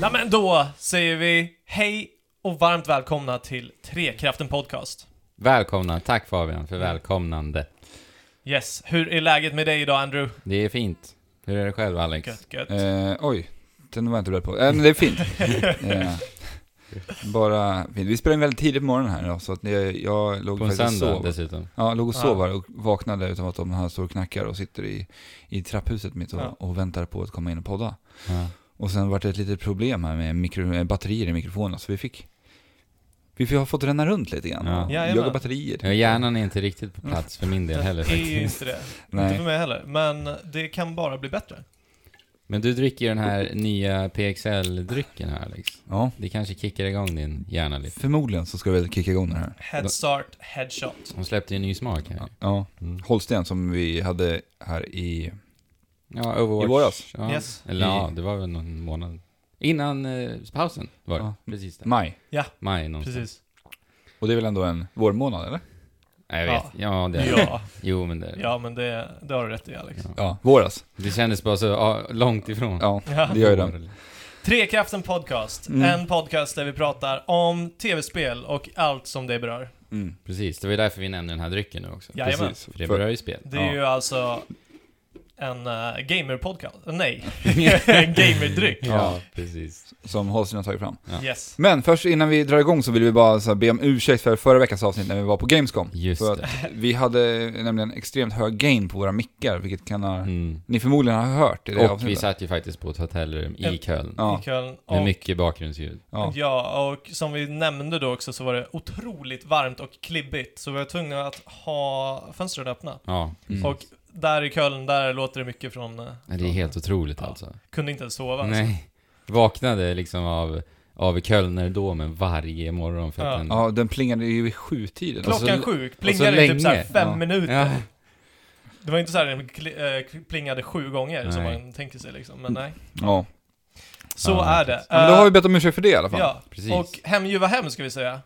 Nej men då säger vi hej och varmt välkomna till Trekraften Podcast. Välkomna, tack Fabian för välkomnande. Yes, hur är läget med dig idag Andrew? Det är fint. Hur är det själv Alex? Gött, gött. Eh, oj, den var jag inte beredd på. Eh, men det är fint. eh, bara fint. Vi spelade in väldigt tidigt på morgonen här idag, så att jag, jag låg På en faktiskt söndag och typ. sov. dessutom. Ja, låg och Ja. sov här och vaknade utan att de här står och knackar och sitter i, i trapphuset mitt och, Ja. och väntar på att komma in och podda. Ja. Och sen var det ett litet problem här med mikro, eh, batterier i mikrofonen, så vi fick vi har fått ränna runt lite grann. Ja. Jajamän. Jaga batterier. Ja, Hjärnan är inte riktigt på plats för min del heller det är ju faktiskt. inte det. Inte för Nej. mig heller. Men det kan bara bli bättre. Men du dricker ju den här nya PXL-drycken här Alex. Ja. Det kanske kickar igång din hjärna lite. Förmodligen så ska vi väl kicka igång det här. Head start, headshot. De släppte ju en ny smak här. Ja. Mm. Holsten som vi hade här i... Ja, Overwatch. I våras. Ja. Yes. Eller ja, I- det var väl någon månad. Innan eh, pausen var det. Ja. Precis där. Maj. Maj någonstans. Precis. Och det är väl ändå en vårmånad, eller? Nej, jag vet. Ja, det är Ja, Jo, men det är det. ja men det, det har du rätt i Alex. Ja. Ja, våras. Det kändes bara så ja, långt ifrån. Ja, Ja. det gör ju den. Trekraften Podcast. Mm. En podcast där vi pratar om tv-spel och allt som det berör. Mm. Precis, det var ju därför vi nämnde den här drycken nu också. Jajamän. Precis. För det För- berör ju spel. Det är Ja. ju alltså en eh, gamer-podcast. Nej, en gamerdryck. Ja, precis. Som Holsten har tagit fram. Ja. Yes. Men först innan vi drar igång så vill vi bara så här, be om ursäkt för förra veckans avsnitt när vi var på Gamescom. Just För det. att vi hade nämligen extremt hög gain på våra mickar, vilket kan ha, Mm. ni förmodligen har hört i det Och vi avsnittet. satt ju faktiskt på ett hotellrum i Ja. Köln. Ja, I Köln. Med Och, mycket bakgrundsljud. ja. ja, och som vi nämnde då också så var det otroligt varmt och klibbigt. Så vi var tvungna att ha fönstren öppna. Ja. Mm. Och där i Köln, där låter det mycket från... eh, Ja, Det är helt otroligt Ja. alltså. Kunde inte ens sova. alltså. Nej. Vaknade liksom av, av Kölnerdomen varje morgon för att Ja. den... ja, den plingade ju vid sjutiden. Alltså, Klockan Klock- Och så- sju, och plingade så i typ såhär länge. fem Ja. minuter. Ja. Det var inte såhär den kli- eh, plingade sju gånger som Nej. Mm. man tänker sig liksom, men nej. Ja. Så Ja, är det. ja, men då har vi Eh, bett om ursäkt för det i alla fall. ja. Precis. Och hemljuva hem ska vi säga.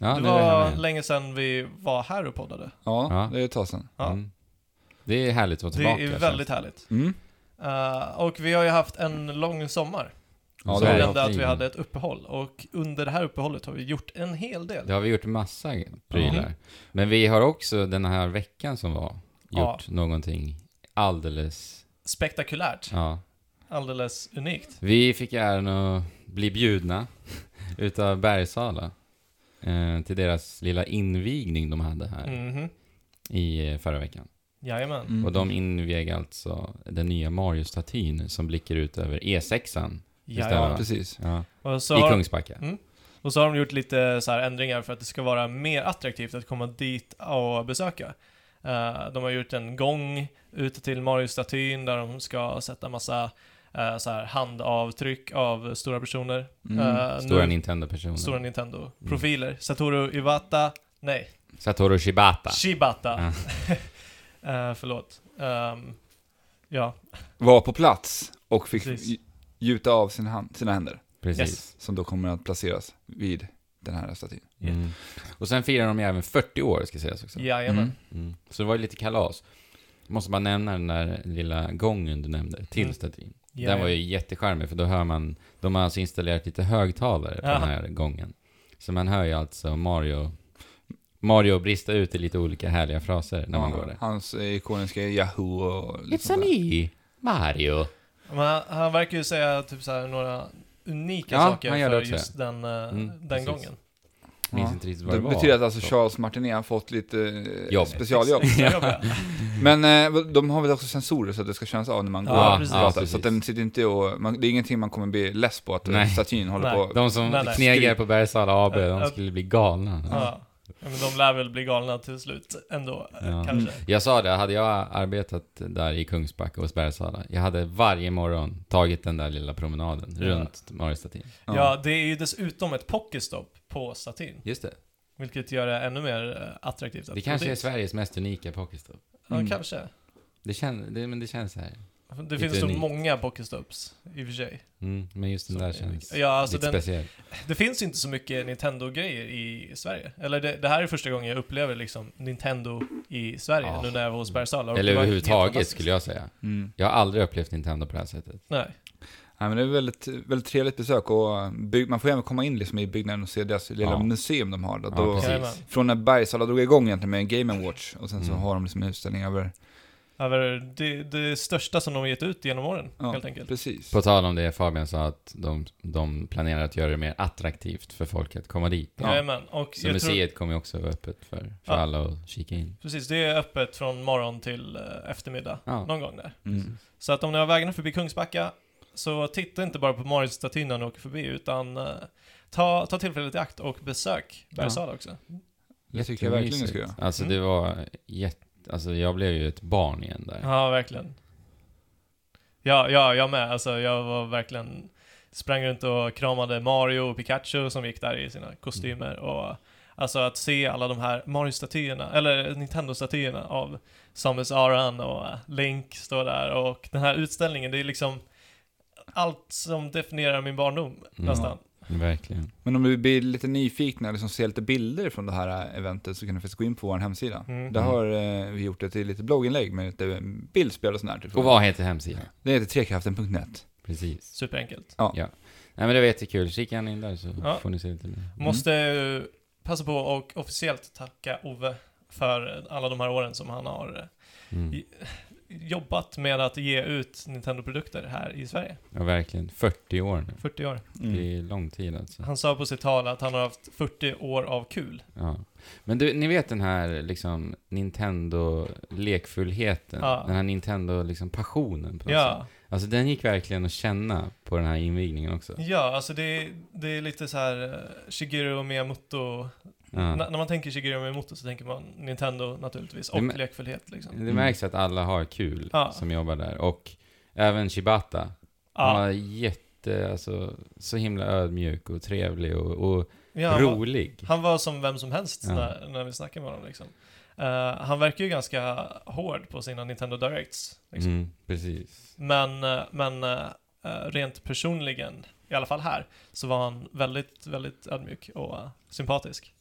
Ja, det nu är det här var med. länge sedan vi var här och poddade. Ja, Ja. det är ett tag sedan. Ja. Mm. Det är härligt att vara Det tillbaka. är känns väldigt härligt. Mm. Eh, och vi har ju haft en lång sommar. Ja, så det har vi vi nämnde haft att vi länge. hade ett uppehåll. Och under det här uppehållet har vi gjort en hel del. Det har vi gjort massa prylar. Mm. Men vi har också den här veckan som var Ja. gjort någonting alldeles, Spektakulärt. ja. Alldeles unikt. Vi fick äran att bli bjudna utav Bergsala eh, till deras lilla invigning de hade här Mhm. i eh, förra veckan. Jajamän. Mm. Och de invig alltså den nya Mario-statyn som blickar ut över E6an Ja, stämmer. Jajamän. precis. ja, Och så i har, Kungsbacka. och så har de gjort lite så här ändringar för att det ska vara mer attraktivt att komma dit och besöka. Eh, de har gjort en gång ute till Mario-statyn där de ska sätta massa eh, så här handavtryck av stora personer. Mm. Eh, nu- Stora Nintendo-personer. Stora Nintendo-profiler. Mm. Satoru Iwata, nej, Satoru Shibata. Shibata. Eh, förlåt. Ehm, ja, Var på plats och fick Precis. gj- gjuta av sin hand, sina händer, Precis. yes. som då kommer att placeras vid den här statyn. Mm. Och sen firar de ju även 40 år, ska sägas också. Jajamän. Mm. Mm. Så det var ju lite kalas. Jag måste bara nämna den där lilla gången du nämnde till Mm. statyn. Den Jajamän. var ju jättecharmig för då hör man, de har alltså installerat lite högtalare på Jaha. den här gången. Så man hör ju alltså Mario, Mario brista ut i lite olika härliga fraser när man Ja, går där. Hans eh, ikoniska Yahoo och lite It's a sånt där. me, Mario. Men han, han verkar ju säga typ så här några unika Ja, saker han gör det för också. just den, eh, Mm, den precis. gången. Minns Ja. inte riktigt vad Det det var. betyder att alltså Så. Charles Martinet har fått lite eh, Jobb. specialjobb. Extra jobb, ja. Men eh, de har väl också sensorer så att det ska kännas av när man Ja, går och precis. pratar. Ja, så precis. att den sitter inte och, man, det är ingenting man kommer bli less på att eh, Nej. statyn håller Nej. på. De som Nej, nej. knegar på Bergsala AB, Ja, ja. de skulle bli galna. ja. Ja, Men de lär väl bli galna till slut ändå, eh, Ja. Mm. kanske. Jag sa det, hade jag arbetat där i Kungsbacka hos Bergsala, jag hade varje morgon tagit den där lilla promenaden Ja. runt Mariestatyn. Ja. Ja. det är ju dessutom ett pocketstop på statyn, Just det. vilket gör det ännu mer eh, attraktivt att Det gå kanske är dit. Sveriges mest unika pocketstop. Ja, Mm. kanske. Det, kän, det, men det känns så här. Det Lite finns så unikt. många pocketstops, i och för sig. Mm, men just den Så- där känns Ja, alltså lite den- speciell. Det finns inte så mycket Nintendo-grejer i Sverige. Eller det, det här är första gången jag upplever liksom Nintendo i Sverige, Ja. nu när jag var hos Bergsala. Eller överhuvudtaget skulle jag säga. Mm. Jag har aldrig upplevt Nintendo på det här sättet. Nej. Nej, men det är väldigt, väldigt trevligt besök och bygg, man får även komma in liksom i byggnaden och se deras lilla Ja. museum de har. Då, Ja, då, precis. Jajamän. från när Bergsala drog igång egentligen med Game Watch och sen så Mm. har de liksom en utställning över... Över det, det största som de har gett ut genom åren, Ja, helt enkelt. Precis. På tal om det Fabian sa att de, de planerar att göra det mer attraktivt för folk att komma dit. Ja. Jajamän. Och Så jag tror, museet kommer ju också vara öppet för, för Ja. alla att kika in. precis, det är öppet från morgon till eh, eftermiddag, Ja. någon gång där. Mm. Så att om ni har vägarna förbi Kungsbacka, så titta inte bara på Mario-statyn när ni åker förbi, utan eh, ta, ta tillfället i akt och besök Bergsala också. Det tycker jag verkligen ni ska göra. Alltså Mm. det var jätte... Alltså jag blev ju ett barn igen där. Ja, verkligen. Ja, ja, jag med. Alltså, jag var verkligen... Sprang runt och kramade Mario och Pikachu som gick där i sina kostymer. Och alltså att se alla de här Mario-statyerna, eller Nintendo-statyerna av Samus Aran och eh, Link står där. Och den här utställningen, det är liksom allt som definierar min barndom nästan. Verkligen. Men om du blir lite nyfikna och liksom ser lite bilder från det här eventet så kan du faktiskt gå in på vår hemsida. Mm. Där har eh, vi gjort ett litet blogginlägg med lite bildspel och sånt där. Typ. Och vad heter hemsidan? Det heter trekraften.net. Precis. Superenkelt. Nej men det var jättekul, kika gärna in där så Ja. får ni se lite mer. Måste eh, passa på och officiellt tacka Ove för eh, alla de här åren som han har eh, Mm. I- jobbat med att ge ut Nintendo-produkter här i Sverige. Ja verkligen, 40 år nu. 40 år. Mm. Det är lång tid alltså. Han sa på sitt tal att han har haft 40 år av kul. Ja. Men du, ni vet den här liksom Nintendo-lekfullheten? Ja. Den här Nintendo-passionen på något Ja, sätt. Alltså den gick verkligen att känna på den här invigningen också. ja alltså det, är- det är lite så här eh, Shigeru Miyamoto. Ja. N- när man tänker Shigeru Miyamoto så tänker man Nintendo naturligtvis och Det Mm. med- lekfullhet liksom. Det märks att alla har kul Ja. som jobbar där. Och även Shibata. Han Ja, var jätte, alltså, så himla ödmjuk och trevlig och, och ja, han var- rolig. Han var som vem som helst Ja. när, när vi snackade med honom liksom. Eh, han verkar ju ganska hård på sina Nintendo Directs. Liksom. Mm, precis. Men, eh, men eh, eh, rent personligen, i alla fall här, så var han väldigt, väldigt ödmjuk och eh, sympatisk.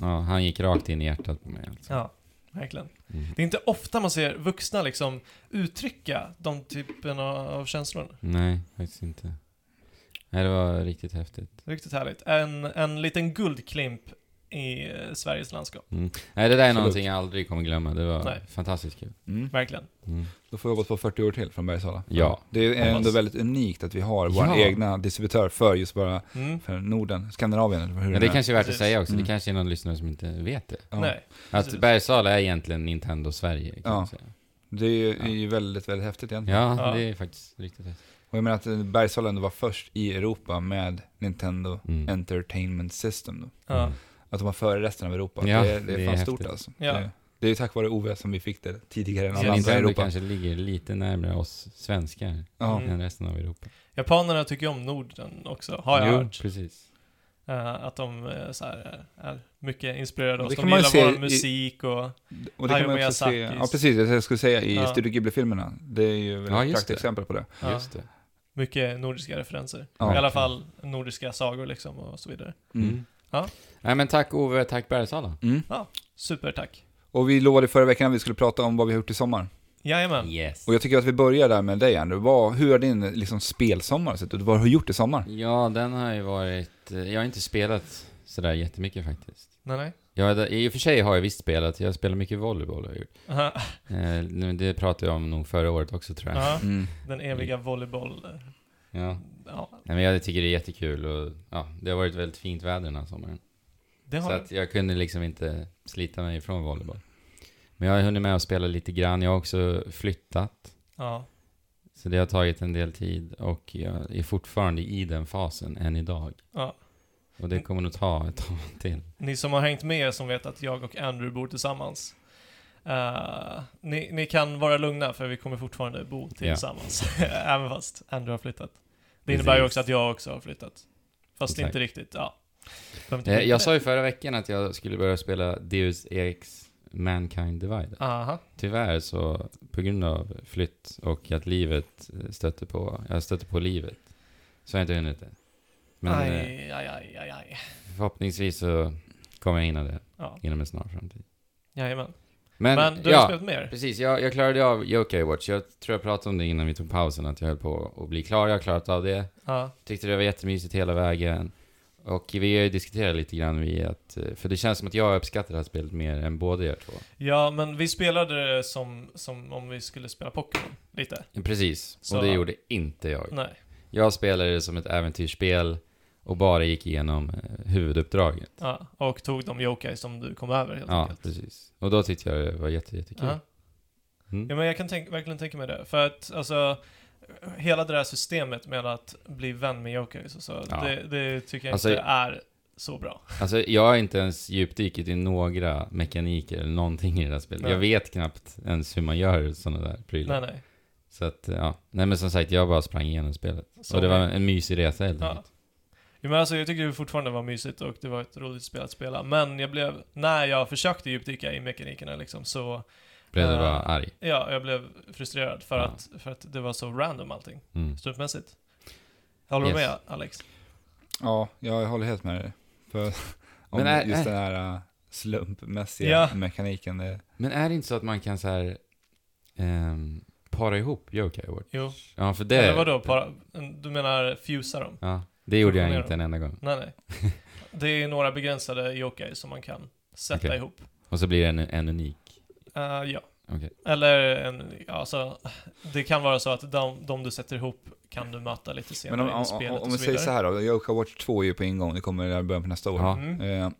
Ja, han gick rakt in i hjärtat på mig alltså. Ja, verkligen. Mm. Det är inte ofta man ser vuxna liksom uttrycka de typen av, av känslor. Nej, faktiskt inte. Nej, det var riktigt häftigt. Riktigt härligt. En, en liten guldklimp i eh, Sveriges landskap. Nej, det där är Absolut. någonting jag aldrig kommer glömma. Det var Nej. fantastiskt kul. Mm. Verkligen. Mm. Då får vi hoppas på 40 år till från Bergsala. Ja. Det är ändå Hoppas. väldigt unikt att vi har vår Ja. egna distributör för just bara Mm. för Norden, Skandinavien eller hur Men det den är. kanske är värt att Precis. säga också. Mm. Det kanske är någon lyssnare som inte vet det. Ja. Nej. Att Precis. Bergsala är egentligen Nintendo Sverige, kan Ja. man säga. Det är ju, Ja. är ju väldigt, väldigt häftigt egentligen. Ja, Ja. det är faktiskt riktigt häftigt. Och jag menar att eh, Bergsala ändå var först i Europa med Nintendo Mm. Entertainment System då. Ja. Mm. Att de var före resten av Europa. Ja, det, är- det är det är fan häftigt. stort alltså. Ja. Det, det är ju tack vare Ove som vi fick det tidigare än Så Så alla andra i Nintendo Europa. kanske ligger lite närmare oss svenskar Ja. Mm. än resten av Europa. Japanerna tycker ju om Norden också, har jag jo, hört. precis. Eh, att de eh, så här, eh, är mycket inspirerade av oss. Det De kan man ju gillar se vår i- musik och... Och det kan man ju också se, Hayao Miyazakis. ja precis, det jag skulle säga i Ja. Studio Ghibli-filmerna. Det är ju Ja, ett just det. praktexempel på det. Ja. Just det. Mycket nordiska referenser. Ja. I alla fall nordiska sagor liksom och så vidare. Mm. Mm. Ja. Nej, men tack Ove, tack Bergsala. Mm. Supertack. Och vi lovade förra veckan att vi skulle prata om vad vi har gjort i sommar. Jajamän. Yes. Och jag tycker att vi börjar där med dig Andrew. Vad, hur har din liksom, spelsommar sett ut? Vad har du gjort i sommar? Ja, den har ju varit... eh, Jag har inte spelat sådär jättemycket faktiskt. Nej, nej. Jag, I och för sig har jag visst spelat, jag spelar mycket volleyboll har jag gjort. Aha. Eh, nu, det pratade jag om nog förra året också tror jag. Aha. Mm. Den eviga volleyboll... eh, Ja. Ja, Nej, men jag tycker det är jättekul och ja, det har varit väldigt fint väder den här sommaren. det har Så att jag kunde liksom inte slita mig ifrån volleyboll. Men jag har hunnit med att spela lite grann, jag har också flyttat. Ja. Så det har tagit en del tid och jag är fortfarande i den fasen än idag. ja. Och det kommer nog ta ett tag till. Ni som har hängt med som vet att jag och Andrew bor tillsammans. Eh, ni, ni kan vara lugna för vi kommer fortfarande bo tillsammans. Även fast Andrew har flyttat. Det innebär ju Precis. också att jag också har flyttat. Fast Exakt. inte riktigt, ja. Behöver inte Eh, skicka Jag det. sa ju förra veckan att jag skulle börja spela Deus Ex Mankind Divided. Aha. Tyvärr så, på grund av flytt och att livet eh, stötte på, jag stötte på livet, så har jag inte hunnit det. Men eh, aj, aj, aj, aj, aj. förhoppningsvis så kommer jag hinna det Ja, inom en snar framtid. jajamän. Men, Men du har ju ja, spelat mer. precis. Jag, jag klarade av Yokai Watch. Jag tror jag pratade om det innan vi tog pausen, att jag höll på att bli klar. Jag har klarat av det. Ja. Tyckte det var jättemysigt hela vägen. Och vi har ju diskuterat lite grann vid att, eh, för det känns som att jag uppskattar det här spelet mer än båda er två. ja, men vi spelade det som, som om vi skulle spela Pokémon. Lite. Ja, Precis, Så- och det gjorde inte jag. Nej. Jag spelade det som ett äventyrsspel och bara gick igenom eh, huvuduppdraget. Ja. Och tog de yokai som du kom över helt Ja, enkelt. precis. Och då tyckte jag det var jätte, jättekul. Ja. Mm. Ja, men jag kan tänk, verkligen tänka mig det. För att alltså, hela det där systemet med att bli vän med Yokais och så, Ja. det, det tycker jag Alltså- inte är så bra. Alltså jag har inte ens djupdykit i några mekaniker eller någonting i det här spelet. Nej. Jag vet knappt ens hur man gör sådana där prylar. Nej, nej. Så att, ja. Nej men som sagt, jag bara sprang igenom spelet. Så och det var en mysig resa helt Ja. enkelt. Jo, men alltså, jag tycker det fortfarande var mysigt och det var ett roligt spel att spela. Men jag blev, när jag försökte djupdyka i mekanikerna liksom, så Bredde Eh, var arg. ja, jag blev frustrerad för, Ja. att, för att det var så random allting, Mm. slumpmässigt. Håller du Yes. med Alex? Ja, jag håller helt med dig. För om Men är- just är- den här äh, slumpmässiga Ja. mekaniken. Det, Men är det inte så att man kan så här ehm, para ihop Yokai Watch? Jo. Ja, för det... Eller vadå? Para, du menar fusa dem? Ja, det gjorde jag Funktionerar inte en enda gång. Nej, nej. Det är några begränsade yokai som man kan sätta Okej. ihop. Och så blir det en, en unik. Eh, ja. Okej. Eller en, ja, alltså, det kan vara så att de, de du sätter ihop kan du möta lite senare men om, i om, spelet om, om och vi så säger vidare. så här då, Yoka Watch 2 är ju på ingång, det kommer i början på nästa år. Ja. Mm. Eh,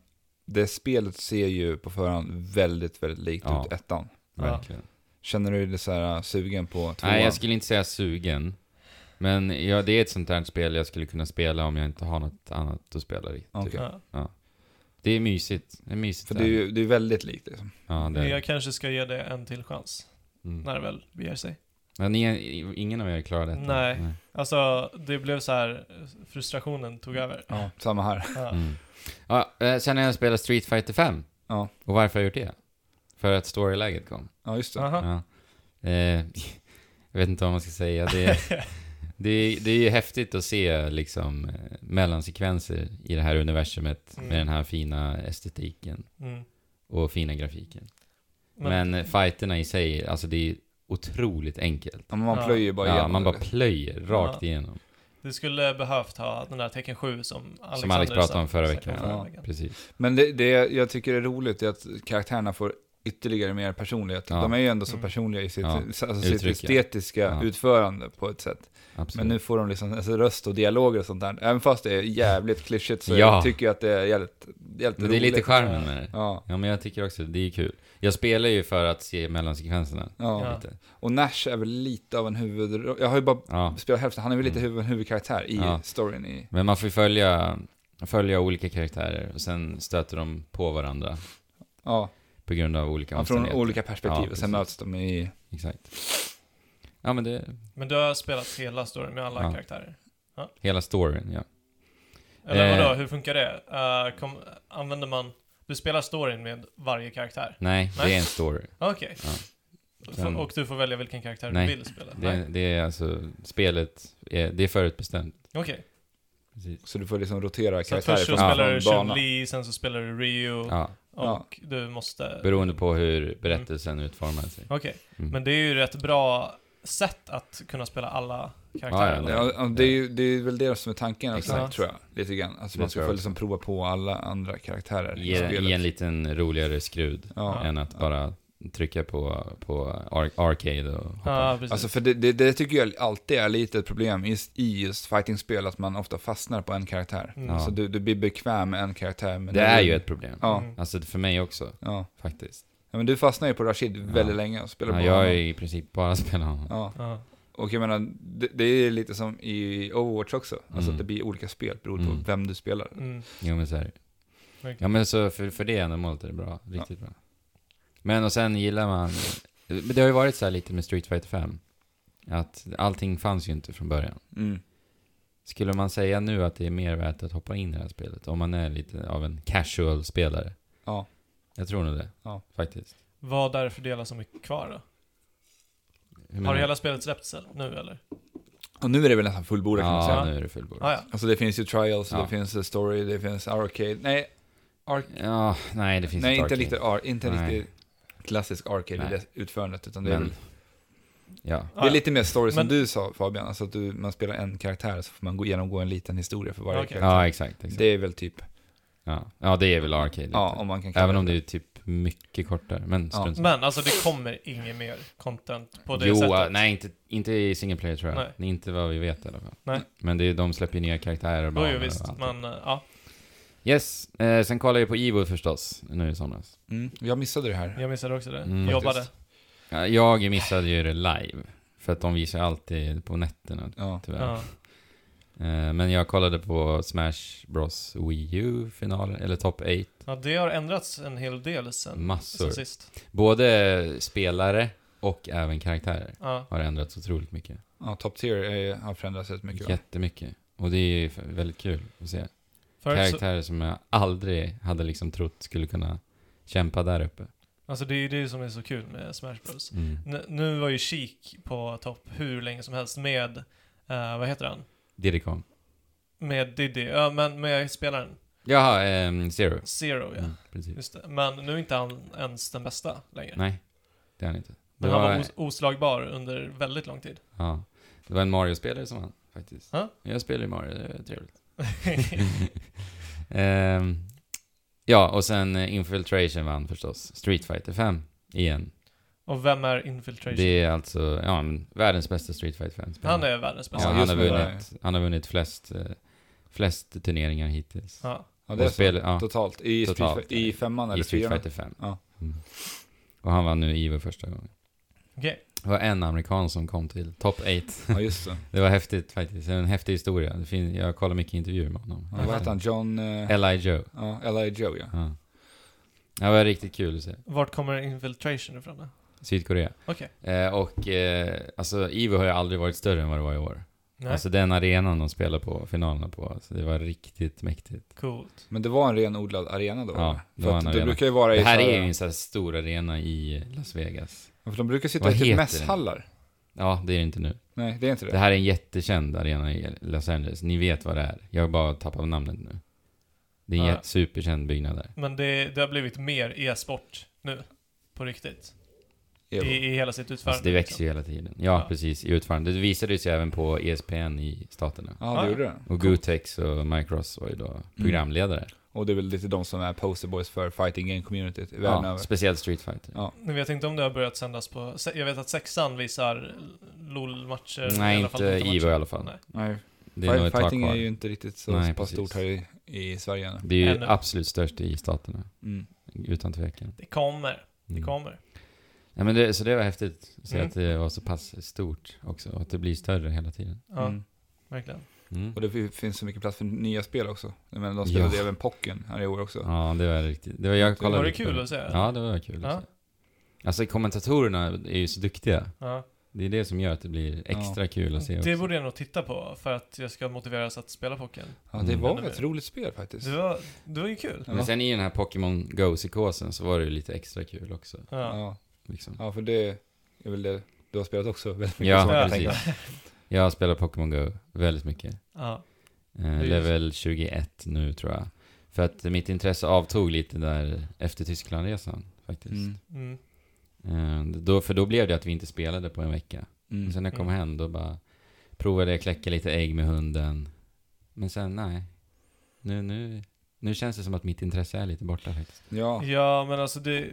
det spelet ser ju på förhand väldigt, väldigt likt Ja. ut ettan. Ja. Verkligen. Känner du dig så här äh, sugen på tvåan? Nej, jag skulle inte säga sugen. Men ja, det är ett sånt här spel jag skulle kunna spela om jag inte har något annat att spela i. typ. Okej. Ja. Det är mysigt. Det är mysigt. För där. det är ju det är väldigt likt liksom. Ja, det är... Jag kanske ska ge det en till chans, Mm. när det väl beger sig. Ja, ni, ingen av er klarade det. Nej. Alltså, det blev så här frustrationen tog över. Ja. Samma här. Ja. Mm. Ja, eh, sen har jag spelat Street Fighter 5. Ja. Och varför har jag gjort det? För att storyläget kom. Ja, just det. Aha. Ja. Eh, jag vet inte vad man ska säga. Det är, det är, det är ju häftigt att se liksom, eh, mellansekvenser i det här universumet Mm. med den här fina estetiken Mm. och fina grafiken. Men, Men, eh, fighterna i sig, alltså det är otroligt enkelt. Ja, men man Ja. plöjer ju bara Ja, igenom man bara det. plöjer rakt Ja. igenom. du skulle behövt ha den där tecken 7 som Alexander Alex pratade om förra snackade veckan. förra Ja. Precis. Men det, det jag tycker är roligt är att karaktärerna får ytterligare mer personlighet. Ja. De är ju ändå så Mm. personliga i sitt, Ja. alltså sitt Uttryck, ja. estetiska Ja. utförande på ett sätt. Absolut. Men nu får de liksom alltså, röst och dialoger och sånt där. Även fast det är jävligt klyschigt så Ja. jag tycker jag att det är jävligt, jävligt Men det är roligt. lite charmen med det. Ja. Ja, men jag tycker också det är kul. Jag spelar ju för att se mellansekvenserna. Ja. Ja. Lite. och Nash är väl lite av en huvud... Jag har ju bara Ja. spelat hälften, han är väl lite Mm. huvud, huvudkaraktär i Ja. storyn. I, Men man får ju följa, följa olika karaktärer och sen stöter de på varandra ja, på grund av olika från omständigheter. olika perspektiv Ja, och sen precis. möts de i... Exakt. Ja men det, Men du har spelat hela storyn med alla Ja. karaktärer? hela storyn ja. Eller Eh. vadå, hur funkar det? Eh, kom, använder man... Du spelar storyn med varje karaktär? Nej, det Nej. är en story. Okej. Ja. F- Sen- Och du får välja vilken karaktär Nej. du vill spela? Det, Nej. det är alltså, spelet, är, det är förutbestämt. Okej. Precis. Så du får liksom rotera Så att karaktärer först så från spelar du från bana. Chun-Li, sen så spelar du Ryu, Ja, och du måste... beroende på hur berättelsen utformar sig. Okej. Mm. Men det är ju rätt bra sätt att kunna spela alla Ja, karaktärer. ja, då. Ja, ja, det, är ju, det är väl det som är tanken också, Exakt. tror jag. Lite grann. Alltså Det man ska tror jag också. få liksom prova på alla andra karaktärer i Ge, spelet. ge en liten roligare skrud Ja. än att bara trycka på, på ar- arcade och hoppa. Ja, precis. Alltså för det, det, det tycker jag alltid är lite ett problem i, i just fightingspel, att man ofta fastnar på en karaktär. Mm. Ja. Alltså du, du blir bekväm med en karaktär. Men det du- är ju ett problem. Ja, Mm. Alltså för mig också, ja. faktiskt. ja, men du fastnar ju på Rashid väldigt länge och spelar Ja, på jag har honom. ju i princip bara spelat honom. Ja, Ja. och jag menar, det, det är lite som i Overwatch också. Alltså Mm. att det blir olika spel beroende på Mm. vem du spelar. Mm. Jo men så är det. Verkligen. Ja men så för, för det ändamålet är det bra, riktigt bra. Men och sen gillar man, men det har ju varit så här lite med Street Fighter 5. Att allting fanns ju inte från början. Mm. Skulle man säga nu att det är mer värt att hoppa in i det här spelet? Om man är lite av en casual-spelare? Ja. Jag tror nog det. Ja. Faktiskt. Vad är det för delar som är kvar då? Hur menar Har du? hela spelet släppts nu eller? Och nu är det väl nästan fullbordat kan man säga. Ja, säga? nu är det fullbordat. Ah, ja. Alltså det finns ju trials, Ja. det finns eh, story, det finns arcade. Nej, Ja, nej det finns nej ett inte arcade. riktigt ar, inte Nej. riktigt klassisk arcade i Nej. det utförandet, utan det är, Men, väl- ja. Ah, det är ja. lite mer story som Men- du sa Fabian, alltså att du, man spelar en karaktär så får man gå genomgå en liten historia för varje Okej. karaktär. ja, exakt. exakt. Det är väl typ, Ja. ja, det är väl arcade. lite. ja om man kan kalla Även om det är typ mycket kortare, men Ja. strunt samma. Men alltså det kommer inget mer content på det Jo, sättet. äh, nej, inte, inte i single player tror jag. Nej. Nej. Inte vad vi vet i alla fall. Nej. Men det är, de släpper ju nya karaktärer och Jo, banor jo och visst, allt. men eh, ja. Yes, eh, sen kollade jag på Evo förstås, nu i somras. Mm, jag missade det här. Jag missade också det. Mm. Jobbade. Ja, Jag missade ju det live, för att de visar alltid på nätterna, Ja. tyvärr. Ja. Eh, men jag kollade på Smash Bros Wii U-finalen, eller Top 8, ja, det har ändrats en hel del sen, massor. sen sist. Både spelare och även karaktärer Ja. har ändrats otroligt mycket. Ja, Top Tier är, har förändrats rätt mycket. va? Jättemycket. Och det är ju f- väldigt kul att se. Förut så, Karaktärer som jag aldrig hade liksom trott skulle kunna kämpa där uppe. alltså det är ju det som är så kul med Smash Bros. Mm. N- nu var ju Sheik på topp hur länge som helst med, eh, vad heter han? Diddy Kong. Med Diddy, ja men med spelaren. Jaha, ehm, Zero. Zero Oh, ja. Mm, precis. Just det. Men nu är inte han ens den bästa längre. Nej, det är han inte. Det Men han var var, os- oslagbar under väldigt lång tid. ja, det var en Mario-spelare som vann faktiskt. Ja. Jag spelar ju Mario, det är trevligt. Ehm, ja, och sen eh, Infiltration vann förstås. Street Fighter 5 igen. Och vem är Infiltration? Det är alltså ja, men världens bästa Street Fighter 5-spelare. Han är världens Ja, bästa. Ja, han, just har nu är- vunnit, han har vunnit flest, eh, flest turneringar hittills. Ja. Ja, det är och så. spel, ja, Totalt. I, Totalt, Street, I ja. femman i eller Street fyran? Fighter 5. Ja. Mm. Och han vann nu Evo första gången. Okej. Det var en amerikan som kom till top 8. Ja, just det. Det var häftigt faktiskt. Det är En häftig historia. Det fin- jag kollar mycket intervjuer med honom. Ja, vad hette han? John... eh, L.I. Joe. Ja, L.I. Joe ja. Ja. Ja, Det var riktigt kul att se. Vart kommer Infiltration ifrån då? Sydkorea. Okej. Eh, och eh, alltså Evo har ju aldrig varit större än vad det var i år. Nej, Alltså den arenan de spelar på, finalerna på. Alltså, det var riktigt mäktigt. coolt. Men det var en renodlad arena då? Ja, eller? det för var att en det arena. brukar ju vara i... Det här så är ju en sån här stor arena i Las Vegas. Ja, För de brukar sitta Vad i typ heter mässhallar. Ja, det är det inte nu. Nej, det är inte det. Det här är en jättekänd arena i Los Angeles. Ni vet vad det är. Jag bara tappar namnet nu. Det är en Ja. jätte- superkänd byggnad där. Men det, det har blivit mer e-sport nu. På riktigt. I, Evo. I hela sitt utförande. Alltså det växer liksom. ju hela tiden. Ja, Ja. precis. I utförandet. Det visade ju sig även på E ESPN i staterna. Ja, Ja. det gjorde det. Och Gutex och Mike Ross var ju då programledare. Och det är väl lite de som är posterboys för fighting game-communityt i världen Ja, över. speciellt Street Fighter. Ja. Nu vet liksom. jag inte om det har börjat sändas på... se- Jag vet att sexan visar LOL-matcher. Nej, i alla fall inte matcher. Ivo i alla fall. Nej. Nej, Det är nog ett tag fighting är ju kvar. inte riktigt så Nej, pass precis. stort här i, i Sverige ännu. Det är ju Ännu. absolut störst i staterna. Mm. Utan tvekan. Det kommer. Det Mm. kommer. Ja, men det, så det var häftigt att se Mm. att det var så pass stort också. Och att det blir större hela tiden. Ja, Mm. verkligen. Mm. Och det fi- finns så mycket plats för nya spel också. Jag menar, de spelade Ja. även Pocken här i år också. Ja, det var riktigt. Det var, jag kollade Var det lite på kul att se? Ja, det var kul Ja. att se. Alltså kommentatorerna är ju så duktiga. Ja. Det är det som gör att det blir extra kul att se också. Det borde jag nog titta på för att jag ska motiveras att spela poken. Ja, det Mm. var Men- ett roligt spel faktiskt. Det var, det var ju kul. Ja. Men sen i den här Pokémon Go-psykosen så var det ju lite extra kul också. Ja. Ja. Liksom. ja, för det är väl det du har spelat också väldigt mycket. Ja, så man kan precis. tänka. Jag spelar Pokémon Go väldigt mycket. Ja. Eh, Just. level 21 nu tror jag. För att mitt intresse avtog lite där efter Tysklandresan faktiskt. Mm. Mm. Eh, då, för då blev det att vi inte spelade på en vecka. Mm. Och sen när jag kom Mm. hem då bara provade jag kläcka lite ägg med hunden. Men sen nej. Nu, nu, nu känns det som att mitt intresse är lite borta faktiskt. Ja, Ja, men alltså det...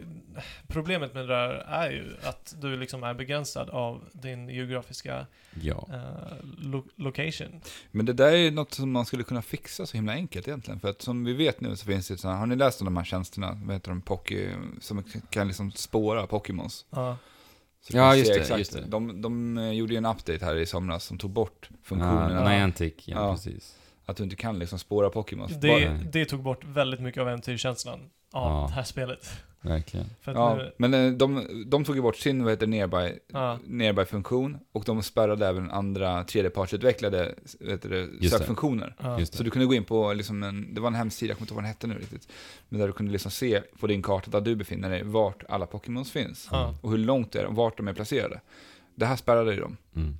Problemet med det där är ju att du liksom är begränsad av din geografiska Ja. eh, lo- location. men det där är ju något som man skulle kunna fixa så himla enkelt egentligen. För att som vi vet nu så finns det sådana, har ni läst om de här tjänsterna, vad heter de, Pocky, som kan liksom spåra Pokémons? Ja, Så kan Ja, man just se det, exakt. just det. De, de eh, gjorde ju en update här i somras som tog bort funktionen Ah, att- Niantic, ja, Ja. precis. att du inte kan liksom spåra Pokémon. det, det tog bort väldigt mycket av äventyrkänslan av Ja. det här spelet. Verkligen. För att Ja, nu, men eh, de, de tog ju bort sin, vad heter nearby, Ja. nearby-funktion och de spärrade även andra tredjepartsutvecklade vad heter det, Just det. sökfunktioner. ja. Just Så det. du kunde gå in på, liksom en, det var en hemsida, jag kommer inte ihåg vad den hette nu riktigt, men där du kunde liksom se på din karta där du befinner dig, vart alla Pokémons finns. Ja. Och hur långt det är, och vart de är placerade. Det här spärrade ju de. Mm.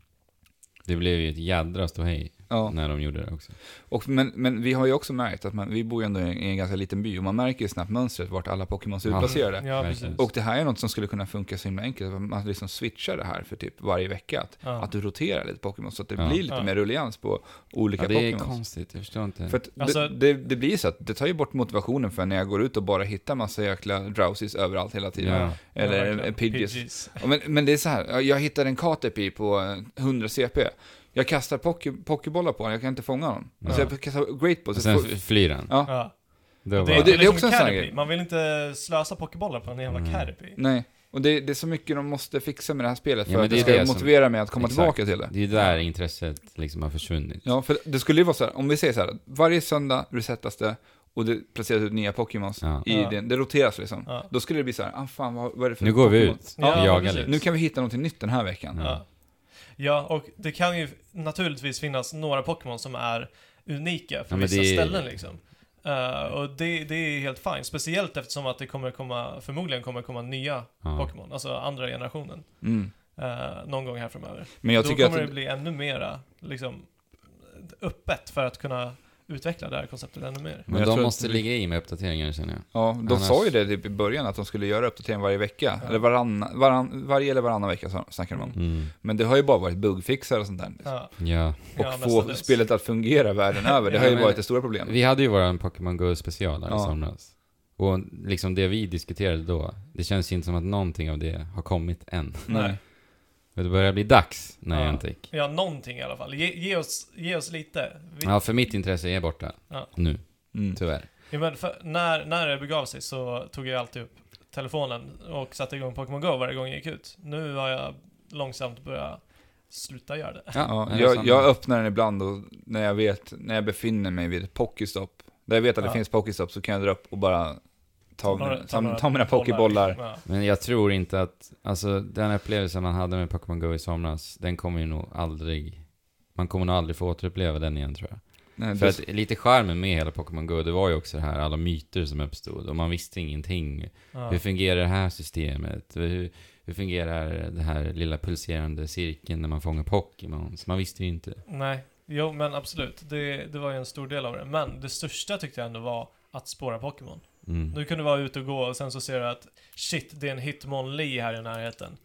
Det blev ju ett jädra ståhej Ja. när de gjorde det också. Och, men, men vi har ju också märkt att man, vi bor ju ändå i en, i en ganska liten by och man märker ju snabbt mönstret vart alla Pokémons är Ja. utplacerade. Ja, precis. Verkligen. Och det här är något som skulle kunna funka så himla enkelt, att man liksom switchar det här för typ varje vecka. Att, Ja. att du roterar lite Pokémon så att det Ja. blir lite Ja. mer rullians på olika Ja, det är Pokémons. konstigt, jag förstår inte. För att Alltså- det, det, det blir så att det tar ju bort motivationen för när jag går ut och bara hittar massa jäkla drowsies överallt hela tiden. ja. Ja, Eller verkligen. ja, Pidgeys. Pidgeys. Ja, Men, men det är så här, ja, jag hittade en Caterpie på eh, 100 CP. Jag kastar poke, pokébollar på honom, jag kan inte fånga honom. Alltså Ja. jag kastar Great Balls. Och jag sen får- flyr han. Ja. Ja. Då Det, bara, är- det är liksom också en sån här Caterpie. grej. Man vill inte slösa pokébollar på en jävla Mm. Caterpie. Nej, och det, det är så mycket de måste fixa med det här spelet för Ja, men att det det är ska det som- motivera mig att komma Exakt. tillbaka till det. det är där intresset liksom har försvunnit. Ja, för det skulle ju vara så här, om vi säger så här, varje söndag resetas det och det placeras ut nya Pokémons Ja. i Ja. den, det roteras liksom. Ja. Då skulle det bli så här, ah fan vad, vad är det för Nu går vi Pokémon?" ut och Ja, jagar precis. lite. Nu kan vi hitta någonting nytt den här veckan. Ja. Ja. ja, och det kan ju naturligtvis finnas några Pokémon som är unika för Ja, men vissa det är- ställen liksom. Eh, och det, det är helt fint, speciellt eftersom att det kommer komma, förmodligen kommer komma nya Ja. Pokémon, alltså andra generationen, Mm. eh, någon gång här framöver. Men jag Då tycker kommer att det bli ännu mera, liksom, öppet för att kunna utveckla det här konceptet ännu mer. Men Men jag de tror måste att- ligga i med uppdateringar känner jag. Ja, de Annars- sa ju det typ i början att de skulle göra uppdatering varje vecka. Ja. Eller varann, varann, varje eller varannan vecka så- snackar de om. Mm. Men det har ju bara varit bugfixar och sånt där. Ja, Ja. Och ja, få mestadels. spelet att fungera världen över, det Ja, har ju men- varit det stora problemet. Vi hade ju våran Pokémon Go special här i Ja. somras. Och liksom det vi diskuterade då, det känns inte som att någonting av det har kommit än. Nej. Men det börjar bli dags när Ja. Niantic. Ja, någonting i alla fall. Ge, ge, oss, ge oss lite. Vi, Ja, för mitt intresse är borta. Ja. Nu, Mm. tyvärr. Ja, men för, när, när det begav sig så tog jag alltid upp telefonen och satte igång Pokémon Go varje gång jag gick ut. Nu har jag långsamt börjat sluta göra det. men Ja, det är jag, samma. jag öppnar den ibland och när jag vet, när jag befinner mig vid ett Pokestop, där jag vet att det Ja. finns Pokestop så kan jag dra upp och bara ta, Några- ta, ta, några mina Pokébollar. bollar. Men jag tror inte att, alltså den upplevelsen man hade med Pokémon Go i somras, den kommer ju nog aldrig, man kommer nog aldrig få återuppleva den igen tror jag. Nej, För det, att lite charmen med hela Pokémon Go, det var ju också det här, alla myter som uppstod och man visste ingenting. Ja. Hur Ja. fungerar det här systemet? Hur, hur fungerar det här lilla pulserande cirkeln när man fångar Pokémons? Man visste ju inte. Nej, jo men absolut. Det, det var ju en stor del av det. Men det största tyckte jag ändå var att spåra Pokémon. Mm. Nu kan du vara ute och gå och sen så ser du att shit, det är en Hitmonlee här i närheten.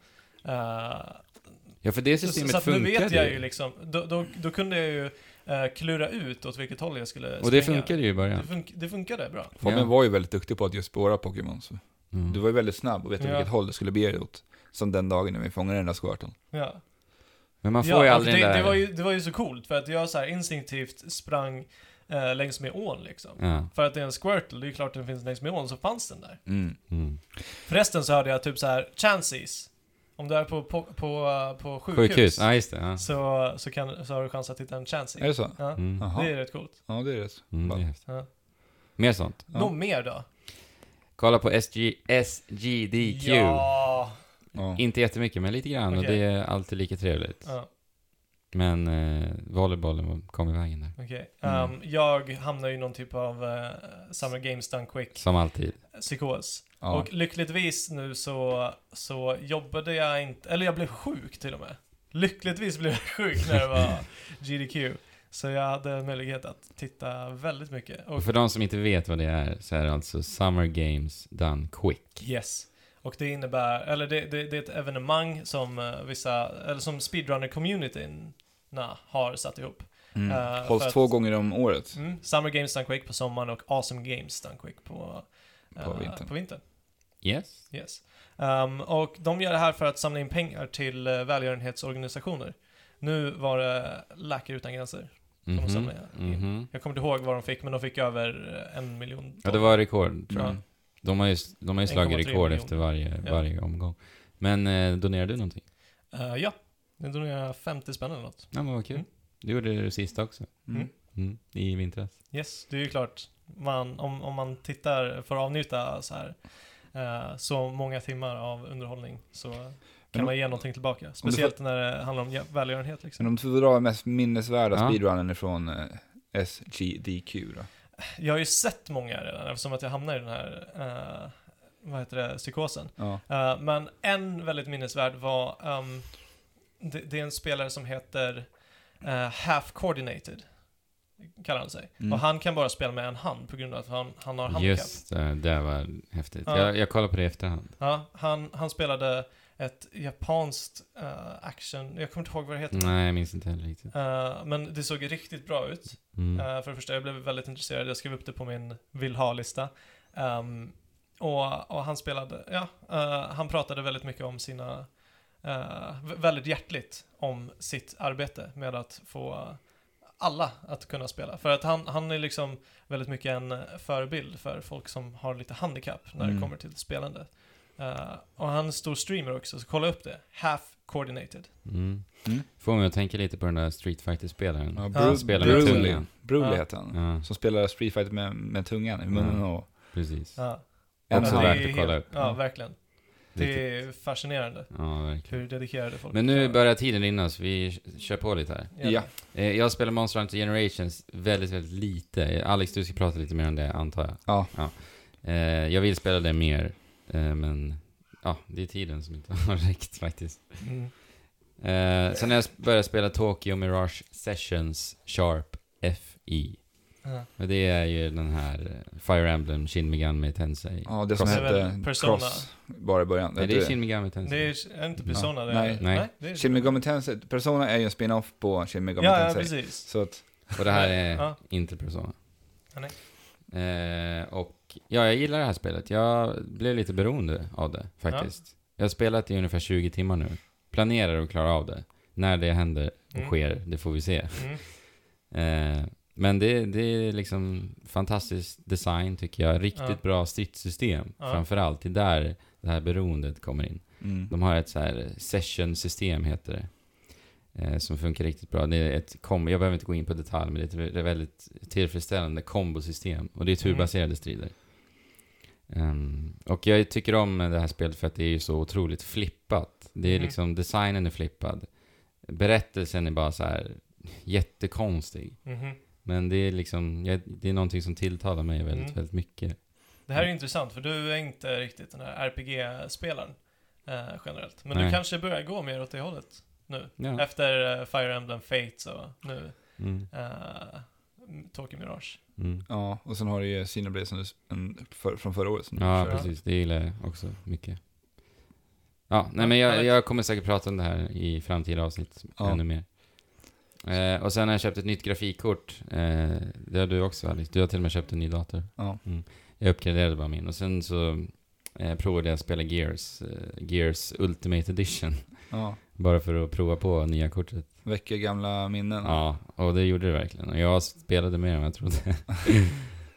Eh, Ja, för det Så, systemet så att nu funkade vet jag ju liksom, då, då, då kunde jag ju eh, klura ut åt vilket håll jag skulle springa. Och det funkade ju i början. Det, fun- det funkade bra. Fabian Ja. var ju väldigt duktig på att just spåra Pokémon, så Mm. du var ju väldigt snabb och vet Ja. vilket håll det skulle bege dig åt. Som den dagen när vi fångade den där squirten. Ja. Men man får ja, ju och aldrig det, den där... det, var ju, det var ju så coolt för att jag så här instinktivt sprang eh, längs med ån liksom. Ja. För att det är en squirtle, det är klart den finns längs med ån, så fanns den där. Mm. Mm. Förresten så hörde jag typ så här, chances. Om du är på, på, på, eh, på sjukhus, Sjukhus, ja just det. Ja. så, så, kan, så har du chans att hitta en Är chances. det så? Ja, Mm. Jaha. det är rätt coolt. Ja, det är det. Mm, det är häftigt. Ja. Mer sånt. Ja. Något mer då? Kolla på SG, SGDQ. Ja. Ja. Inte jättemycket, men lite grann. Och Okej. det är alltid lika trevligt. ja. Men eh, volleybollen kom i vägen där. Okej. Mm. Ehm, jag hamnar ju i någon typ av eh, Summer Games Done Quick Som alltid. psykos. Ja. Och lyckligtvis nu så, så jobbade jag inte, eller jag blev sjuk till och med. Lyckligtvis blev jag sjuk när det var GDQ. Så jag hade möjlighet att titta väldigt mycket. Och Och för de som inte vet vad det är, så är det alltså Summer Games Done Quick. yes. Och det innebär, eller det, det, det är ett evenemang som eh, vvissa, eller som speedrunner-communityn har satt ihop. Mm. Eh, för Hålls att- två gånger om året. Mm. Summer Games Done Quick på sommaren och Awesome Games Done Quick på, eh, På vintern. På vintern. Yes. Yes. Ehm, och de gör det här för att samla in pengar till eh, välgörenhetsorganisationer. Nu var det Läkare Utan Gränser. Som Mhm, samlar in. mhm. Jag kommer inte ihåg vad de fick, men de fick över eh, en miljon Ja, det var rekord. tror jag. Mm. De har ju, de har ju slagit 1,3 rekord miljoner. efter varje, Ja. varje omgång. Men eh, donerade du någonting? Mm. Eh, ja, det donerade 50 spänn eller något. Ja, men vad kul. Mm. Du gjorde det sista också. Mm. Mm. I vintras. Yes, det är ju klart. Man, om, om man tittar, får avnjuta så här eh, så många timmar av underhållning så kan Men om- man ge någonting tillbaka. Speciellt när det handlar om ja- välgörenhet liksom. Men om du får dra den mest minnesvärda Ja. speedrunnen ifrån eh, SGDQ då? Jag har ju sett många redan eftersom att jag hamnar i den här, eh, vad heter det, psykosen. Ja. Eh, men en väldigt minnesvärd var, ehm, det, det är en spelare som heter eh, half coordinated, kallar han sig. Mm. Och han kan bara spela med en hand på grund av att han, han har handikapp. Just det, det var häftigt. Ja. Jag, jag kollar på det i efterhand. Ja, han, han spelade ett japanskt eh, action, jag kommer inte ihåg vad det heter. Nej, jag minns inte heller riktigt. Eh, men det såg riktigt bra ut. Mm. Eh, för det första, jag blev väldigt intresserad. Jag skrev upp det på min vill ha-lista. Ehm, och, och han spelade, ja, eh, han pratade väldigt mycket om sina, eh, vä- väldigt hjärtligt om sitt arbete med att få alla att kunna spela. För att han, han är liksom väldigt mycket en förebild för folk som har lite handikapp när Mm. det kommer till spelande. Eh, och han är en stor streamer också, så kolla upp det. Half coordinated. Mm. Mm. Får mig att tänka lite på den där Street fighter spelaren Ja, Han Bru- spelar med Broly. tungan. Broly Ja. heter han. Ja, Som spelar Street Fighter med, med tungan i munnen Mm. och... precis. Ja, Också det är värt att helt- kolla upp. Mm. Ja, verkligen. Riktigt. Det är fascinerande. Ja, verkligen. Hur dedikerade folk Men nu är. börjar tiden rinna så vi kör på lite här. Ja. Eh, Jag spelar Monster Hunter Generations väldigt, väldigt lite. Eh, Alex, du ska prata lite mer om det antar jag. Ja. Eh, Jag vill spela det mer, eh, men ja, det är tiden som inte har räckt faktiskt. Mm. Eh, sen när jag började spela Tokyo Mirage Sessions Sharp FI. Ja. Och det är ju den här eh, Fire Emblem Shin Megami Tensei. Ja, det som Cross. Det är hette väl Persona. Cross bara i början. Nej, det är Shin Megami Tensei. Det är är inte Persona det? Nej. Nej. det är- Shin Megami Tensei. Persona är ju en spin-off på Shin Megami Ja, ja, Tensei. precis. Så att, Och det här är Ja. inte Persona. Ja, nej. Eh, och ja, jag gillar det här spelet. Jag blev lite beroende av det faktiskt. Jag har spelat i ungefär 20 timmar nu. Planerar att klara av det. När det händer och Mm. sker, det får vi se. Mm. Eh, men det, det är liksom fantastisk design tycker jag. Riktigt Ja. bra stridssystem Ja. framförallt. Det är där det här beroendet kommer in. mm. De har ett så här eh, session-system heter det. eh, Som funkar riktigt bra. Det är ett kom- jag behöver inte gå in på detalj, men det är ett väldigt tillfredsställande kombosystem. Och det är turbaserade strider. Ehm, och jag tycker om det här spelet för att det är ju så otroligt flippat. Det är Mm. liksom, designen är flippad. Berättelsen är bara så här jättekonstig. Mhm. Men det är liksom, jag, det är någonting som tilltalar mig väldigt, Mm. väldigt mycket. Det här är ju intressant för du är inte riktigt den här RPG-spelaren eh, generellt. Men Nej. du kanske börjar gå mer åt det hållet nu. Ja. Efter eh, Fire Emblem Fates och nu Mm. eh, Tokyo Mirage. Mm. Ja, och sen har du ju Xenoblade som du, en, för, från förra året som du Ja, körde. precis. Det gillar jag också mycket. Ja, nej Ja, men jag, härligt. jag kommer säkert prata om det här i framtida avsnitt Ja. ännu mer. Eh, och sen har jag köpt ett nytt grafikkort. Eh, det har du också Alice. Du har till och med köpt en ny dator. Ja. Mm. Jag uppgraderade bara min. Och sen så eh, provade jag att spela Gears, eh, Gears Ultimate Edition. Ja, Bara för att prova på nya kortet. väcker gamla minnen. Ja, och det gjorde det verkligen. Och jag spelade mer än jag trodde.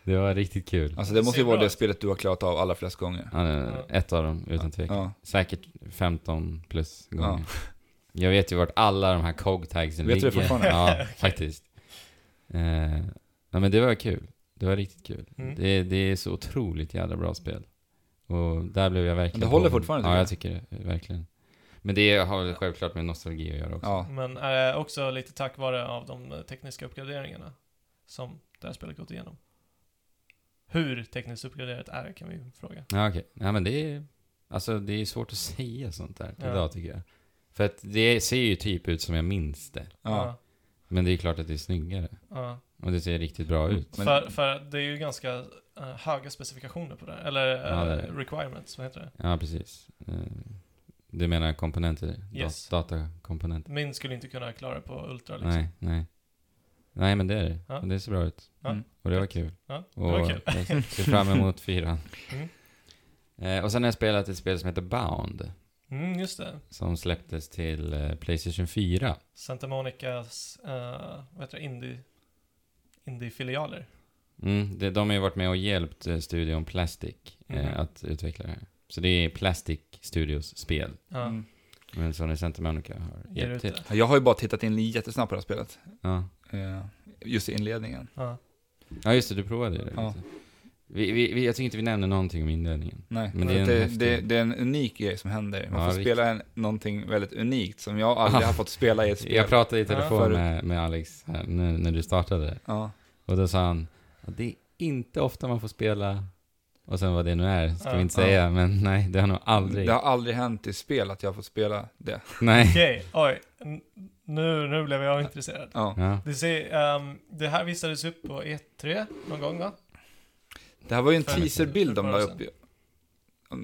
det var riktigt kul. Alltså det Det måste ser ju vara bra det ut. spelet du har klarat av alla flest gånger. Ja, Ett av dem, utan tvekan. Ja, Säkert 15 plus gånger. Jag vet ju vart alla de här cog-tagsen Vet du ligger. det fortfarande? Ja, faktiskt. Eh, ja, men det var kul. Det var riktigt kul. Mm. Det, det är så otroligt jävla bra spel. Och där blev jag verkligen... Det håller påmind. fortfarande, Ja, jag tycker tycker det. eh, Verkligen. Men det har väl självklart med nostalgi att göra också. ja. Men eh, också lite tack vare av de eh, tekniska uppgraderingarna som det här spelet gått igenom. Hur tekniskt uppgraderat är det kan vi ju fråga. Ja, okej. Ja, men det är, alltså, det är svårt att säga sånt där Ja. idag tycker jag. För att det ser ju typ ut som jag minns det. ja. Men det är klart att det är snyggare. Ja, ja. Och det ser riktigt bra ut. Men- för, för det är ju ganska eh, höga specifikationer på det här. Eller eh, Ja, det är det. requirements, vad heter det? Ja, precis. Eh, Du menar komponenter? Yes. Dat- datakomponenter? Min skulle inte kunna klara på Ultra liksom. Nej, nej. Nej, men det är det. Ja. Och Det ser bra ut. Ja. Mm. Och det var kul. Ja, det Och var kul. jag ser fram emot fyran. Mm. Eh, Och sen har jag spelat ett spel som heter Bound. Mm, just det. Som släpptes till eh, Playstation 4. Santa Monicas, eh, vad heter det, indie, indie-filialer. Mm, det, de har ju varit med och hjälpt eh, studion Plastic eh, Mhm. att utveckla det här. Så det är Plastic Studios spel. Ja, Mm. Men som är Santa Monica har ger hjälpt ut till. det. Jag har ju bara tittat in jättesnabbt på det här spelet. Ja. Eh, Just i inledningen. Ja. ja, just det. Du provade ju det. Ja. Vi, vi, vi, jag tycker inte vi nämnde någonting om inledningen. Nej, Men men det är det, en det, häftig- det, är en unik grej som händer. Man Ja, får riktigt. spela en, någonting väldigt unikt som jag aldrig har fått spela i ett spel. Jag pratade i Ja. telefon Förut. med, med Alex här, när, när du startade. ja. Och då sa han att det är inte ofta man får spela, och sen vad det nu är, ska Ja, vi inte ja. säga, men nej, det har nog aldrig. Det har aldrig hänt i spel att jag har fått spela det. Nej. Okej, oj. N- Nu, nu blev jag intresserad. Ja. Ja. Det, ser, ehm, det här visades upp på E3 någon gång va? Det här var ju en För- teaserbild de för la bara upp. ju.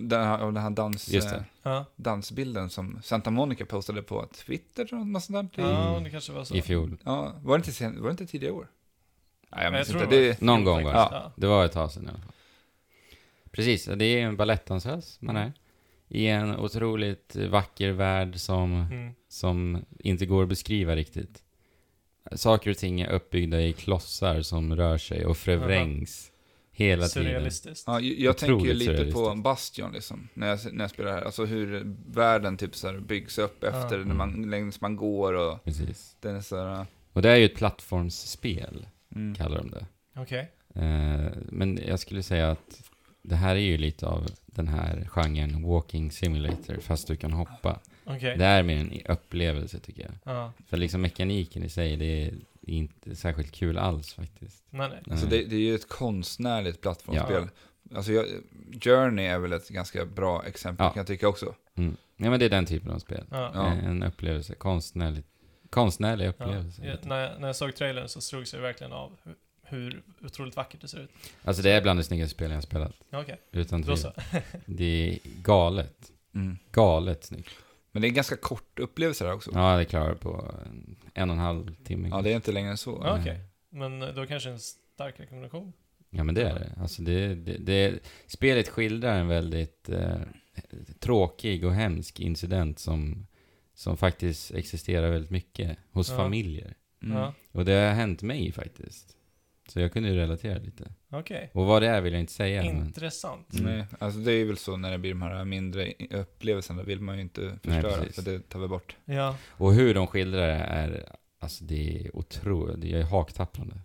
Den här, av den här dans, Just det. eh, Ja, dansbilden som Santa Monica postade på Twitter eller något sånt där. ja det kanske var så. I fjol. Ja, var det inte, sen, var det inte tidigare år? Nej, jag Men minns tror inte. det var Det, i fjol Någon gång var det. faktiskt, ja. Det var ett tag sedan i alla fall. Precis, det är en balettdansös man är. I en otroligt vacker värld som, Mm. som inte går att beskriva riktigt. Saker och ting är uppbyggda i klossar som rör sig och förvrängs hela tiden. Surrealistiskt. ja, jag jag tänker ju Otroligt lite på surrealistiskt. Bastion liksom, när jag, när jag spelar här. Alltså hur världen typ så här byggs upp efter Ja. när Mm. man, längs man går och Precis. den är så här... Och det är ju ett plattformsspel, Mm. kallar de det. Okej. Eh, men jag skulle säga att det här är ju lite av den här genren walking simulator, fast du kan hoppa. Okej. Det är mer en upplevelse tycker jag. Ja. För liksom mekaniken i sig, det är inte särskilt kul alls faktiskt. Nej, nej. Alltså Nej. det, det är ju ett konstnärligt plattformsspel. Alltså jag, Journey är väl ett ganska bra exempel Ja. kan jag tycka också. Mm. Ja men det är den typen av spel. Ja. Ja. Eh, En upplevelse, konstnärligt. Konstnärlig Ja. upplevelse. Ja, när, jag, när jag såg trailern så slogs jag verkligen av hur, hur otroligt vackert det ser ut. Alltså det är bland de snyggaste spelen jag har spelat. Okej, Utan då tvivel. så. Det är galet. Mm. Galet snyggt. Men det är en ganska kort upplevelse där också. Ja, Ja, det klarar jag på en, en och en halv timme. det är inte längre än så. Ja, okej. Men eh, då kanske en stark rekommendation? Ja men det är det. Alltså det, det, det spelet skildrar en väldigt eh, tråkig och hemsk incident som, som faktiskt existerar väldigt mycket hos Ja. familjer. Mm. Ja, Och det har hänt mig faktiskt. Så jag kunde ju relatera lite. okej. Och vad det är vill jag inte säga. Men, Intressant. Mm. Nej, alltså det är väl så när det blir de här mindre i- upplevelserna, vill man ju inte förstöra, precis. för det tar vi bort. Ja, och hur de skildrar det är, alltså det är otroligt, det är haktappande.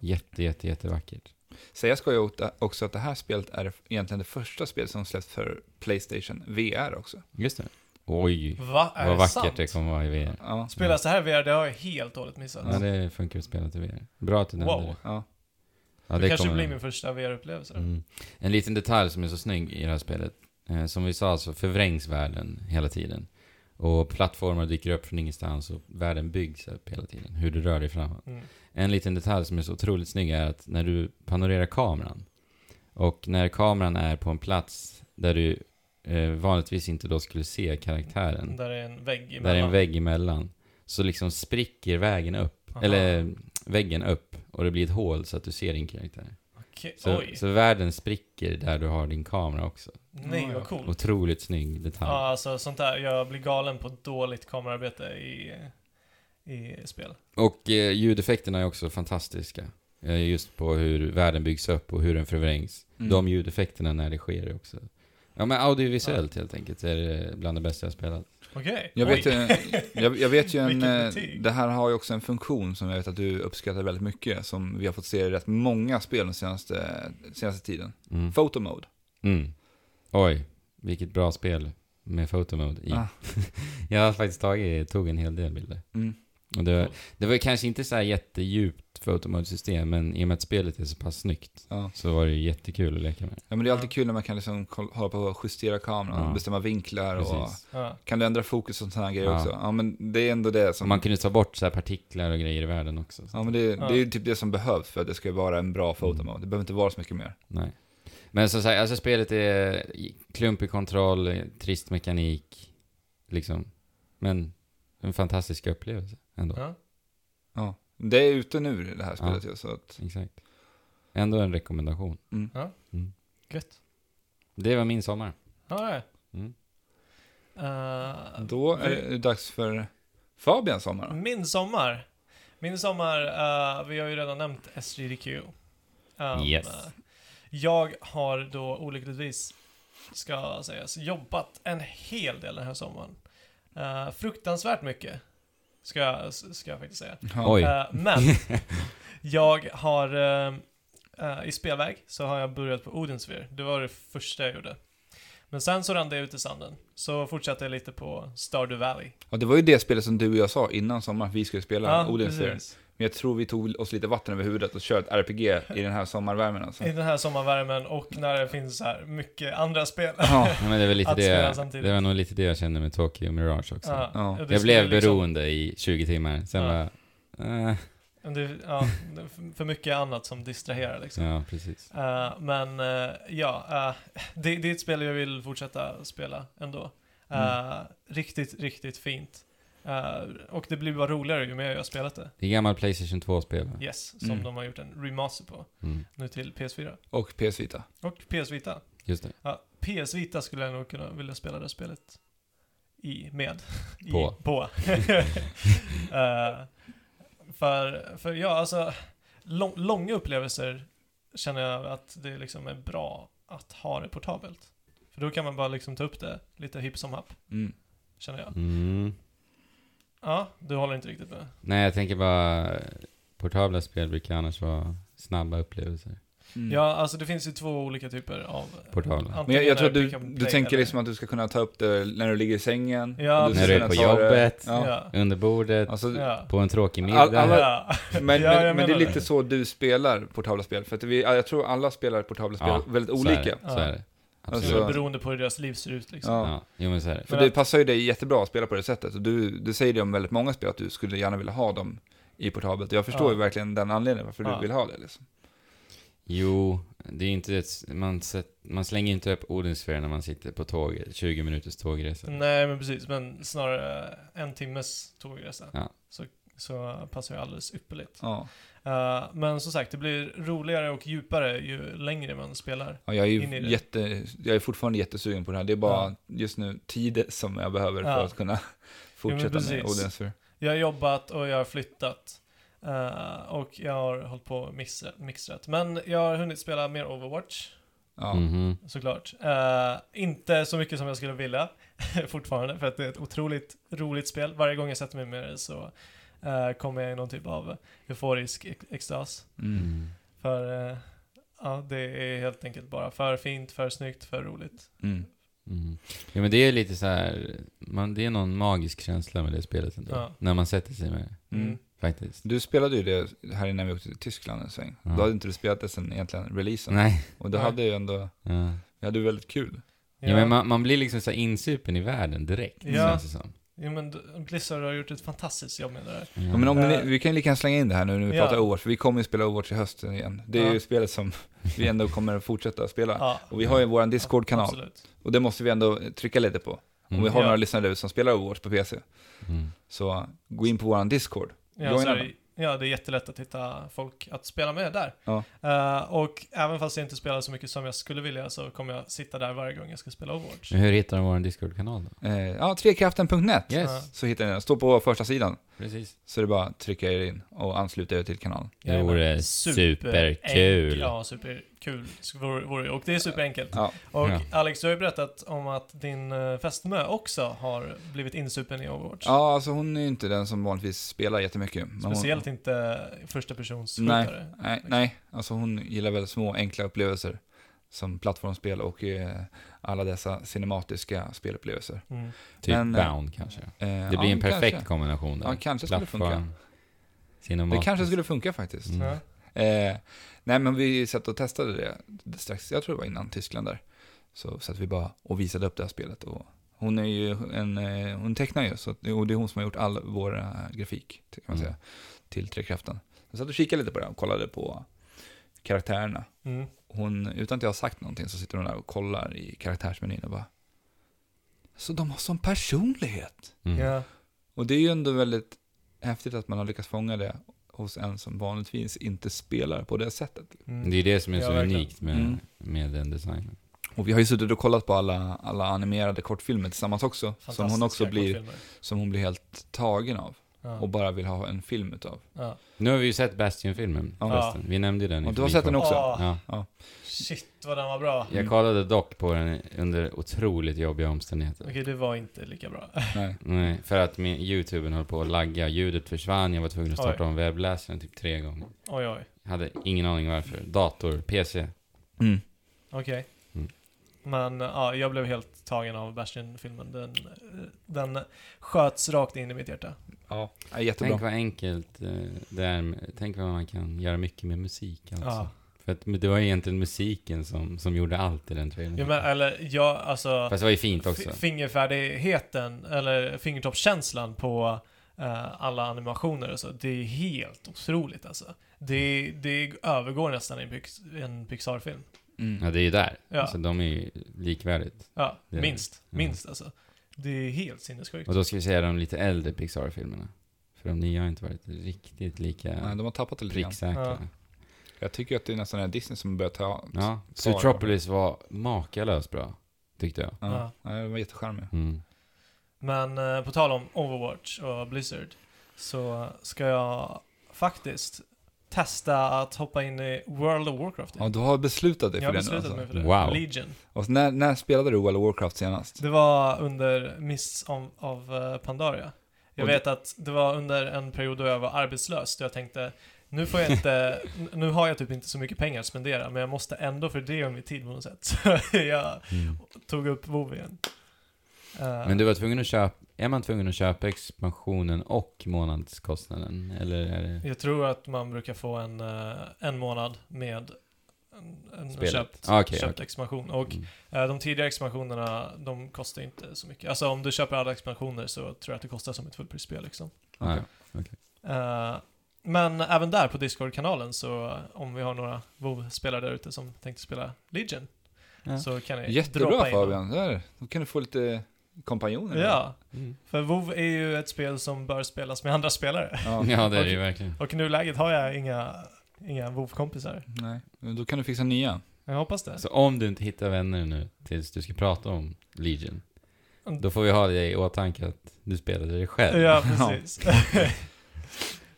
Jätte, jätte, jättevackert. Säga ska jag åt- också att det här spelet är egentligen det första spelet som släpps för Playstation VR också. Just det. Oj, va? Är vad det vackert sant? det kommer vara i VR. Ja, Spelas det här VR? Det har jag helt och hållet missat. Ja, det funkar att spela till VR. Bra att du nämnde Wow. det. ja. Ja, det, kanske kommer- blir min första VR-upplevelse. då. Mm. En liten detalj som är så snygg i det här spelet. Eh, som vi sa så förvrängs världen hela tiden. Och plattformar dyker upp från ingenstans och världen byggs upp hela tiden. Hur du rör dig framåt. Mm. En liten detalj som är så otroligt snygg är att när du panorerar kameran och när kameran är på en plats där du eh, vanligtvis inte då skulle se karaktären. Där är en vägg emellan. Där är en vägg emellan. Så liksom spricker vägen upp, Aha. eller väggen upp och det blir ett hål så att du ser din karaktär. Okej, Så, Oj, så världen spricker där du har din kamera också. nej vad coolt. Otroligt snygg detalj. Ja, alltså sånt där. Jag blir galen på dåligt kamerarbete i, i spel. Och eh, ljudeffekterna är också fantastiska. Eh, just på hur världen byggs upp och hur den förvrängs. Mm. De ljudeffekterna när det sker är också... Ja men audiovisuellt helt enkelt är det bland det bästa jag spelat. Okej. Jag vet, Oj. ju, jag, jag vet ju en, Vilket eh, betyg. det här har ju också en funktion som jag vet att du uppskattar väldigt mycket, som vi har fått se i rätt många spel den senaste, senaste tiden. Mm. Photo mode. Mm. Oj, vilket bra spel med photomode i. Ah. jag har faktiskt tagit, tog en hel del bilder. Mm. Och det, var, det var kanske inte så här jättedjupt photomode-system, men i och med att spelet är så pass snyggt Ja. så var det ju jättekul att leka med. ja, men det är alltid kul när man kan liksom koll- hålla på och justera kameran, Ja. bestämma vinklar och Precis. Ja. kan du ändra fokus och sådana här grejer Ja. också. Ja, men det är ändå det Så som... man kunde ta bort så här partiklar och grejer i världen också. Ja, men det, Ja. det är ju typ det som behövs för att det ska vara en bra photo mode. Det behöver inte vara så mycket mer. Nej. Men som sagt, alltså spelet är klumpig kontroll, trist mekanik, liksom. Men en fantastisk upplevelse ändå. Ja. Ja. Det är ute nu det här spelet ju, så att... Exakt. Ändå en rekommendation. Mm. Ja. Mm. Gött. Det var min sommar. Ja, ja. Mm. Eh, Då är det dags för Fabians sommar. då. Min sommar. Min sommar, eh, vi har ju redan nämnt SJDQ. Um, Yes. eh, jag har då olyckligtvis, ska sägas, jobbat en hel del den här sommaren. Eh, fruktansvärt mycket, ska jag, ska jag faktiskt säga. Ja. Oj. Eh, men jag har eh, eh, i spelväg så har jag börjat på Odensfyr. Det var det första jag gjorde. Men sen så rann det ut i sanden. Så fortsatte jag lite på Stardew Valley. Ja, det var ju det spelet som du och jag sa innan sommaren att vi skulle spela, Ja, Odin Sphere. precis. Men jag tror vi tog oss lite vatten över huvudet och körde ett RPG i den här sommarvärmen alltså. I den här sommarvärmen och när det finns så här mycket andra spel. Ja, Ja, men det, var lite Att spela det, samtidigt. det var nog lite det jag kände med Tokyo Mirage också. Ja, Ja. och det jag skulle blev liksom- beroende i 20 timmar, sen Ja. bara... Eh, Men Det, ja, det är för- för mycket annat som distraherar liksom. ja, precis. Eh, men eh, ja, eh, det, det är ett spel jag vill fortsätta spela ändå. Eh, Riktigt, riktigt fint. Eh, och det blir bara roligare ju mer jag har spelat det. Det är gammal Playstation 2-spel va? Yes, som Mm. de har gjort en remaster på. Mm, Nu till PS4. och PS Vita. Och PS Vita. just det. Ja, PS Vita skulle jag nog kunna vilja spela det spelet i, med. I, På. på. Eh, för, för ja, alltså, lång, långa upplevelser känner jag att det liksom är bra att ha det portabelt. För då kan man bara liksom ta upp det lite hipp som happ, Mm. känner jag. Mm. Ja, du håller inte riktigt med. Nej, jag tänker bara... Portabla spel brukar annars vara snabba upplevelser. Mm. Ja, alltså det finns ju två olika typer av... Portabla. antingen Men jag, jag tror är att du, pick up and du play tänker eller- liksom att du ska kunna ta upp det när du ligger i sängen. Ja, och du ska När du är kunna på ta det- jobbet. Ja. Ja. Under bordet, Alltså, Ja. på en tråkig middag. All- alla- Ja. Men, Ja, jag men, men det är menar lite så du spelar portabla spel. För att vi, ja, jag tror alla spelar portabla spel Ja, väldigt Så är olika. det. Så är det. Så Absolut. det är Alltså- beroende på hur deras liv ser ut liksom. Ja. ja. Jo men så är det. För Men det att- passar ju dig jättebra att spela på det sättet. Och du, du säger det om väldigt många spel, att du skulle gärna vilja ha dem i portabelt. Jag förstår Ja. ju verkligen den anledningen varför Ja. du vill ha det. Liksom. Jo, det är inte ett, man, sätt, man slänger inte upp Odinsfären när man sitter på tåget, 20 minuters tågresa. Nej, men precis. Men snarare en timmes tågresa. Ja. Så, så passar ju alldeles ypperligt. Ja. Eh, men som sagt, det blir roligare och djupare ju längre man spelar. Ja, jag, är In i det. ju jätte, jag är fortfarande jättesugen på det här. Det är bara Ja. just nu tid som jag behöver Ja. för att kunna fortsätta med precis. Odensfjord. Jag har jobbat och jag har flyttat. Eh, och jag har hållit på och mixa- mixtrat. Men jag har hunnit spela mer Overwatch, Ja. Mhm. såklart. Eh, inte så mycket som jag skulle vilja fortfarande, för att det är ett otroligt roligt spel. Varje gång jag sätter mig med det så eh, kommer jag i någon typ av euforisk ex- extas. Mm. Mm. För eh, ja, det är helt enkelt bara för fint, för snyggt, för roligt. Mm. Mm. Ja men det är lite så här, man, det är någon magisk känsla med det spelet ändå. Ja. När man sätter sig med det, Mm. faktiskt. Du spelade ju det här innan vi åkte till Tyskland en sväng. Ja. Då hade inte du spelat det sen egentligen releasen. Nej. Och det Nej. hade ju ändå, Ja. vi hade ju väldigt kul. Ja, men man, man blir liksom så här insupen i världen direkt, Ja. känns det som. ja, men d- Blizzard har gjort ett fantastiskt jobb med det där. Ja, Mm. men om Eh. ni, vi kan ju lika gärna slänga in det här nu när vi Ja. pratar Overwatch, för vi kommer ju spela Overwatch i hösten igen. Det är Ja. ju spelet som vi ändå kommer att fortsätta spela. Ja, Och vi har ju vår Discord-kanal, absolut. Mm. och det måste vi ändå trycka lite på. Om vi har Ja. några lyssnare där ute som spelar Overwatch på PC, Mm. så gå in på vår Discord. Ja, Joina så, då. ja, det är jättelätt att hitta folk att spela med där. Ja. Eh, och även fast jag inte spelar så mycket som jag skulle vilja så kommer jag sitta där varje gång jag ska spela Overwatch. Men hur hittar de vår Discord-kanal då? Eh, ja, trekraften.net. Yes, Ja. Så hittar ni den, står på första sidan. precis. Så det är bara att trycka er in och ansluta er till kanalen. Det vore Jajamän. superkul. Ja, superkul Så vore, vore, det. Och det är superenkelt. Ja, Och Ja. Alex, du har ju berättat om att din eh, fästmö också har blivit insupen i Overwatch. ja alltså hon är ju inte den som vanligtvis spelar jättemycket. men hon- Speciellt inte första persons Nej. skjutare. Nej, nej, alltså hon gillar väldigt små enkla upplevelser som plattformsspel och eh, alla dessa cinematiska spelupplevelser. Mm. Typ Men, eh, Bound kanske. Eh, Det blir en perfekt Kanske. kombination där. Ja, kanske skulle funka. Det Cinematiskt. kanske skulle funka faktiskt. Mm. Ja. Eh, nej, men vi satt och testade det strax, jag tror det var innan Tyskland där. Så satt vi bara och visade upp det här spelet. Och hon är ju en, eh, hon tecknar ju, så, att- och det är hon som har gjort all vår eh, grafik, kan man Mm. säga, till Trekraften. Jag satt och kikade lite på det och kollade på karaktärerna. Mm. hon, utan att jag har sagt någonting, så sitter hon där och kollar i karaktärsmenyn och bara Så de har sån personlighet! Mm. Ja. Och det är ju ändå väldigt häftigt att man har lyckats fånga det hos en som vanligtvis inte spelar på det sättet. Mm. Det är det som är Ja, så verkligen. unikt med, Mm. med den designen. Och vi har ju suttit och kollat på alla, alla animerade kortfilmer tillsammans också, som hon också Fantastiska blir, kortfilmer. som hon blir helt tagen av Ja. och bara vill ha en film utav. ja. Nu har vi ju sett Bastion-filmen Ja. förresten. Vi nämnde ju den i Och du har sett den förbifart. också? Åh, Ja. Shit vad den var bra. Jag kollade dock på den under otroligt jobbiga omständigheter. Okej, det var inte lika bra. Nej. Nej, för att min YouTuben höll på att lagga, ljudet försvann, jag var tvungen att starta Oj. om webbläsaren typ tre gånger. Oj, oj. Jag hade ingen aning varför. Dator, PC. Mm. Okej. Mm. Men ja, jag blev helt tagen av Bastion-filmen. Den, eh, den sköts rakt in i mitt hjärta. Ja, ja jättebra. Tänk vad enkelt eh, det är. med- Tänk vad man kan göra mycket med musik alltså. Ja. För att men det var ju egentligen musiken som, som gjorde allt i den trailern. Ja, men, eller, ja, alltså... Fast det var ju fint också. fi- Fingerfärdigheten, eller fingertoppskänslan på eh, alla animationer och så, det är helt otroligt alltså. Det, det övergår nästan i en, Pix, en Pixar-film. Mm. Ja, det är ju där. Ja. Alltså de är ju likvärdigt. Ja, Det är- minst. ja. Minst alltså. Det är helt sinnessjukt. Och då ska vi säga de lite äldre Pixar-filmerna. För de nya har inte varit riktigt Nej, lika de har tappat det lite grann. pricksäkra. Jag tycker att det är nästan är Disney som börjar ta... Ja. Svar. Zootropolis var makalöst bra, tyckte jag. Ja. Ja. Ja, det var jättecharmig. Mm. Men eh, på tal om Overwatch och Blizzard så ska jag faktiskt testa att hoppa in i World of Warcraft. Ja, du har beslutat dig Typ. jag för har det nu beslutat alltså. mig för det. Wow. Legion. Och så när, när spelade du World of Warcraft senast? Det var under Miss om, av eh, Pandaria. Jag Och det- vet att det var under en period då jag var arbetslös, då jag tänkte nu får jag inte, n- nu har jag typ inte så mycket pengar att spendera, men jag måste ändå fördela min tid på något sätt. Så jag Mm. tog upp WoW igen. Eh, Men du var tvungen att köpa, är man tvungen att köpa expansionen och månadskostnaden? Eller är det Jag tror att man brukar få en, eh, en månad med en, en spelet? köpt, Ah, okej, köpt okej. expansion. Och Mm. eh, de tidigare expansionerna, de kostar inte så mycket. Alltså om du köper alla expansioner så tror jag att det kostar som ett fullprisspel liksom. Ja. Okej. Eh, men även där på Discord-kanalen så eh, om vi har några WoW-spelare där ute som tänkte spela Legion Ja. så kan ni Jättebra droppa in dem. Fabian, där. Då kan du få lite kompanjoner. Ja, Mm. för WoW är ju ett spel som bör spelas med andra spelare. ja. ja, det är det ju verkligen. Och i nuläget har jag inga, inga WoW-kompisar. Nej, då kan du fixa nya. Jag hoppas det. Så Alltså, om du inte hittar vänner nu tills du ska prata om Legion, då får vi ha det i åtanke att du spelade det själv. Mm. Ja, precis.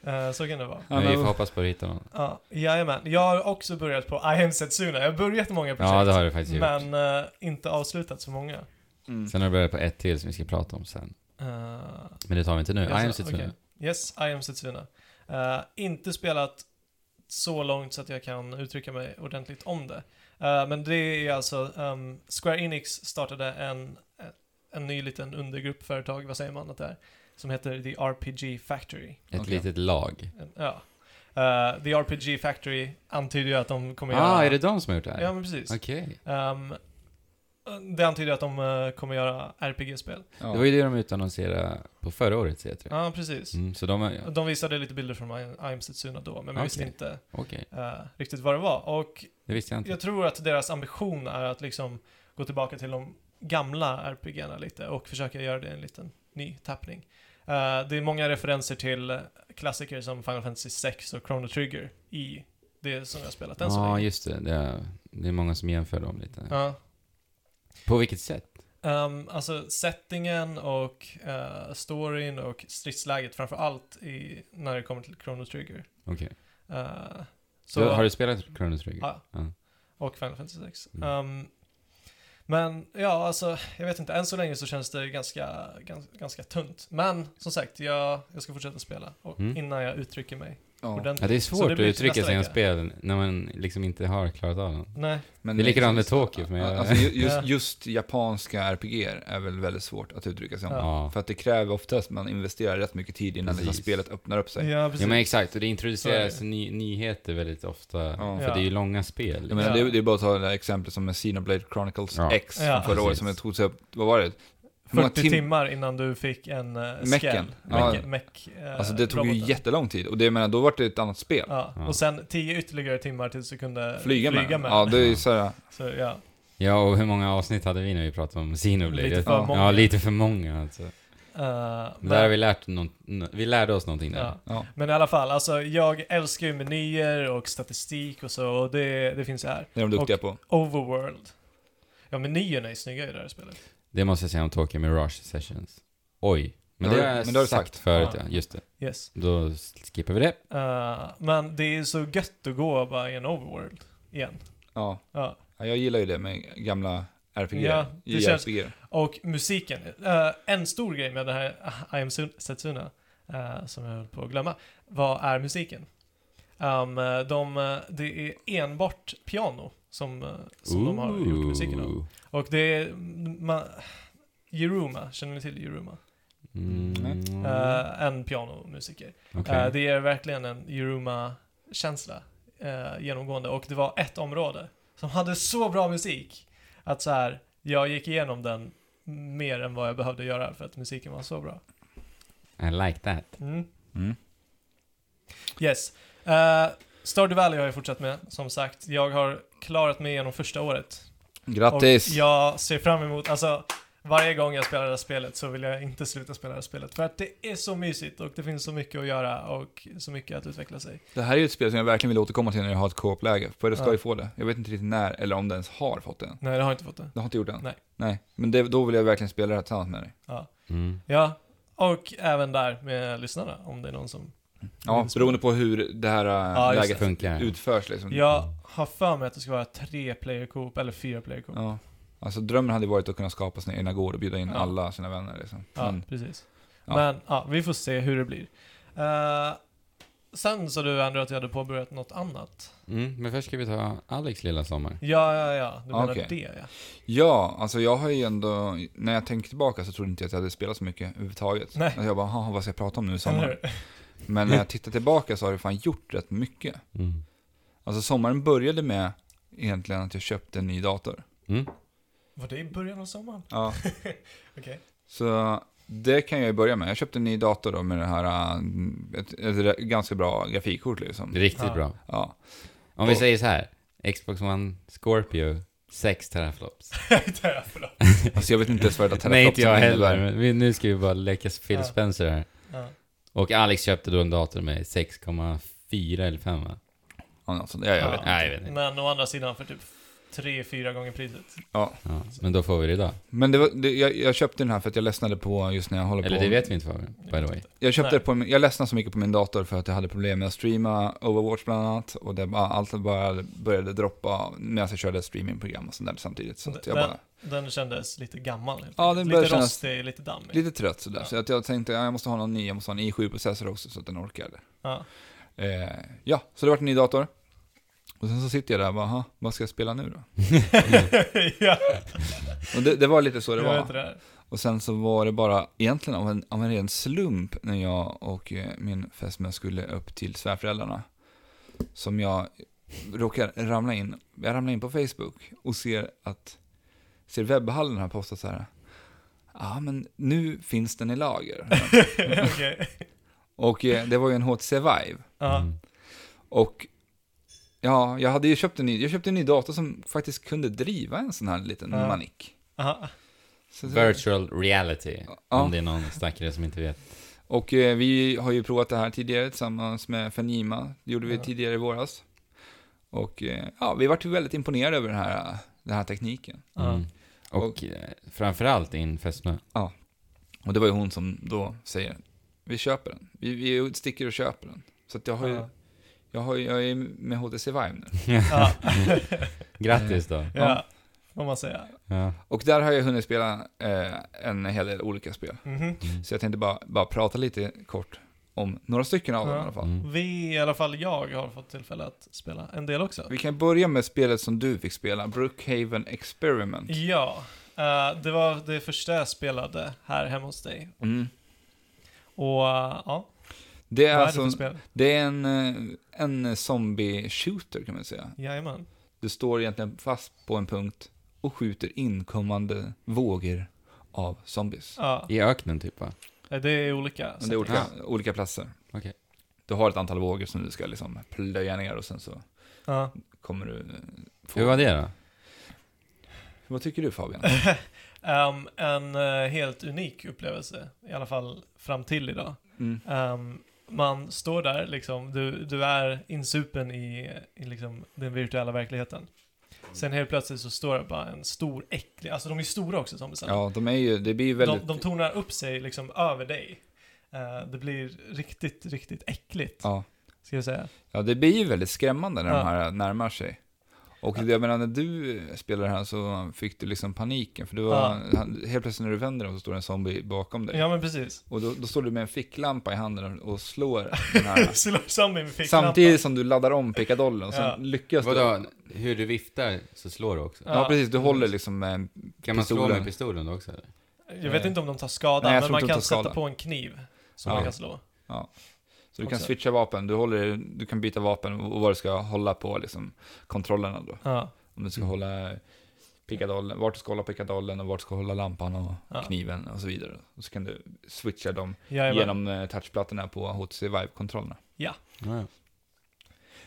Eh, så kan det vara. Men vi får men, hoppas på att hitta någon. Ja, jajamän. Jag har också börjat på I am Setsuna. Jag har börjat många projekt. Ja, det har du faktiskt gjort. men eh, inte avslutat så många. mm. Sen har du börjat på ett till som vi ska prata om sen. Eh, Men det tar vi inte nu. I Jaså, am Setsuna. okej. Yes, I am Setsuna. Eh, inte spelat så långt så att jag kan uttrycka mig ordentligt om det. Eh, men det är alltså, ehm, Square Enix startade en, en ny liten undergrupp företag, vad säger man att det är? Som heter The RPG Factory. Ett Okej. litet lag. Ja. Eh, The RPG Factory antyder ju att de kommer göra... Ah, är det de som har gjort det här? Ja, men precis. Okej. Ehm, det antyder att de eh, kommer göra RPG-spel. ja. Det var ju det de utannonserade på förra årets E3. Ja, precis. Mm, så de, är- De visade lite bilder från I I am Setsuna då, men man Ah, Okej. visste inte okej. eh, riktigt vad det var. Och Det visste jag inte. jag tror att deras ambition är att liksom gå tillbaka till de gamla RPG'erna lite och försöka göra det i en liten ny tappning. Eh, det är många referenser till eh, klassiker som Final Fantasy 6 och Chrono Trigger i det som jag har spelat än så Ja, länge. just det. Det är, det är många som jämför dem lite. Ja. På vilket sätt? Ehm, alltså settingen och eh, storyn och stridsläget framför allt i, när det kommer till Chrono Trigger. Okej. Eh, så, Så, har du spelat Chrono Trigger? Ja. Ja. Och Final Fantasy 6. Mm. Ehm, men ja, alltså jag vet inte, än så länge så känns det ganska, ganska, ganska tunt. Men som sagt, jag, jag ska fortsätta spela och, Mm. innan jag uttrycker mig ja. ordentligt. Ja, det är Så svårt det att blir till uttrycka sig i en nästa spel när man liksom inte har klarat av den. Nej, Men liksom- Det är likadant med Tokyo för mig. Ja, Alltså, ju- Ja. just, just japanska RPG är väl väldigt svårt att uttrycka sig om. Ja. För att det kräver oftast att man investerar rätt mycket tid innan det här Precis. spelet öppnar upp sig. ja precis. ja, Ja, men exakt. Och det introduceras Så är ny, nyheter väldigt ofta. Ja. För Ja. det är ju långa spel. Jag menar, Ja. det, är- det är bara att ta det där exemplet som med Xenoblade Chronicles Ja. X från Ja. förra året Precis. som tog sig upp, vad var det? Hur många 40 tim- timmar innan du fick en uh, Mecken. skäll. Ja. Meck, meck, eh, Alltså det tog ju roboten. jättelång tid och det jag menar, då var det ett annat spel. Ja. Ja. Och sen 10 ytterligare timmar tills du kunde Flyga, med. med. Ja, det är ju såhär, Så, ja. Ja, och hur många avsnitt hade vi när vi pratade om Xenoblade? Lite för ja. många. Ja, lite för många alltså. Eh, Men där har vi lärt någon, nå- vi lärde oss någonting där. ja. ja. Men i alla fall, alltså jag älskar ju menyer och statistik och så, och det, det finns här. Det är de duktiga på. Overworld. Ja, menyerna är snygga i det här spelet. Det måste jag säga om Tokyo Mirage Sessions. Oj. Men Det det, har- har jag men det har du sagt, sagt. förut Ja. ja. just det. Yes. Då skippar vi det. Eh, men det är så gött att gå bara i en overworld igen. Ja. Ja. ja, jag gillar ju det med gamla RPG. Ja, Ja, det känns- JRPG. Och musiken. Eh, en stor grej med den här I am Sun- Setsuna, eh, som jag höll på att glömma, vad är musiken? Um, de, eh, det är enbart piano som, eh, som de har gjort musiken av. Ooh. Och det är... Man, Jeruma, känner ni till Jeruma? Mm. Nej. eh, än pianomusiker. Okej. Eh, det ger verkligen en Yuruma-känsla eh, genomgående. Och det var ett område som hade så bra musik att så här, jag gick igenom den mer än vad jag behövde göra för att musiken var så bra. I like that. Mm. Mm. Yes. Uh, Stardew Valley har jag fortsatt med, som sagt. Jag har klarat mig igenom första året. Grattis! Och jag ser fram emot, alltså varje gång jag spelar det här spelet så vill jag inte sluta spela det här spelet. För att det är så mysigt och det finns så mycket att göra och så mycket att utveckla sig. Det här är ju ett spel som jag verkligen vill återkomma till när jag har ett co-op-läge. För det ska Ja. ju få det. Jag vet inte riktigt när, eller om det ens har fått det än. Nej, det har jag inte fått det. Det har inte gjort det än. Nej. Men det, då vill jag verkligen spela det här tillsammans med dig. Mm. Ja, och även där med lyssnarna om Mm, det är någon som... Ja, vill spela. beroende på hur det här äh, just Det läget funkar. utförs liksom. Jag har för mig att det ska vara tre player coop eller fyra player coop. Ja, Ja. Alltså drömmen hade ju varit att kunna skapa sin egna gård och bjuda in Ja. alla sina vänner liksom. Men, precis. Ja. Men ja, vi får se hur det blir. Eh, sen sa du Andrew att jag hade påbörjat något annat. Mm. Men först ska vi ta Alex lilla sommar. Ja, ja, ja. Du menar Okej. det ja. ja, alltså jag har ju ändå, när jag tänker tillbaka så trodde inte jag att jag hade spelat så mycket överhuvudtaget. Nej. Alltså jag bara, "Haha, vad ska jag prata om nu i Eller sommar? hur? Men när jag tittar tillbaka så har jag fan gjort rätt mycket. Mm. Alltså sommaren började med egentligen att jag köpte en ny dator. Mm. Var det i början av sommaren? Ja. Okej. Så det kan jag ju börja med. Jag köpte en ny dator då med det här, äh, ett, ett re- ganska bra grafikkort liksom. Riktigt Ja. bra. Ja. Om vi Och- säger så här. Xbox One Scorpio 6 teraflops. Teraflop. Alltså jag vet inte ens vad det där Nej, inte jag teraflopsen heller. innebär. Men vi, nu ska vi bara leka Phil Ja. Spencer här. Ja. Och Alex köpte då en dator med 6,4 eller 5 va? Ja, något sånt. Ja, jag vet. Nej, jag vet inte. Men å andra sidan för typ tre, fyra gånger priset. Ja, men då får vi det idag. Men det var, det, jag, jag köpte den här för att jag ledsnade på just när jag håller Eller på. det vet vi inte vad by the way. Jag köpte Nej. det på, min- jag ledsnade så mycket på min dator för att jag hade problem med att streama Overwatch bland annat. Och det bara, allt bara började droppa medan jag körde streamingprogram och sånt där samtidigt. Så att jag Den- bara, Den kändes lite gammal. helt Ja, enkelt. den lite började kännas- rostig, lite dammig. lite trött sådär. Ja. Så att jag tänkte, ja, jag måste ha någon ny, jag måste ha en i7-processor också så att den orkar. Ja. Eh, ja, så det vart en ny dator. Och sen så sitter jag där och bara, "Aha, vad ska jag spela nu då? ja, Och det, det var lite så det jag var. vet det där. Och sen så var det bara egentligen av en, av en ren slump när jag och eh, min fästmö skulle upp till svärföräldrarna. Som jag råkar ramla in, jag ramlar in på Facebook och ser att, ser webbhallen har postat så här. Ja men nu finns den i lager. Okej. och eh, det var ju en HTC Vive. Ja. Mm. Och ja, jag hade ju köpt en ny, jag köpte en ny dator som faktiskt kunde driva en sån här liten Ja. manick. Aha. Så- Virtual reality. Ja. Om det är någon stackare som inte vet. Och eh, vi har ju provat det här tidigare tillsammans med Fenjima. Det gjorde vi Ja. tidigare i våras. Och eh, ja, vi vart ju väldigt imponerade över den här, den här tekniken. Ja. Mm. Och, och framförallt din fästmö. Och det var ju hon som då säger, vi köper den. Vi, vi sticker och köper den. Så att jag har ju, Ja. jag, har, ju- jag är med HTC Vive nu. Ja. Grattis då. ja, får man säga. Ja. Och där har jag hunnit spela eh, en hel del olika spel. Mhm. Så jag tänkte bara, bara prata lite kort om några stycken av dem Ja. i alla fall. Mm. Vi, i alla fall jag, har fått tillfälle att spela en del också. Vi kan börja med spelet som du fick spela, Brookhaven Experiment. Ja, eh, det var det första jag spelade här hemma hos dig. Mm. Och eh, ja, Det är vad är det alltså... för spel? Det är en, eh, en zombie-shooter kan man säga. Jajamän. Du står egentligen fast på en punkt och skjuter inkommande vågor av zombies. Ja, I öknen typ va? det är olika. Men det sätt. är olika, olika platser. Ah. Okej. Du har ett antal vågor som du ska liksom plöja ner och sen så Ja. kommer du... eh, Få. Hur var det då? Vad tycker du Fabian? Ehm, en eh, helt unik upplevelse, i alla fall fram till idag. Mm. Ehm, man står där liksom, du, du är insupen i, i liksom den virtuella verkligheten. Sen helt plötsligt så står det bara en stor äcklig, alltså de är stora också zombiesarna. Ja, de är ju... Det blir ju väldigt... de, de tornar upp sig liksom över dig. Eh, det blir riktigt, riktigt äckligt, ja. ska jag säga. ja, det blir ju väldigt skrämmande när Ja. de här närmar sig. Och jag menar, när du spelade det här så fick du liksom paniken, för du var... Helt plötsligt när du vänder dig om så står det en zombie bakom dig. Ja men precis. Och då, då står du med en ficklampa i handen och slår den här. Slår samman med ficklampan. Samtidigt som du laddar om pickadollen och sen Ja. lyckas du. Vadå, hur du viftar så slår du också? Ja. Mm. Ja, precis. Du håller liksom med en Kan man slå Pistolen. med pistolen då också eller? Jag vet Eh, inte om de tar skada, nej, jag men tror man inte de kan tar skada. sätta på en kniv som Ja. man kan slå. Så du kan också. switcha vapen, du, håller, du kan byta vapen och vad du ska hålla på liksom, kontrollerna då. Ja. Om du ska Mm. hålla pickadollen, vart du ska hålla pickadollen och vart du ska hålla lampan och Ja. kniven och så vidare. Och så kan du switcha dem Jajamän. genom eh, touchplattorna på HTC Vive-kontrollerna. Ja, ja.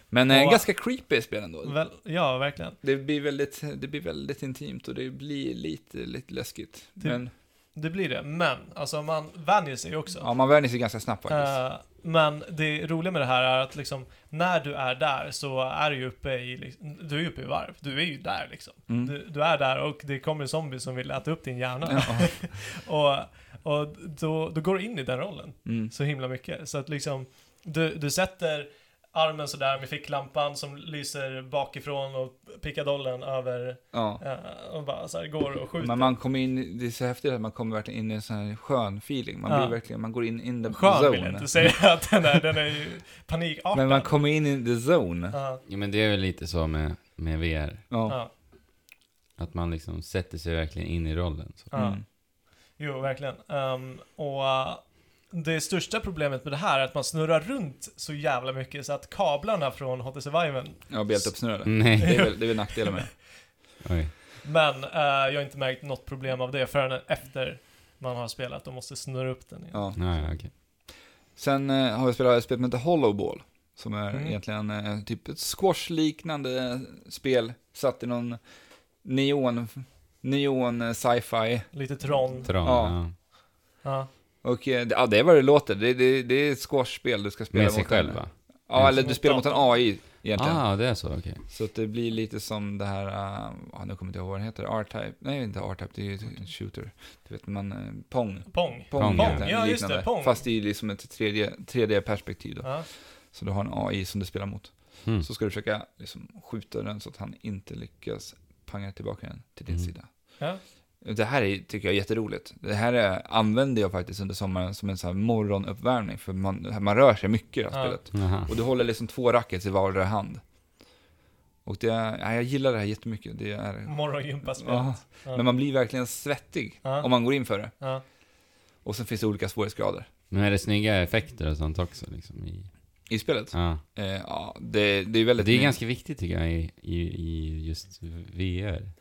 Men eh, Och- ganska creepy spel ändå. Väl, ja, verkligen. Det blir, väldigt, det blir väldigt intimt och det blir lite, lite läskigt. Det- Men Det blir det. Men, alltså man vänjer sig ju också. ja, man vänjer sig ganska snabbt faktiskt. Eh, men det roliga med det här är att liksom, när du är där så är du ju uppe i, liksom, du är ju uppe i varv. Du är ju där liksom. Mm. Du, du är där och det kommer zombies som vill äta upp din hjärna. Ja. Och, och då, då går du in i den rollen Mm. så himla mycket. Så att liksom, du, du sätter armen sådär med ficklampan som lyser bakifrån och pickadollen över Ja. eh, och bara så här går och skjuter. Men man kommer in, det är så häftigt att man kommer verkligen in i en sån här skön feeling. Man Ja. blir verkligen, man går in in the Skön vill jag zone. inte säga att den är, den är ju panikartad. Men man kommer in in the zone. Ja, Jo, men det är väl lite så med, med VR. Ja. ja, Att man liksom sätter sig verkligen in i rollen. Så. ja. Mm. Jo, verkligen. Ehm, och eh, det största problemet med det här är att man snurrar runt så jävla mycket så att kablarna från HTC Viven, Ja, blir helt uppsnurrade. Det Nej. är väl, det är väl nackdelen med det. Oj. men eh, jag har inte märkt något problem av det förrän efter man har spelat och måste snurra upp den igen. Ja. Ja, ja, okej. Sen eh, har jag spelat ett spel som heter Hollow Ball. Som är Mm. egentligen eh, typ ett squash-liknande spel. Satt i någon neon, neon eh, sci-fi. Lite Tron. Typ. Tron, Ja. ja. Ja. Och eh, det- ja, det är vad det låter. Det, det, det är ett squash-spel du ska spela Med sig mot själv en, va? Ja, eller du Mot spelar mot en datorn. AI egentligen. Ja, ah, det är så, okej. Så att det blir lite som det här, eh, ja, nu kommer jag inte ihåg vad den heter, R-Type, nej inte R-Type, det är ju ett- en shooter. Du vet man, eh, Pong. Pong. Pong, heter ja. den, Ja, just det, liknande. Pong. Fast det är liksom ett 3D, 3D-perspektiv då. Ja. Så du har en AI som du spelar mot. Mm. Så ska du försöka liksom, skjuta den så att han inte lyckas panga tillbaka den till din Mm. sida. Ja. Det här är, tycker jag är jätteroligt. Det här är, använder jag faktiskt under sommaren som en sån här morgonuppvärmning, för man, man rör sig mycket i det här Ja. spelet. Jaha. Och du håller liksom två rackets i vardera hand. Och det, är- ja, jag gillar det här jättemycket. Det är, Morgongympaspelet. ja, Ja. men man blir verkligen svettig Ja. om man går in för det. Ja. Och sen finns det olika svårighetsgrader. Men är det snygga effekter och sånt också liksom? I, I spelet? ja. Eh, ja, det, det är väldigt... Det är ganska viktigt tycker jag i, i, i just VR.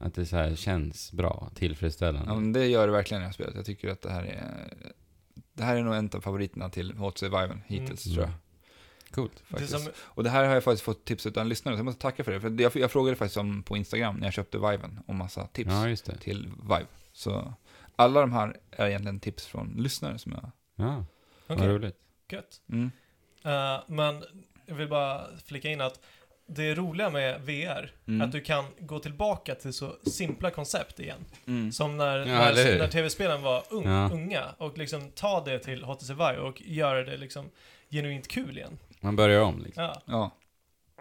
Att det så här känns bra, tillfredsställande. Ja, men det gör det verkligen i det här spelet. Jag tycker att det här är... Det här är nog en av favoriterna till Hot Survival hittills, Mm. tror jag. Coolt. Det är Faktiskt. som, Och det här har jag faktiskt fått tips utan lyssnare, så jag måste tacka för det. För jag, jag frågade faktiskt om, på Instagram när jag köpte Viven om massa tips. Ja, just det. till Vive. Så alla de här är egentligen tips från lyssnare som jag... Ja, okej, vad roligt. gött. Mm. Eh, men jag vill bara flika in att det roliga med VR Mm. att du kan gå tillbaka till så simpla koncept igen. Mm. Som när, eller när, hur? när tv-spelen var ung, Ja. unga och liksom ta det till HTC Vive och göra det liksom genuint kul igen. Man börjar om liksom. Ja, Ja,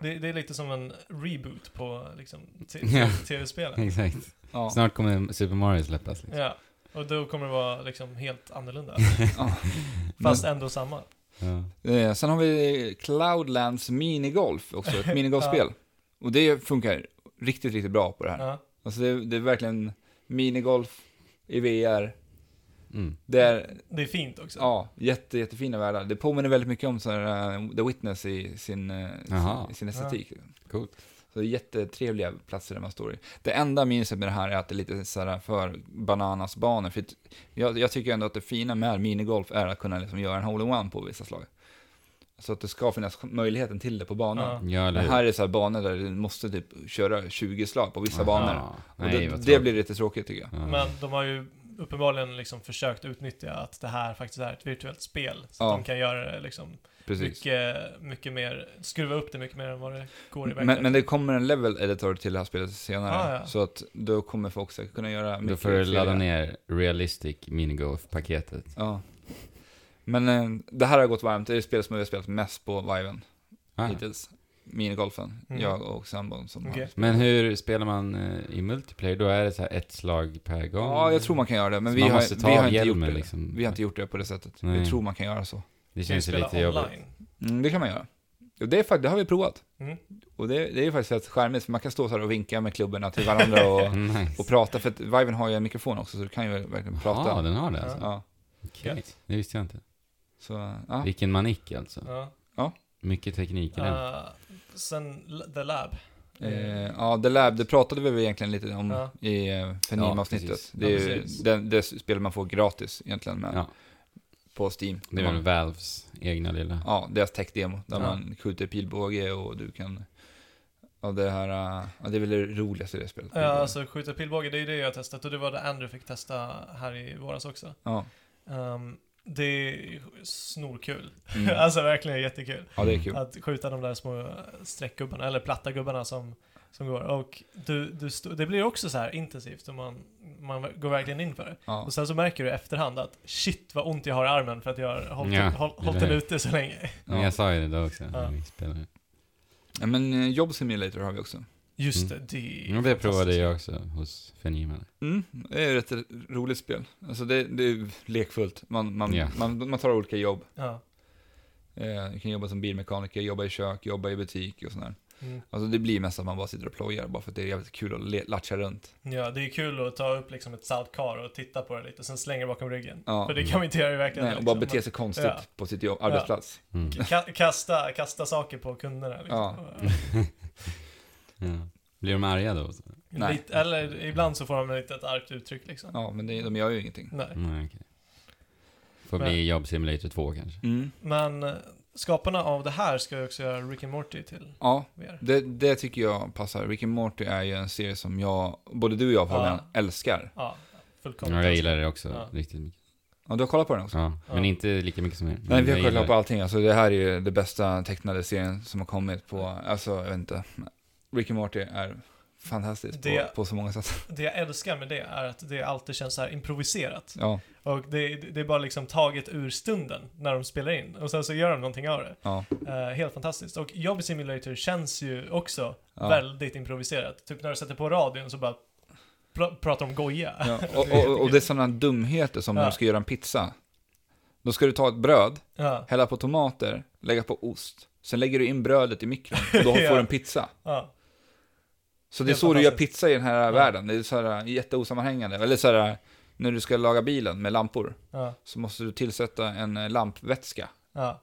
det, det är lite som en reboot på liksom, t- Ja. tv-spelen. Exakt. ja. Snart kommer Super Mario släppas liksom. Ja. Och då kommer det vara liksom helt annorlunda. ja. Fast ändå samma. Ja. Eh, sen har vi Cloudlands minigolf också, ett minigolfspel. Och det funkar riktigt, riktigt bra på det här. Ja. Alltså det, det är verkligen minigolf i VR. Mm. Det är, Det är fint också. ja, jätte, jättefina världar. Det påminner väldigt mycket om så här, eh, The Witness i sin, eh, Jaha. sin, sin estetik. Coolt. Så det är jättetrevliga platser där man står i. Det enda minuset med det här är att det är lite så här för bananasbanor. För att jag, jag tycker ändå att det fina med minigolf är att kunna liksom göra en hole-in-one på vissa slag. Så att det ska finnas möjligheten till det på banan. Ja. Ja, eller Men hur? här är så här banor där du måste typ köra 20 slag på vissa banor. Ja. Och Nej, det, vad det tråkigt. blir lite tråkigt tycker jag. Ja. Men de har ju uppenbarligen liksom försökt utnyttja att det här faktiskt är ett virtuellt spel. Så Ja. att de kan göra det liksom Precis. mycket, mycket mer, skruva upp det mycket mer än vad det går i Men, verkligheten. men det kommer en level editor till det här spelet senare. Ah, ja. Så att då kommer folk säkert kunna göra Då mycket får du ladda fler- ner Realistic Minigolf-paketet. Ja. Men eh, det här har gått varmt. Det är det spel som vi har spelat mest på Viven. Ah. hittills. Minigolfen. Mm. Jag och sambon som Okej. har... Men hur spelar man eh, i multiplayer? Då är det så här ett slag per gång? Ja, jag tror man kan göra det, men Så vi man har, måste ta vi av har inte gjort hjälmen, det. liksom. Vi har inte gjort det på det sättet. Nej. Jag tror man kan göra så. Det Kan ju känns ju spela lite jobbigt. online. Mm, det kan man göra. Och det, är, fakt- det har vi provat. Mm. Och det, det är ju faktiskt rätt charmigt, för man kan stå så här och vinka med klubborna till varandra och, Nice. och prata. För att Viven har ju en mikrofon också, så du kan ju verkligen prata. Ja, den har det alltså. Ja, Okej, det visste jag inte. så, ja. Vilken manick alltså. Ja. Mycket teknik i den. Eh, sen L- The Lab. Eh, ja, The Lab, det pratade vi väl egentligen lite om Ja. i eh, Ja, Fenim-avsnittet. precis. det är Ja, ju precis. den, det spel man får gratis egentligen med, Ja. på Steam. Det var väl Valves egna lilla. Ja, deras tech-demo, där Ja. man skjuter pilbåge och du kan... Ja, det här... eh, Ja, det är väl det roligaste i det spelet. Ja, pilbåge. alltså skjuta pilbåge, det är ju det jag har testat och det var det Andrew fick testa här i våras också. ja. Ehm, det är snorkul. Mm. alltså verkligen jättekul. ja, det är kul. Att skjuta de där små streckgubbarna, eller platta gubbarna som, som går. Och du, du stå, det blir också så här intensivt och man, man går verkligen in för det. Ja. Och sen så märker du i efterhand att shit vad ont jag har i armen för att jag har hållit, Ja, håll, det hållit där. den ute så länge. Men jag sa ju det då också. Ja. när vi spelade. Ja, men eh, Job Simulator har vi också. Just Mm. det, det är Ja, det provade fantastiskt. jag också hos Fenima. Mm, det är ett roligt spel. Alltså det, det är lekfullt. Man, man, Ja. man, man tar olika jobb. Ja. Eh, du kan jobba som bilmekaniker, jobba i kök, jobba i butik och sådär. Mm. Alltså det blir mest att man bara sitter och plojar bara för att det är jävligt kul att le- latcha runt. ja, det är kul att ta upp liksom ett saltkar och titta på det lite och sen slänga det bakom ryggen. Ja. För det kan vi inte göra i verkligen. Nej, och bara bete sig konstigt Ja. på sitt jobb, arbetsplats. Mm. Ka- kasta, kasta saker på kunderna liksom. Ja. Blir de arga då? Nej. Lite, eller ibland så får de ett litet argt uttryck liksom. Ja, men det, de gör ju ingenting. Nej. Nej, okej. Får Men- bli Job Simulator 2 kanske. Mm. Men eh, skaparna av det här ska ju också göra Rick and Morty till Ja, VR. det, det tycker jag passar. Rick and Morty är ju en serie som jag, både du och jag Fabian, Ja. älskar. Ja, fullkomligt. Ja, jag gillar det också Ja. riktigt mycket. Ja, du har kollat på den också? Ja. Ja. Men inte lika mycket som er. Nej, vi har Jag kollat gillar- på allting. Alltså, det här är ju det bästa tecknade serien som har kommit på, alltså jag vet inte. Rick and Morty är fantastiskt Det- på, på så många sätt. Det jag älskar med det är att det alltid känns så här improviserat. Ja, Och det, det är bara liksom taget ur stunden när de spelar in. Och sen så gör de någonting av det. ja. Eh, helt fantastiskt. Och Job Simulator känns ju också ja. väldigt improviserat. Typ när du sätter på radion så bara pr- pratar de goja. Ja, och, och, och det är sådana dumheter som när Ja. du ska göra en pizza. Då ska du ta ett bröd, Ja, hälla på tomater, lägga på ost. Sen lägger du in brödet i mikron och då Ja. får du en pizza. ja. Så det är Helt så du gör fantastiskt. pizza i den här världen. Det är så här eh, jätteosammanhängande. Eller så här, eh, när du ska laga bilen med lampor ja, så måste du tillsätta en eh, lampvätska ja.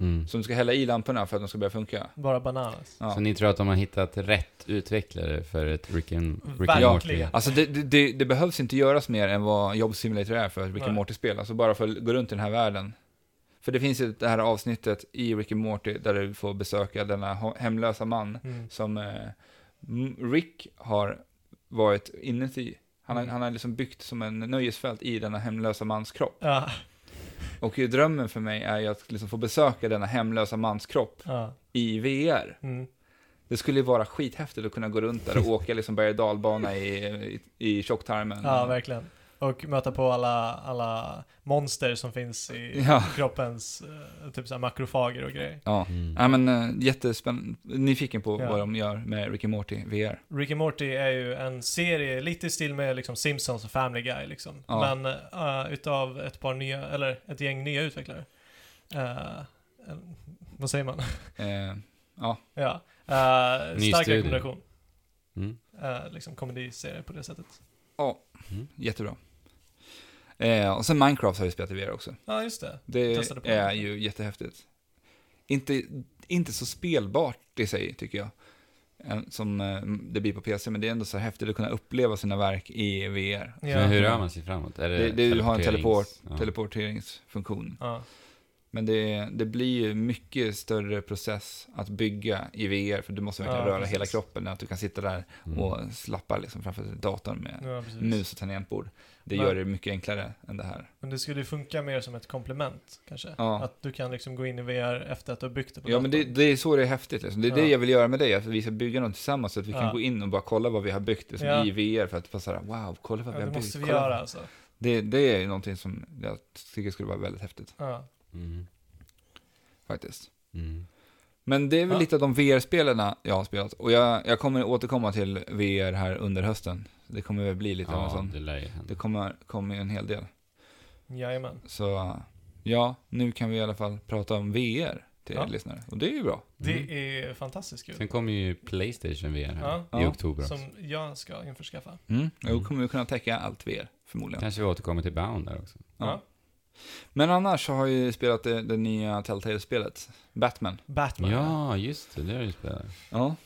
Mm. som du ska hälla i lamporna för att de ska börja funka. Bara bananas. Ja. Så ni tror att de har hittat rätt utvecklare för ett Rick and, Rick and Verkligen. Morty? Alltså det, det, det, det behövs inte göras mer än vad Job Simulator är för Rick Nej. and Morty-spel. Alltså bara för att gå runt i den här världen. För det finns ju det här avsnittet i Rick and Morty där du får besöka denna ho- hemlösa man Mm. som eh, M- Rick har varit inuti. Han har, Mm. han har liksom byggt som en nöjesfält i denna hemlösa mans kropp. Ja, Och ju drömmen för mig är ju att liksom få besöka denna hemlösa mans kropp ja. i VR. Mm. Det skulle ju vara skithäftigt att kunna gå runt där och åka liksom berg och dalbana i, i, i tjocktarmen. Ja, verkligen. Och möta på alla, alla monster som finns i Ja. kroppens eh, typ så här makrofager och grejer. Ja. Mm. Ja, men äh, jättespännande. Nyfiken på Ja. vad de gör med Rick and Morty VR. Rick and Morty är ju en serie lite i stil med liksom Simpsons och Family Guy liksom. Ja. Men eh, utav ett par nya, eller ett gäng nya utvecklare. Eh, eh, vad säger man? Eh, ja. Uh, Ny stark studio. rekommendation. Mm. Uh, liksom komediserie på det sättet. Mm. jättebra. Eh, och sen Minecraft har vi spelat i VR också. Ja, just det. Det Testade på är det. ju jättehäftigt. Inte, inte så spelbart i sig, tycker jag, eh, som eh, det blir på PC, men det är ändå så häftigt att kunna uppleva sina verk i VR. Ja. Men hur rör man sig framåt? Är det Det, det har en teleport, teleporterings- ja. teleporteringsfunktion. Ja. Men det, det blir ju mycket större process att bygga i VR, för du måste verkligen Ja, röra precis. hela kroppen, att du kan sitta där Mm. och slappa liksom framför datorn med ja, precis. mus och tangentbord. Det Men- gör det mycket enklare än det här. Men det skulle ju funka mer som ett komplement kanske? Ja. Att du kan liksom gå in i VR efter att du har byggt det på Ja, men det, datorn. det är så det är häftigt. Liksom. Det är det Ja. jag vill göra med dig, att vi ska bygga något tillsammans så att vi Ja. kan gå in och bara kolla vad vi har byggt liksom, Ja. i VR för att bara så här, wow, kolla vad vi ja, har det byggt. måste vi kolla. göra alltså. Det, det är ju någonting som jag tycker skulle vara väldigt häftigt Ja. Mm. faktiskt. Mm. Men det är väl Ja. lite av de VR-spelarna jag har spelat. Och jag, jag kommer återkomma till VR här under hösten. Det kommer väl bli lite av en Ja, sån. det lär ju Det hända. kommer, kommer ju en hel del. Jajamän. Så ja, nu kan vi i alla fall prata om VR. till Ja. lyssnare. Och det är ju bra. Det är fantastiskt kul. Sen kommer ju Playstation VR här Ja. i Ja. oktober också. Som jag ska införskaffa. Mm. Mm. Då kommer vi kunna täcka allt VR, förmodligen. Kanske vi återkommer till Bound där också. Ja. Ja. Men annars så har jag ju spelat det, det nya Telltale-spelet, Batman. Batman. Ja, just det. Det har du spelat. Ja.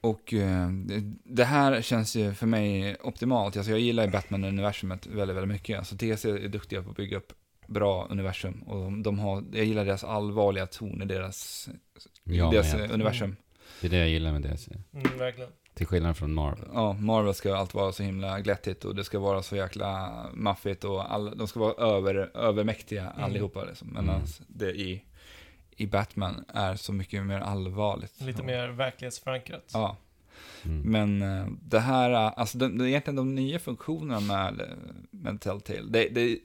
Och eh, det- det här känns ju för mig optimalt. Alltså jag gillar ju Batman-universumet väldigt, väldigt mycket. Alltså DC är duktiga på att bygga upp bra universum. Och de har, jag gillar deras allvarliga ton i deras, i Jag deras med. eh, universum. Det är det jag gillar med DC. Mm, verkligen. Till skillnad från Marvel. Ja, Marvel ska allt vara så himla glättigt och det ska vara så jäkla maffigt och all, de ska vara över, övermäktiga allihopa. Liksom. Medan Mm. det i, i Batman är så mycket mer allvarligt. Lite mer verklighetsförankrat. Ja, Mm. men eh, det här, eh, alltså de, de, egentligen de nya funktionerna med, eh, med Telltale, det, det,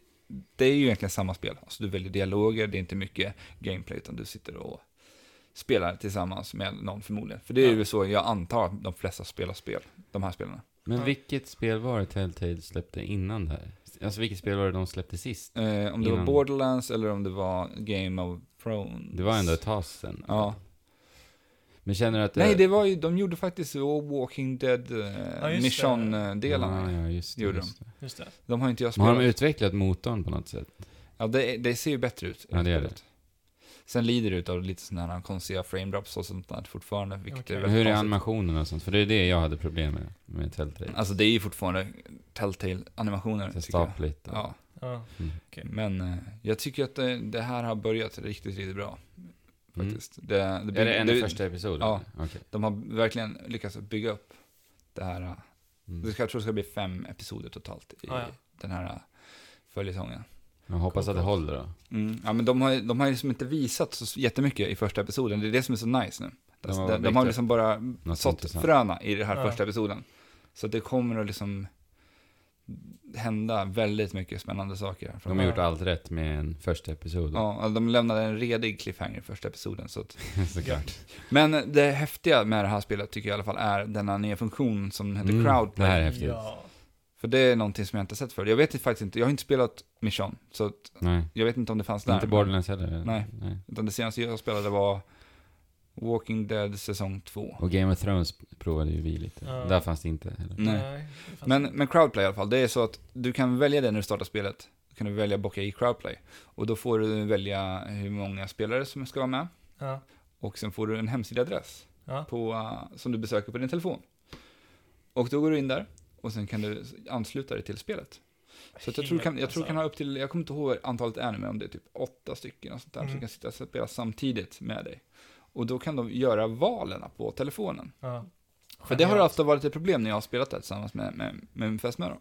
det är ju egentligen samma spel. Alltså du väljer dialoger, det är inte mycket gameplay utan du sitter och spelar tillsammans med någon förmodligen. För det är Ja. ju så jag antar att de flesta spelar spel, de här spelarna. Men Ja. vilket spel var det Telltale släppte innan det här? Alltså vilket spel var det de släppte sist? Eh, om det Innan. var Borderlands eller om det var Game of Thrones. Det var ändå ett tag sedan. Ja. Men känner du att... Nej, det var ju, de gjorde faktiskt Walking Dead Ja, eh, just det. Mission-delarna. Ja, ja, just det. Gjorde Just det. Just det. De har inte jag Men har spelat. de utvecklat motorn på något sätt? ja, det, det ser ju bättre ut. i Ja, det gör spelet. Sen lider det utav lite sådana här konstiga frame drops och sånt där fortfarande, vilket Okej. är Men väldigt hur är konstigt. animationerna och sånt? För det är det jag hade problem med, med Telltale. Alltså det är ju fortfarande Telltale-animationer, Så tycker jag. Stapligt. och- Ja, Ja. Mm. men eh, jag tycker att det, det här har börjat riktigt, riktigt bra. Mm. Faktiskt. Det, det, Är det en av det- första episoden? Ja. Okej. De har verkligen lyckats bygga upp det här. eh, Mm. Det ska- Jag tror det ska bli fem episoder totalt i Ah, ja. den här eh, följetongen. Jag hoppas att det håller då. Mm. Ja, men de har, de har ju liksom inte visat så jättemycket i första episoden. Det är det som är så nice nu. De har De, bara de, byggt har upp liksom bara sått intressant. fröna i den här Ja. första episoden. Så att det kommer att liksom hända väldigt mycket spännande saker. här De framöver. har gjort allt rätt med en första episod. Ja, alltså, de lämnade en redig cliffhanger i första episoden. Så att... Såklart. Men det häftiga med det här spelet tycker jag i alla fall är denna nya funktion som heter Mm, crowdplay. det här är häftigt. Ja. För det är någonting som jag inte sett förut. Jag vet faktiskt inte, jag har inte spelat Mission, så att Nej. jag vet inte om det fanns där. Inte Borderlands heller? Nej. Utan det senaste jag spelade var Walking Dead säsong 2. Och Game of Thrones provade ju vi lite. Ja. Där fanns det inte heller. Nej. det fanns Men, inte. men Crowdplay i alla fall, det är så att du kan välja det när du startar spelet. Då kan du välja att bocka i Crowdplay. Och då får du välja hur många spelare som ska vara med. Ja. Och sen får du en hemsidaadress Ja. på, eh, som du besöker på din telefon. Och då går du in där och sen kan du ansluta dig till spelet. Så att jag tror, du kan, jag Alltså, tror du kan ha upp till, jag kommer inte ihåg antalet är nu, men om det är typ åtta stycken och sånt där, Mm. som kan sitta och spela samtidigt med dig. Och då kan de göra valen på telefonen. Ja. För det har ofta varit ett problem när jag har spelat det här tillsammans med, med, med min fästmö då.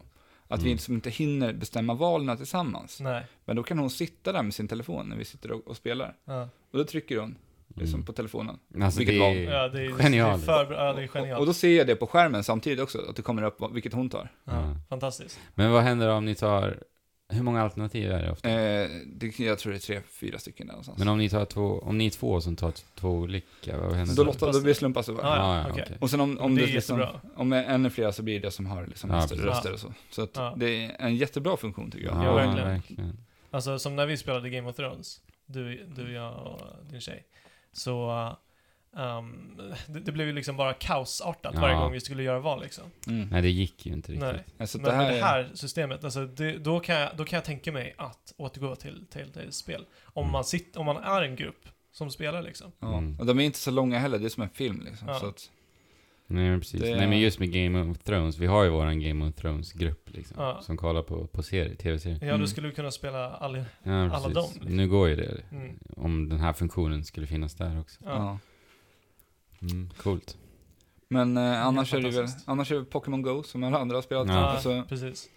Att Mm. vi liksom inte hinner bestämma valen tillsammans. Nej. Men då kan hon sitta där med sin telefon när vi sitter och, och spelar. Ja. Och då trycker hon liksom Mm. på telefonen. Alltså Vilket det är Ja, det är, genialiskt. Det är för, ja, det är Och, genialt. och då ser jag det på skärmen samtidigt också, att det kommer upp vad- vilket hon tar. ja. Ja. Fantastiskt. Men vad händer om ni tar... Hur många alternativ är det ofta? Eh, det, jag tror det är tre, fyra stycken där någonstans. Men om ni tar två, om ni är två som tar två olika, vad händer då då? Ah, lottar, då blir det slumpas över. Ah, Ja, Ja, ja, okej. okej. Och sen om, om Det det, är liksom, jättebra. om är ännu fler så blir det som har liksom Ja, mest precis. röster och så. Så att Ja. det är en jättebra funktion tycker jag. Ja, Ja, verkligen. verkligen. Alltså som när vi spelade Game of Thrones, du, du jag och din tjej. Så ehm, det, det blev ju liksom bara kaosartat Ja. varje gång vi skulle göra val liksom. Mm. Nej, det gick ju inte riktigt. Nej. Så att Men det här, är- det här systemet, alltså det, då, kan jag, då kan jag tänka mig att återgå till Telltale-spel. Om, Mm. man sitter- om man är en grupp som spelar liksom. Ja, Mm. och de är inte så långa heller, det är som en film liksom. Ja. Så att, Nej, men precis. Det- Nej, men just med Game of Thrones, vi har ju våran Game of Thrones-grupp liksom, Ja. som kollar på, på serier, tv-serier. Ja, då Mm. skulle du kunna spela all... Ja, Alla precis. dem, liksom. Nu går ju det, Mm. om den här funktionen skulle finnas där också. Ja. ja. Mm, coolt. Men eh, annars, Ja, är det väl, fantastiskt. annars är det Pokémon Go som alla andra har spelat. Ja. Ja, Och, så, precis.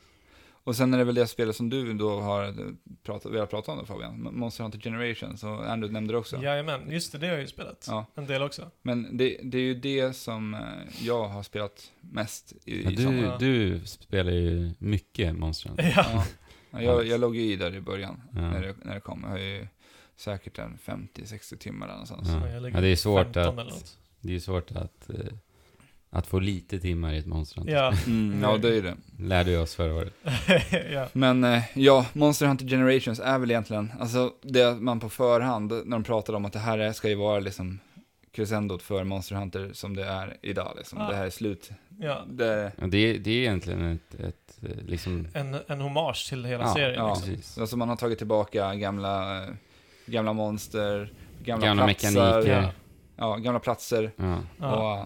och sen är det väl det spelet som du då har pratat, velat prata om då Fabian, Monster Hunter Generations, och Andrew nämnde det också. Jajamän, just det, det har jag ju spelat. Ja. En del också. Men det, det är ju det som eh, jag har spelat mest i, Ja, i sommar. du, du spelar ju mycket Monster Hunter. Ja. Ja, jag, jag låg ju i där i början Ja. när, det, när det kom. Jag har ju säkert en 50-60 timmar där någonstans. Ja. jag ligger Ja, det är svårt 15 att- eller något. Det är ju svårt att, eh, Att få lite timmar i ett Monster Hunter. Ja. Mm, ja, det är ju det. Lärde vi oss förra året. ja. Men eh, ja, Monster Hunter Generations är väl egentligen, alltså det man på förhand, när de pratade om att det här är- ska ju vara liksom crescendot för Monster Hunter som det är idag liksom. Ah. Det här är slut. ja. Det, Ja, Det, är- det är egentligen ett, ett eh, liksom... En, en hommage till hela Ja, serien. ja. liksom. Precis. alltså man har tagit tillbaka gamla, eh, gamla monster, gamla, Gamla platser. mekaniker. Ja, gamla platser. Ja, Ja. Och, eh,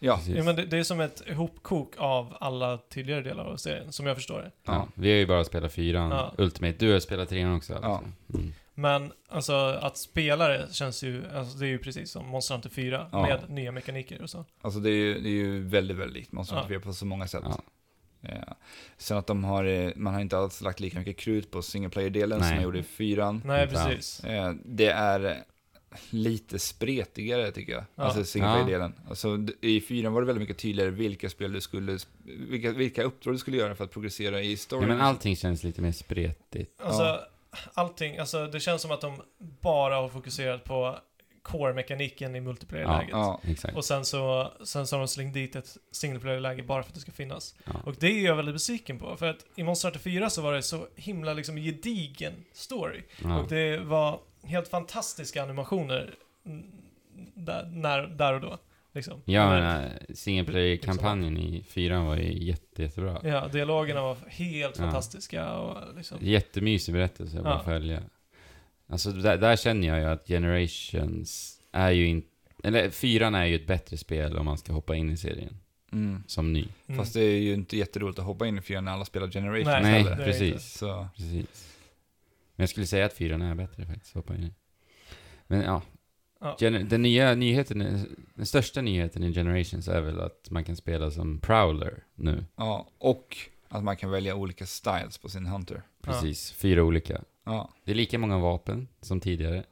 ja, precis. Ja, men det, det är som ett hopkok av alla tidigare delar av serien, som jag förstår det. Ja, vi har ju bara spelat fyran, Ja. Ultimate. Du har spelat trean också alltså. Mm. Men alltså att spela det känns ju, alltså, det är ju precis som Monster Hunter 4 Ja. med nya mekaniker och så. alltså det är ju, det är ju väldigt, väldigt likt Monster Hunter Ja. 4 på så många sätt. Ja. Eh, Sen att de har, eh, man har inte alls lagt lika mycket krut på single player-delen som Nej. man gjorde i fyran. Nej, Inte alls. precis. Eh, Det är lite spretigare tycker jag, Ja. alltså singleplay-delen. Alltså, d- I fyran var det väldigt mycket tydligare vilka spel du skulle, sp- vilka, vilka uppdrag du skulle göra för att progressera i Ja, storyn. men allting känns lite mer spretigt. Alltså, Ja. allting, alltså det känns som att de bara har fokuserat på core-mekaniken i multiplayer-läget. Ja, Exakt. Och sen så, sen så har de slängt dit ett single player-läge bara för att det ska finnas. Ja. Och det är jag väldigt besviken på, för att i Monster Hunter 4 så var det så himla liksom gedigen story. Ja. Och det var helt fantastiska animationer mm, där, när, där och då. Liksom. Ja, Men- men äh, single player-kampanjen i fyran var ju jätte, jättebra. ja, dialogerna var helt Ja. fantastiska och liksom... Jättemysig berättelse att bara Ja. följa. Alltså där, där känner jag ju att Generations är ju inte... Eller fyran är ju ett bättre spel om man ska hoppa in i serien mm. som ny. Mm. Fast det är ju inte jätteroligt att hoppa in i fyran när alla spelar Generations Nej, Nej, det är heller. inte. precis. Så, precis. Men jag skulle säga att fyran är bättre faktiskt, hoppa in i. Men ja. Ja. Gener- Den nya nyheten, är- den största nyheten i Generations är väl att man kan spela som Prowler nu. ja. Och att man kan välja olika styles på sin Hunter. Precis, fyra olika. Ja, Det är lika många vapen som tidigare.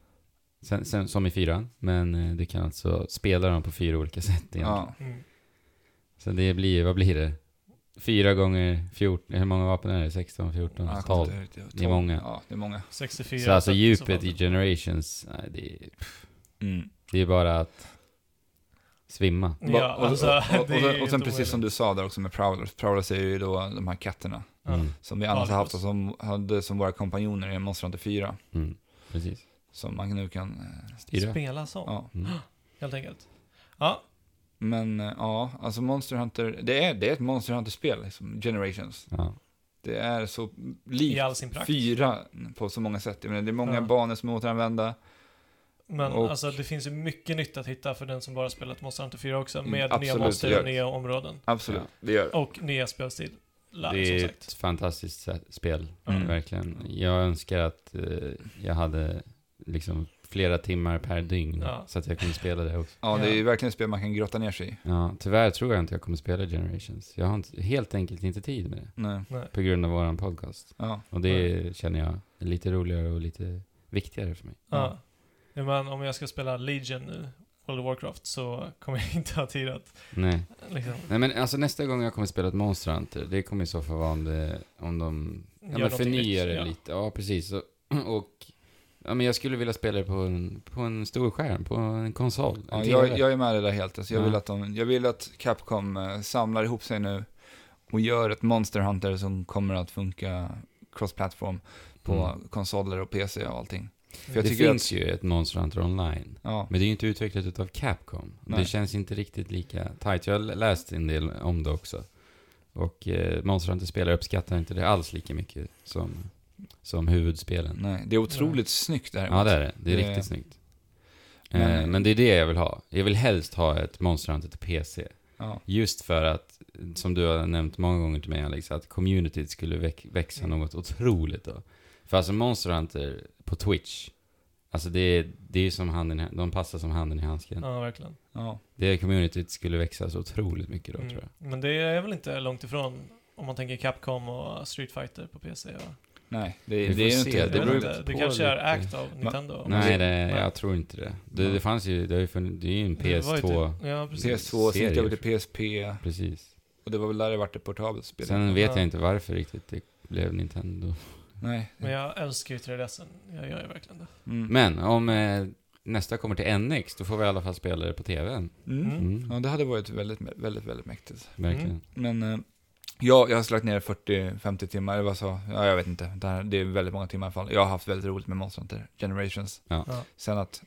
Sen, sen, som i fyran, men eh, du kan alltså spela dem på fyra olika sätt egentligen. ja. Mm. Så det blir, vad blir det? Fyra gånger 14, hur många vapen är det? 16, 14, Ja, jag 12. kommer inte ihåg riktigt. Det är många. Ja, det är många. 64. Så alltså så- djupet så- i Generations, nej, det, är- Mm. det är bara att svimma. Ja, och, alltså, och, och, och, det är sen- och helt sen precis som omöjligt. du sa där också med Prowlers. Prowlers är ju då de här katterna. Ja. Mm, Som vi annars har haft och Alvos. som hade som våra kompanjoner i Monster Hunter 4. mm, precis. Som man nu kan... eh, Styra. Spela som, Ja. Mm. helt enkelt. Ja, Men eh, ja, alltså Monster Hunter, det är, det är ett Monster Hunter-spel, liksom, Generations. Ja. Det är så i likt all sin prakt. fyra på så många sätt. Jag menar, det är många Ja. banor som är återanvända. Men Och- alltså det finns ju mycket nytt att hitta för den som bara spelat Monster Hunter 4 också, Mm, med nya absolut, monster det och gör det. nya områden. Absolut, Ja. det gör det. Och nya spelstil. Lär, Det är som ett sagt. fantastiskt sä- spel, Mm. verkligen. Jag önskar att eh, jag hade liksom flera timmar per dygn Ja. så att jag kunde spela det också. Ja, det Ja. är ju verkligen ett spel man kan grotta ner sig i. Ja, tyvärr tror jag inte jag kommer spela Generations. Jag har inte, helt enkelt inte tid med det Nej. Nej. på grund av våran podcast. Ja. Och det känner jag är lite roligare och lite viktigare för mig. Ja. Ja, Men om jag ska spela Legion nu, World of Warcraft, så kommer jag inte ha tid att Nej. liksom, Nej men alltså nästa gång jag kommer spela ett Monster Hunter, det kommer i så fall vara om, det, om de ja, men någonting förnyar nytt. det Ja. lite. Ja, precis. Och, och ja, men jag skulle vilja spela det på en, på en stor skärm, på en konsol. En Ja, TV. jag, jag är med det där helt. Alltså, jag, Ja. vill att de, jag vill att Capcom eh, samlar ihop sig nu och gör ett Monster Hunter som kommer att funka cross-platform på Mm. konsoler och PC och allting. För jag det tycker finns ju ett Monster Hunter online. Ja, Men det är ju inte utvecklat utav Capcom. Nej. Det känns inte riktigt lika tight. Jag har läst en del om det också. Och eh, Monster Hunter-spelare uppskattar inte det alls lika mycket som, som huvudspelen. nej. Det är otroligt snyggt däremot. Ja, det är det. Det är Det- riktigt snyggt. Men- Men, eh, men det är det jag vill ha. Jag vill helst ha ett Monster Hunter till PC. Ja. Just för att, som du har nämnt många gånger till mig Alex, att communityt skulle väck, växa Mm. något otroligt då. För alltså Monster Hunter på Twitch, alltså det är, det är som handen, i- de passar som handen i handsken. Ja, verkligen. Ja. Det communityt skulle växa så otroligt mycket då tror Mm. jag. Men det är väl inte långt ifrån om man tänker Capcom och Street Fighter på PC. Va? Nej, det, Vi det, får är ju se. inte... Jag det vet beror inte, lite det på kanske är lite. ägt av Nintendo. Men Nej, det- det, nej. jag tror inte det. Det, det fanns ju, det har ju funnits, det är ju en Det var ju PS2, typ- Ja, precis. PS2, sen gick det Serier. över till PSP precis. och det var väl där det vart ett portabelt spel. Sen vet Ja. Mm. jag inte varför riktigt det blev Nintendo. Nej. Men jag älskar ju 3DSen. Jag gör ju verkligen det. Mm. Men om eh, nästa kommer till NX, då får vi i alla fall spela det på TVn. Mm. Mm. Mm, Ja, det hade varit väldigt, väldigt, väldigt mäktigt. verkligen. Mm. Men eh, ja, jag har slagit ner 40-50 timmar, eller vad sa Ja, jag vet inte. Det, här, det är väldigt många timmar i alla fall. Jag har haft väldigt roligt med Monster Hunter Generations. Ja. Ja. Sen att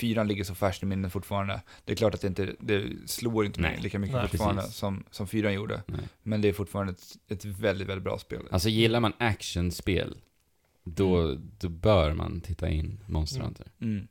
fyran ligger så färskt i minnet fortfarande. Det är klart att det inte det slår inte mig Nej. lika mycket Nej, fortfarande precis. som, som fyran gjorde. Nej. Men det är fortfarande ett, ett väldigt, väldigt bra spel. Alltså gillar man actionspel, då, då bör man titta in Monster Mm. Hunter. Mm.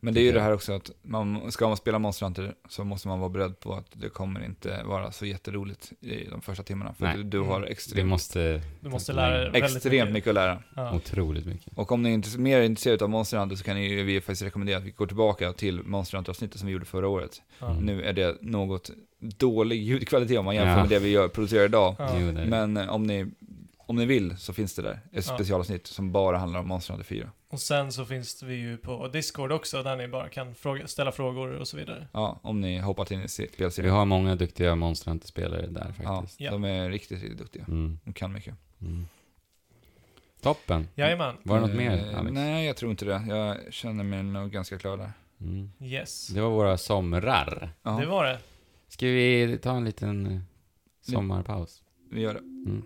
Men det är ju Tycker det jag. här också att man, ska man spela Monster Hunter så måste man vara beredd på att det kommer inte vara så jätteroligt i de första timmarna. För Nej. du, du har Mm. Det extremt, måste Du måste lära dig väldigt extremt mycket att lära. Ja. otroligt mycket. Och om ni är inte, mer intresserade av Monster Hunter så kan ni, ju- vi faktiskt rekommendera att vi går tillbaka till Monster Hunter-avsnittet som vi gjorde förra året. Ja. Mm. Nu är det något dålig ljudkvalitet om man jämför Ja. med det vi gör, producerar idag. Ja. Jo, det är det. Men eh, om ni, om ni vill så finns det där ett Ja. specialavsnitt som bara handlar om Monster Hunter 4. Och sen så finns vi ju på Discord också där ni bara kan fråga, ställa frågor och så vidare. Ja, om ni hoppat in i se- Vi spelserien. har många duktiga Monster Hunter-spelare där faktiskt. Ja. De är riktigt, riktigt duktiga. Mm. De kan mycket. Mm. Toppen. Jajamän. Var det något Eh, mer, Alex? Nej, jag tror inte det. Jag känner mig nog ganska klar där. Mm. Yes. Det var våra somrar. Ja, Det var det. Ska vi ta en liten eh, sommarpaus? vi gör det. Mm.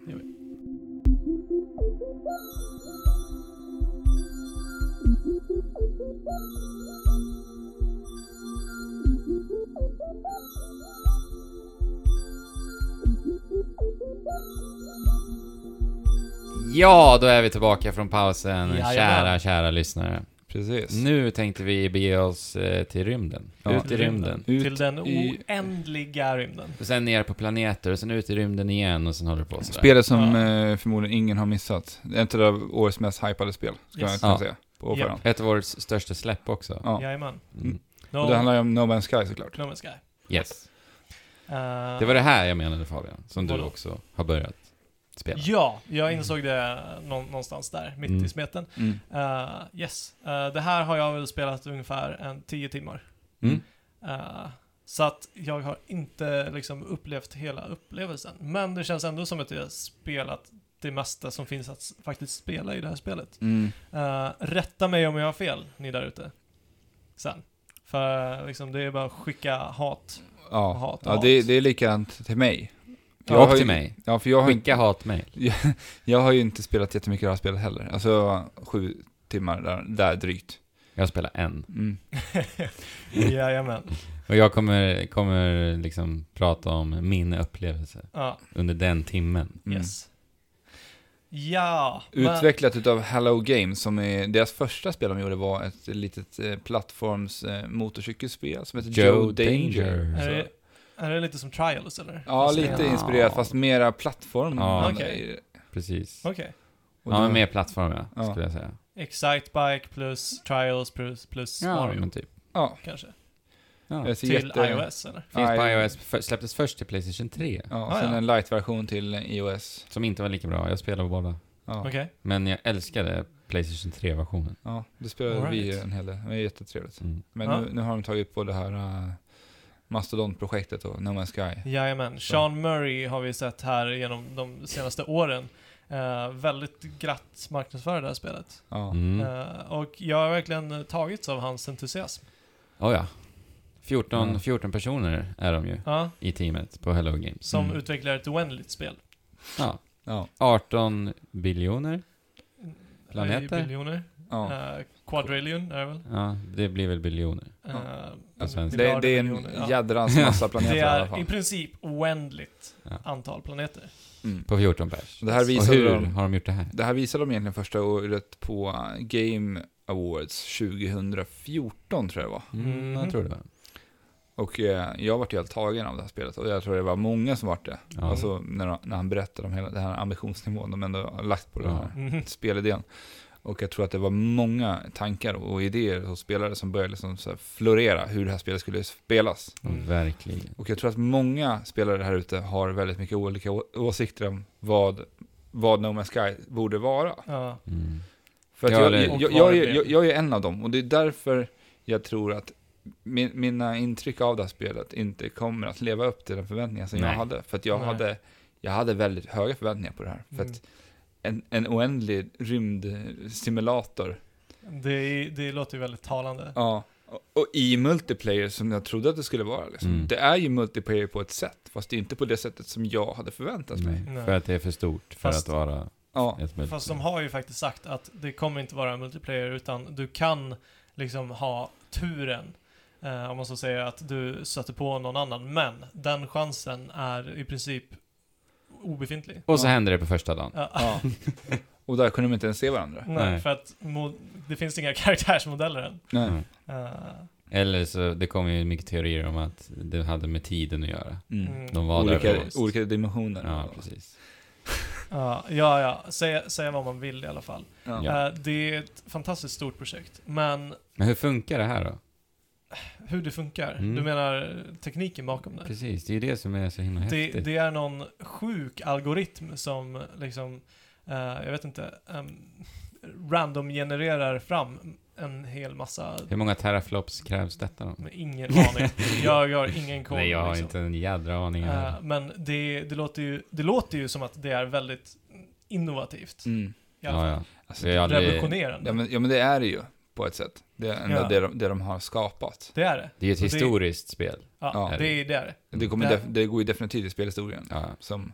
Ja, då är vi tillbaka från pausen, Jajamän. kära, kära lyssnare. Precis. Nu tänkte vi bege oss eh, till rymden. Ja. Ut i rymden. Ut Till den i- oändliga rymden. Och sen ner på planeter och sen ut i rymden igen och sen håller det på sådär. Spelet som Ja. eh, förmodligen ingen har missat. Det är Ett av årets mest hypade spel, skulle Yes. jag kunna Ja. säga. På Japp. förhand. Ett av årets största släpp också. Ja. Jajamän. Mm. No, Och det handlar ju om No Man's Sky såklart. no Man's Sky. Yes. Eh, Det var det här jag menade Fabian, som du Vadå? också har börjat spela. Eh, Ja, jag insåg det nå- någonstans där, mitt Mm. i smeten. Mm. Eh, yes, Eh, det här har jag väl spelat ungefär en 10 timmar. Mm. Eh, så att jag har inte liksom upplevt hela upplevelsen. Men det känns ändå som att jag har spelat det mesta som finns att s- faktiskt spela i det här spelet. Mm. Eh, rätta mig om jag har fel, ni där ute. Sen. För eh, liksom, det är bara att skicka hat. Ja, Hat, ja hat. det, det är likadant till mig. Jag Och har till ju- mig. Ja, för jag har, Skicka hatmejl. jag har ju inte spelat jättemycket av det här spelet heller. Alltså sju timmar där, där drygt. Jag spelar en. Mm. Jajamän. Och jag kommer, kommer liksom prata om min upplevelse Ja, under den timmen. Mm. yes. Ja, men- Utvecklat utav Hello Games, som är, deras första spel de gjorde var ett litet eh, plattforms eh, motorcykelspel som heter Joe, Joe Danger. Danger. Är Så- det, är det lite som Trials eller? Ja, Fast- lite Ja. inspirerat, fast mera plattform. Ja. Okej. Precis. Okej. Och Ja, den- men mer plattform ja, Ja. skulle jag säga. Excitebike plus Trials plus, plus Ja, Mario Mm. men typ. Ja, kanske? Ja. jag ser Till jätte... iOS eller? Finns på I- iOS, för, släpptes först till Playstation 3. Ja, Ah, sen ja. en light-version till iOS. Som inte var lika bra, jag spelade båda. Ja, Okej. Men jag älskade Playstation 3-versionen. ja det spelade All vi right. en hel del. Det är jättetrevligt. Mm. Men Ja. nu, nu har de tagit upp på det här uh, Mastodon-projektet och No Man's Sky. Jajamän. Sean Murray har vi sett här genom de senaste åren. Eh, väldigt glatt marknadsför det här spelet. Ja. Mm. Eh, och jag har verkligen eh, tagits av hans entusiasm. Oh, ja. 14, Ja. 14 personer är de ju Ja, i teamet på Hello Games. som Mm. utvecklar ett oändligt spel. Ja. Ja. 18 biljoner. Planeter? Eh, Biljoner. ja. Eh, quadrillion är det väl? Ja, det blir väl biljoner. Eh, På svenska. Det, det är en miljarder, ja. jädrans massa planeter Det i alla är i fall. princip oändligt Ja. antal planeter. Mm. På 14 pers. Det här Och visade hur de... har de gjort det här? Det här visade de egentligen första året på Game Awards 2014 tror jag det var. Mm, Mhm. Jag tror det var. Och eh, jag vart ju helt tagen av det här spelet och jag tror det var många som vart det. Ja. Alltså när, de- när han berättade om hela den här ambitionsnivån de ändå har lagt på den här Mhm. spelidén. Och jag tror att det var många tankar och idéer hos spelare som började liksom så här florera hur det här spelet skulle spelas. Mm. Verkligen. Och jag tror att många spelare här ute har väldigt mycket olika å- åsikter om vad, vad No Man's Sky borde vara. Ja. Mm. För att Ja, jag, eller- jag, Och jag, vad jag, det jag, blev. jag är en av dem och det är därför jag tror att min, mina intryck av det här spelet inte kommer att leva upp till de förväntningar som jag Nej. hade. För att jag Nej. hade, jag hade väldigt höga förväntningar på det här. För att en, en oändlig rymdsimulator Mm. Det, det låter ju väldigt talande. Ja. Och- Och i multiplayer som jag trodde att det skulle vara. Liksom. Mm. Det är ju multiplayer på ett sätt, fast det är inte på det sättet som jag hade förväntat mig. Nej, Nej. för att det är för stort för Fast- att vara Ja, ett multiplayer. Fast de har ju faktiskt sagt att det kommer inte vara multiplayer utan du kan liksom ha turen eh, om man så säger att du sätter på någon annan. Men den chansen är i princip obefintlig. Och så Ja. händer det på första dagen. Ja. ja. Och där kunde de inte ens se varandra. Nej, Nej. för att mo- det finns inga karaktärsmodeller än. Nej. Mm. Eh, Eller så, det kom ju mycket teorier om att det hade med tiden att göra. Mm. mm. De var där Olika, låst. olika dimensioner. Ja, precis. Ja, ja, ja. Säg, säg vad man vill i alla fall. Ja. Ja. Eh, det är ett fantastiskt stort projekt, men Men hur funkar det här då? hur det funkar, Mm. du menar tekniken bakom det? Precis, det är ju det som är så himla Det, häftigt. det är någon sjuk algoritm som liksom, eh, jag vet inte, um, random genererar fram en hel massa, Hur många teraflops krävs detta då? med ingen aning. Jag har ingen koll. Nej, jag har liksom. inte en jädra aning. Eh, Uh, men det, det, låter ju, det låter ju som att det är väldigt innovativt. Mm. I alla ja, fall. ja. Alltså, Jag har aldrig- Revolutionerande. Ja men, ja, men det är det ju på ett sätt. Det är ändå Ja. det, de, det de har skapat. Det är det. Det är ju ett Och det- historiskt spel. Ja, Ja. det, är, det är det. Det, kommer Det- def- det går ju definitivt i spelhistorien. Ja, Som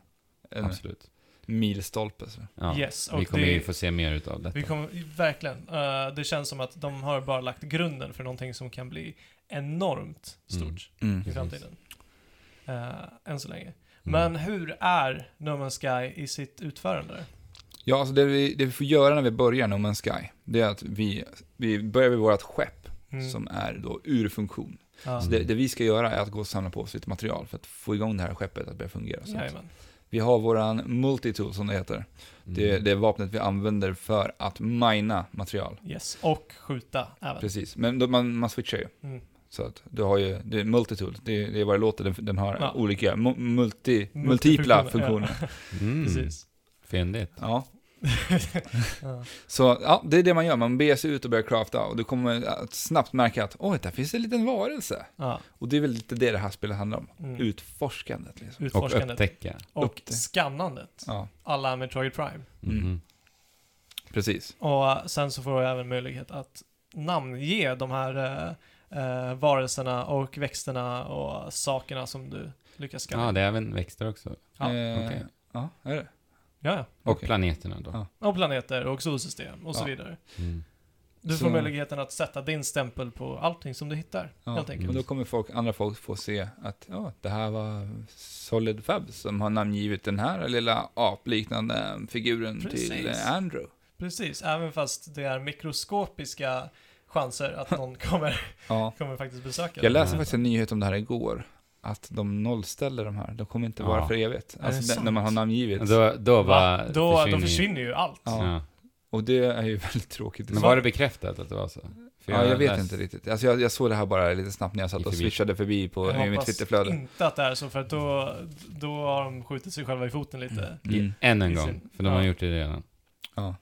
en absolut. milstolpe. Så. Ja. Yes, och Vi kommer det- ju få se mer utav detta. Vi kommer, verkligen. Eh, det känns som att de har bara lagt grunden för någonting som kan bli enormt stort Mm. Mm. i precis. framtiden. Uh, än så länge. Mm. Men hur är No Man's Sky i sitt utförande? Ja, alltså det vi, det vi får göra när vi börjar No Man's Sky, det är att vi, vi börjar vid vårt skepp Mm. som är då ur funktion. ja. Så det, det vi ska göra är att gå och samla på oss lite material för att få igång det här skeppet att börja fungera. Så att Jajamän. vi har våran multitool som det heter. Mm. Det, är- det är vapnet vi använder för att mina material. Yes. Och skjuta även. Precis, men då, man, man switchar ju. Mm. Så att du har ju, det är multitool, det, är- det är vad det låter, den, den har Ja. olika, mu- multi, multipla funktioner. Ja, Mm. precis. Fyndigt. Ja. Ja. Så ja, det är det man gör, man beger sig ut och börjar crafta och du kommer att snabbt märka att oj, där finns en liten varelse. Ja. Och det är väl lite det det här spelet handlar om, Mm. utforskandet liksom. Och Utforskandet. upptäcka. Och, upptäck- skannandet. Ja, Alla Metroid Prime. Mm. Mhm. precis. Och eh, sen så får jag även möjlighet att namnge de här eh, eh, varelserna och växterna och sakerna som du lyckas skanna. Ja, det är även växter också. Ja, eh, okej. ja är det? Ja, ja. Och Okej. planeterna då. Ja. Och planeter och solsystem och så Ja. vidare. Mm. Du Så- får möjligheten att sätta din stämpel på allting som du hittar, Ja, helt Och enkelt. då kommer folk, andra folk få se att ja, det här var Solid Fab som har namngivit den här lilla apliknande figuren till Precis. eh, Andrew. Precis, även fast det är mikroskopiska chanser att någon kommer, Ja. kommer faktiskt besöka Jag dig. läste faktiskt en nyhet om det här igår, att de nollställer de här. De kommer inte vara Ja. för evigt. det Alltså det- sant? när man har namngivit. Då, Va? då var... Då, då försvinner ju allt. Ja. Ja. Och det är ju väldigt tråkigt. Men var det bekräftat att det var så? För ja, jag vet läste- inte riktigt. Alltså jag, jag såg det här bara lite snabbt när jag Gick satt och förbi. swishade förbi på, i Jag mitt hoppas Twitterflöde. inte att det är så, för att då, då har de skjutit sig själva i foten lite. Mm. Än en I gång, sin- för de har ja. gjort det redan. Ja.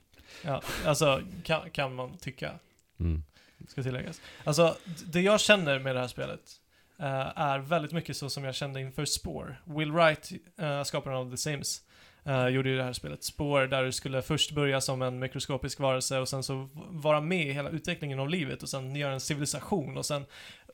Ja, alltså, kan, kan man tycka. Mm. ska tilläggas. Alltså, d- det jag känner med det här spelet eh, är väldigt mycket så som jag kände inför Spore. Will Wright, eh, skaparen av The Sims, eh, gjorde ju det här spelet Spore, där du skulle först börja som en mikroskopisk varelse och sen så v- vara med i hela utvecklingen av livet och sen göra en civilisation och sen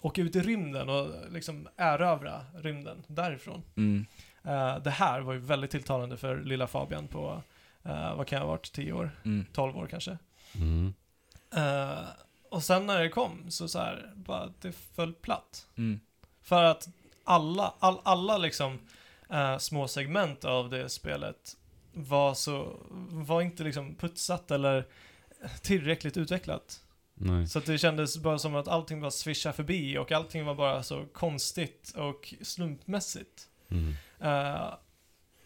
åka ut i rymden och liksom erövra rymden därifrån. Mm. Eh, det här var ju väldigt tilltalande för lilla Fabian på, eh, vad kan jag ha varit, 10 år? Mm. 12 år kanske? Mm. Eh, och sen när det kom så så här, bara det föll platt. Mm. För att alla, all, alla liksom eh, små segment av det spelet var så, var inte liksom putsat eller tillräckligt utvecklat. Nej. Så att det kändes bara som att allting bara svischade förbi och allting var bara så konstigt och slumpmässigt. Mm. Eh,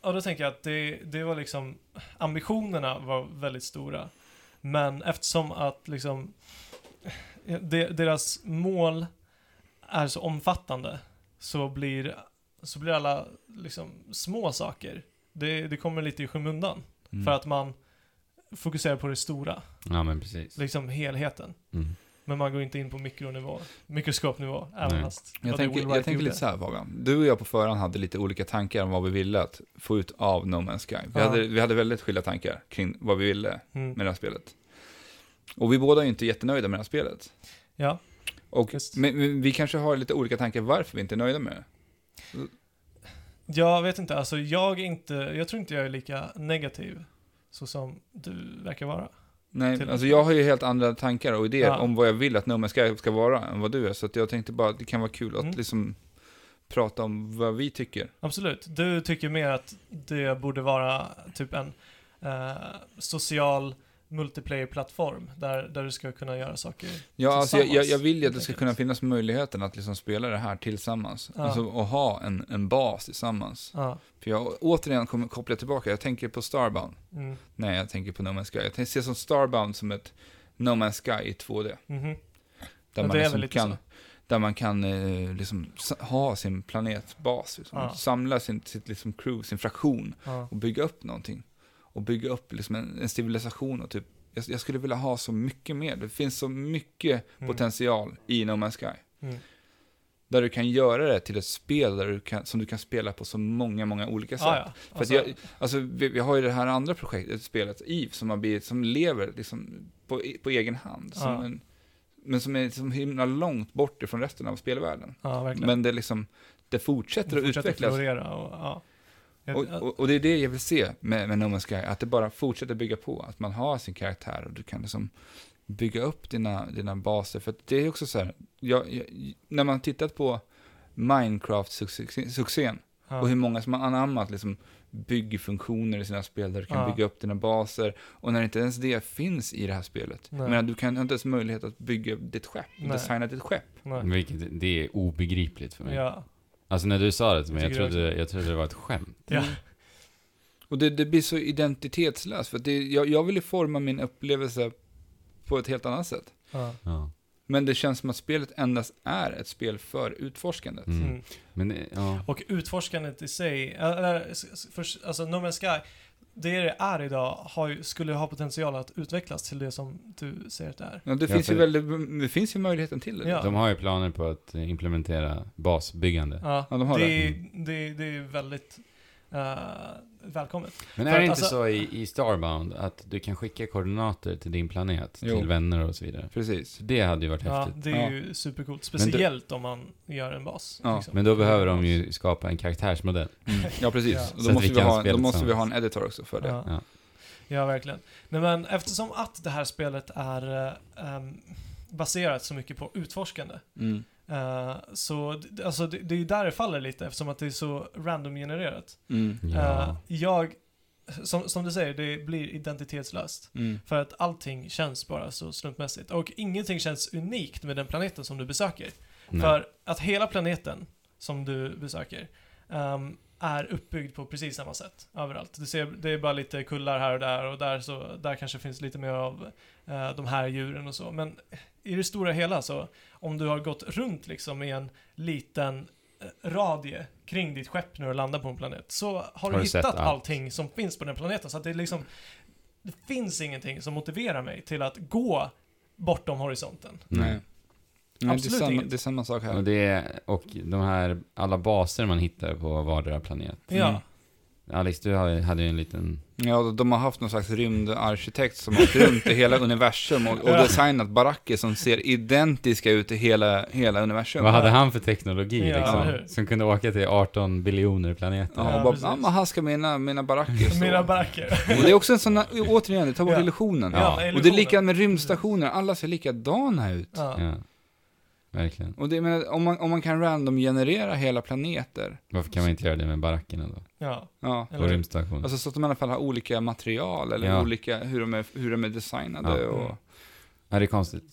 och då tänker jag att det, det var liksom, ambitionerna var väldigt stora. Men eftersom att liksom, de, deras mål är så omfattande så blir, så blir alla liksom små saker, det, det kommer lite i skymundan. Mm. För att man fokuserar på det stora, Ja, men precis. liksom helheten. Mm. Men man går inte in på mikronivå, mikroskopnivå, även Nej. fast vad Jag det Will tänker, jag Wright tänker gjorde. lite så här Fabian. Du och jag på förhand hade lite olika tankar om vad vi ville att få ut av No Man's Sky. Vi, Ja. hade, vi hade väldigt skilda tankar kring vad vi ville Mm. med det här spelet. Och vi båda är ju inte jättenöjda med det här spelet. Ja, Och, Visst. men, men vi kanske har lite olika tankar varför vi inte är nöjda med det. jag vet inte, alltså jag är inte, jag tror inte jag är lika negativ så som du verkar vara. Nej, Till- alltså jag har ju helt andra tankar och idéer Ja. om vad jag vill att nummer ska, ska vara än vad du är. Så att jag tänkte bara att det kan vara kul att Mm. liksom prata om vad vi tycker. Absolut. Du tycker mer att det borde vara typ en eh, social multiplayer-plattform där, där du ska kunna göra saker. Ja, alltså jag, jag, jag Tillsammans, vill ju att helt det ska enkelt. kunna finnas möjligheten att liksom spela det här tillsammans. Ja. Alltså och ha en, en bas tillsammans. Ja. För jag återigen kommer koppla tillbaka, jag tänker på Starbound. Mm. Nej, jag tänker på No Man's Sky. Jag tänker- ser som Starbound som ett No Man's Sky i 2D. Mhm. Där Ja, man det är väl liksom lite kan, så. där man kan eh, liksom sa- ha sin planetbas, liksom. Ja. samla sin, sitt liksom crew, sin fraktion Ja. och bygga upp någonting. Och bygga upp liksom en, en civilisation och typ, jag, jag skulle vilja ha så mycket mer. Det finns så mycket Mm. potential i No Man's Sky. Mm. Där du kan göra det till ett spel där du kan, som du kan spela på så många, många olika sätt. Ah, ja. För att alltså, jag, alltså, vi, vi har ju det här andra projektet, spelet EVE, som, har blivit, som lever liksom på, e- på egen hand. Som Ja. en, men som är så himla långt bort ifrån resten av spelvärlden. ja, verkligen. Men det, är liksom, det fortsätter att Det fortsätter utvecklas. florera och, ja. Jag- Och, och, och det är det jag vill se med, med No Man's Sky, att det bara fortsätter bygga på. Att man har sin karaktär och du kan liksom bygga upp dina, dina baser. För att det är också så här, jag, jag, när man tittat på Minecraft-succén, ja. och hur många som har anammat liksom, byggfunktioner i sina spel där du kan Ja. bygga upp dina baser. Och när inte ens det finns i det här spelet. Nej. Men du kan inte ens möjlighet att bygga ditt skepp, Nej. designa ditt skepp. Nej. Vilket, det är obegripligt Mm. för mig. Ja. Alltså när du sa det till mig, jag Tycker du trodde, jag trodde det var ett skämt. Ja. Och det, det blir så identitetslöst. För att det, jag, jag vill ju forma min upplevelse på ett helt annat sätt. Ja. Ja. Men det känns som att spelet endast är ett spel för utforskandet. Mm. Mm. Men eh, ja. Och utforskandet i sig, eller, s- s- för, alltså No Man's Sky, det det är idag har, ju- skulle ha potential att utvecklas till det som du säger att det är. Ja, det, Ja, finns ju för- väldigt, det finns ju möjligheten till det. Ja. De har ju planer på att eh, implementera basbyggande. Ja, Ja, de har det, det. Mm. Är, det, det är väldigt eh, välkommet. Men För är att det inte alltså- så i, i Starbound att du kan skicka koordinater till din planet, Jo. till vänner och så vidare? Precis. Så det hade ju varit Ja, häftigt. det är Ja. ju supercoolt. Men det- Speciellt om man gör en bas. liksom. Ja, Men då behöver de ju skapa en karaktärsmodell. Ja, precis. Ja. Så Och Då, att måste vi vi, kan ha, spela då måste vi ha en tillsammans. editor också för det. Ja. Ja. Ja. verkligen. Nej, men eftersom att det här spelet är eh, ehm, baserat så mycket på utforskande Mm. eh, så d- alltså, det, det är ju där det faller lite eftersom att det är så randomgenererat. Mm. Ja. Eh, jag, som, som du säger, det blir identitetslöst. Mm. För att allting känns bara så slumpmässigt. Och ingenting känns unikt med den planeten som du besöker. Nej. För att hela planeten som du besöker ehm, är uppbyggd på precis samma sätt överallt. Du ser, det är bara lite kullar här och där och där, så, där kanske finns lite mer av eh, de här djuren och så. Men i det stora hela så, om du har gått runt liksom i en liten eh, radie kring ditt skepp när du landar på en planet så har, du du sett hittat allt? allting som finns på den planeten. Så att det är liksom, det finns ingenting som motiverar mig till att gå bortom horisonten. Nej. Nej, Absolut det, är samma, inget. det är samma sak här. Och, det, och de här, alla baser man hittar på vardera planet. Ja. Mm. Alex, du har- hade ju en liten... Ja, de har haft någon slags rymdarkitekt som har åkt runt i hela universum och, och Ja. designat baracker som ser identiska ut i hela, hela universum. Vad hade han för teknologi Ja, eller hur? liksom? Som kunde åka till 18 biljoner planeter. Ja, Ja, och bara, precis. ja, men han ska mina, mina baracker. så." Mina baracker. och det är också en sån, här- återigen, det tar bort Ja. illusionen. Ja, Och det är illusionen. likadant med rymdstationer, alla ser likadana ut. Ja. Ja. Verkligen. Och det, jag menar, om, man, om man kan randomgenerera hela planeter, Varför kan man inte göra det med barackerna då? ja. ja. På Eller- rymdstationen? Alltså så att de i alla fall har olika material eller Ja. olika, hur de är, hur de är designade Ja. och... Mm. ja, det är konstigt.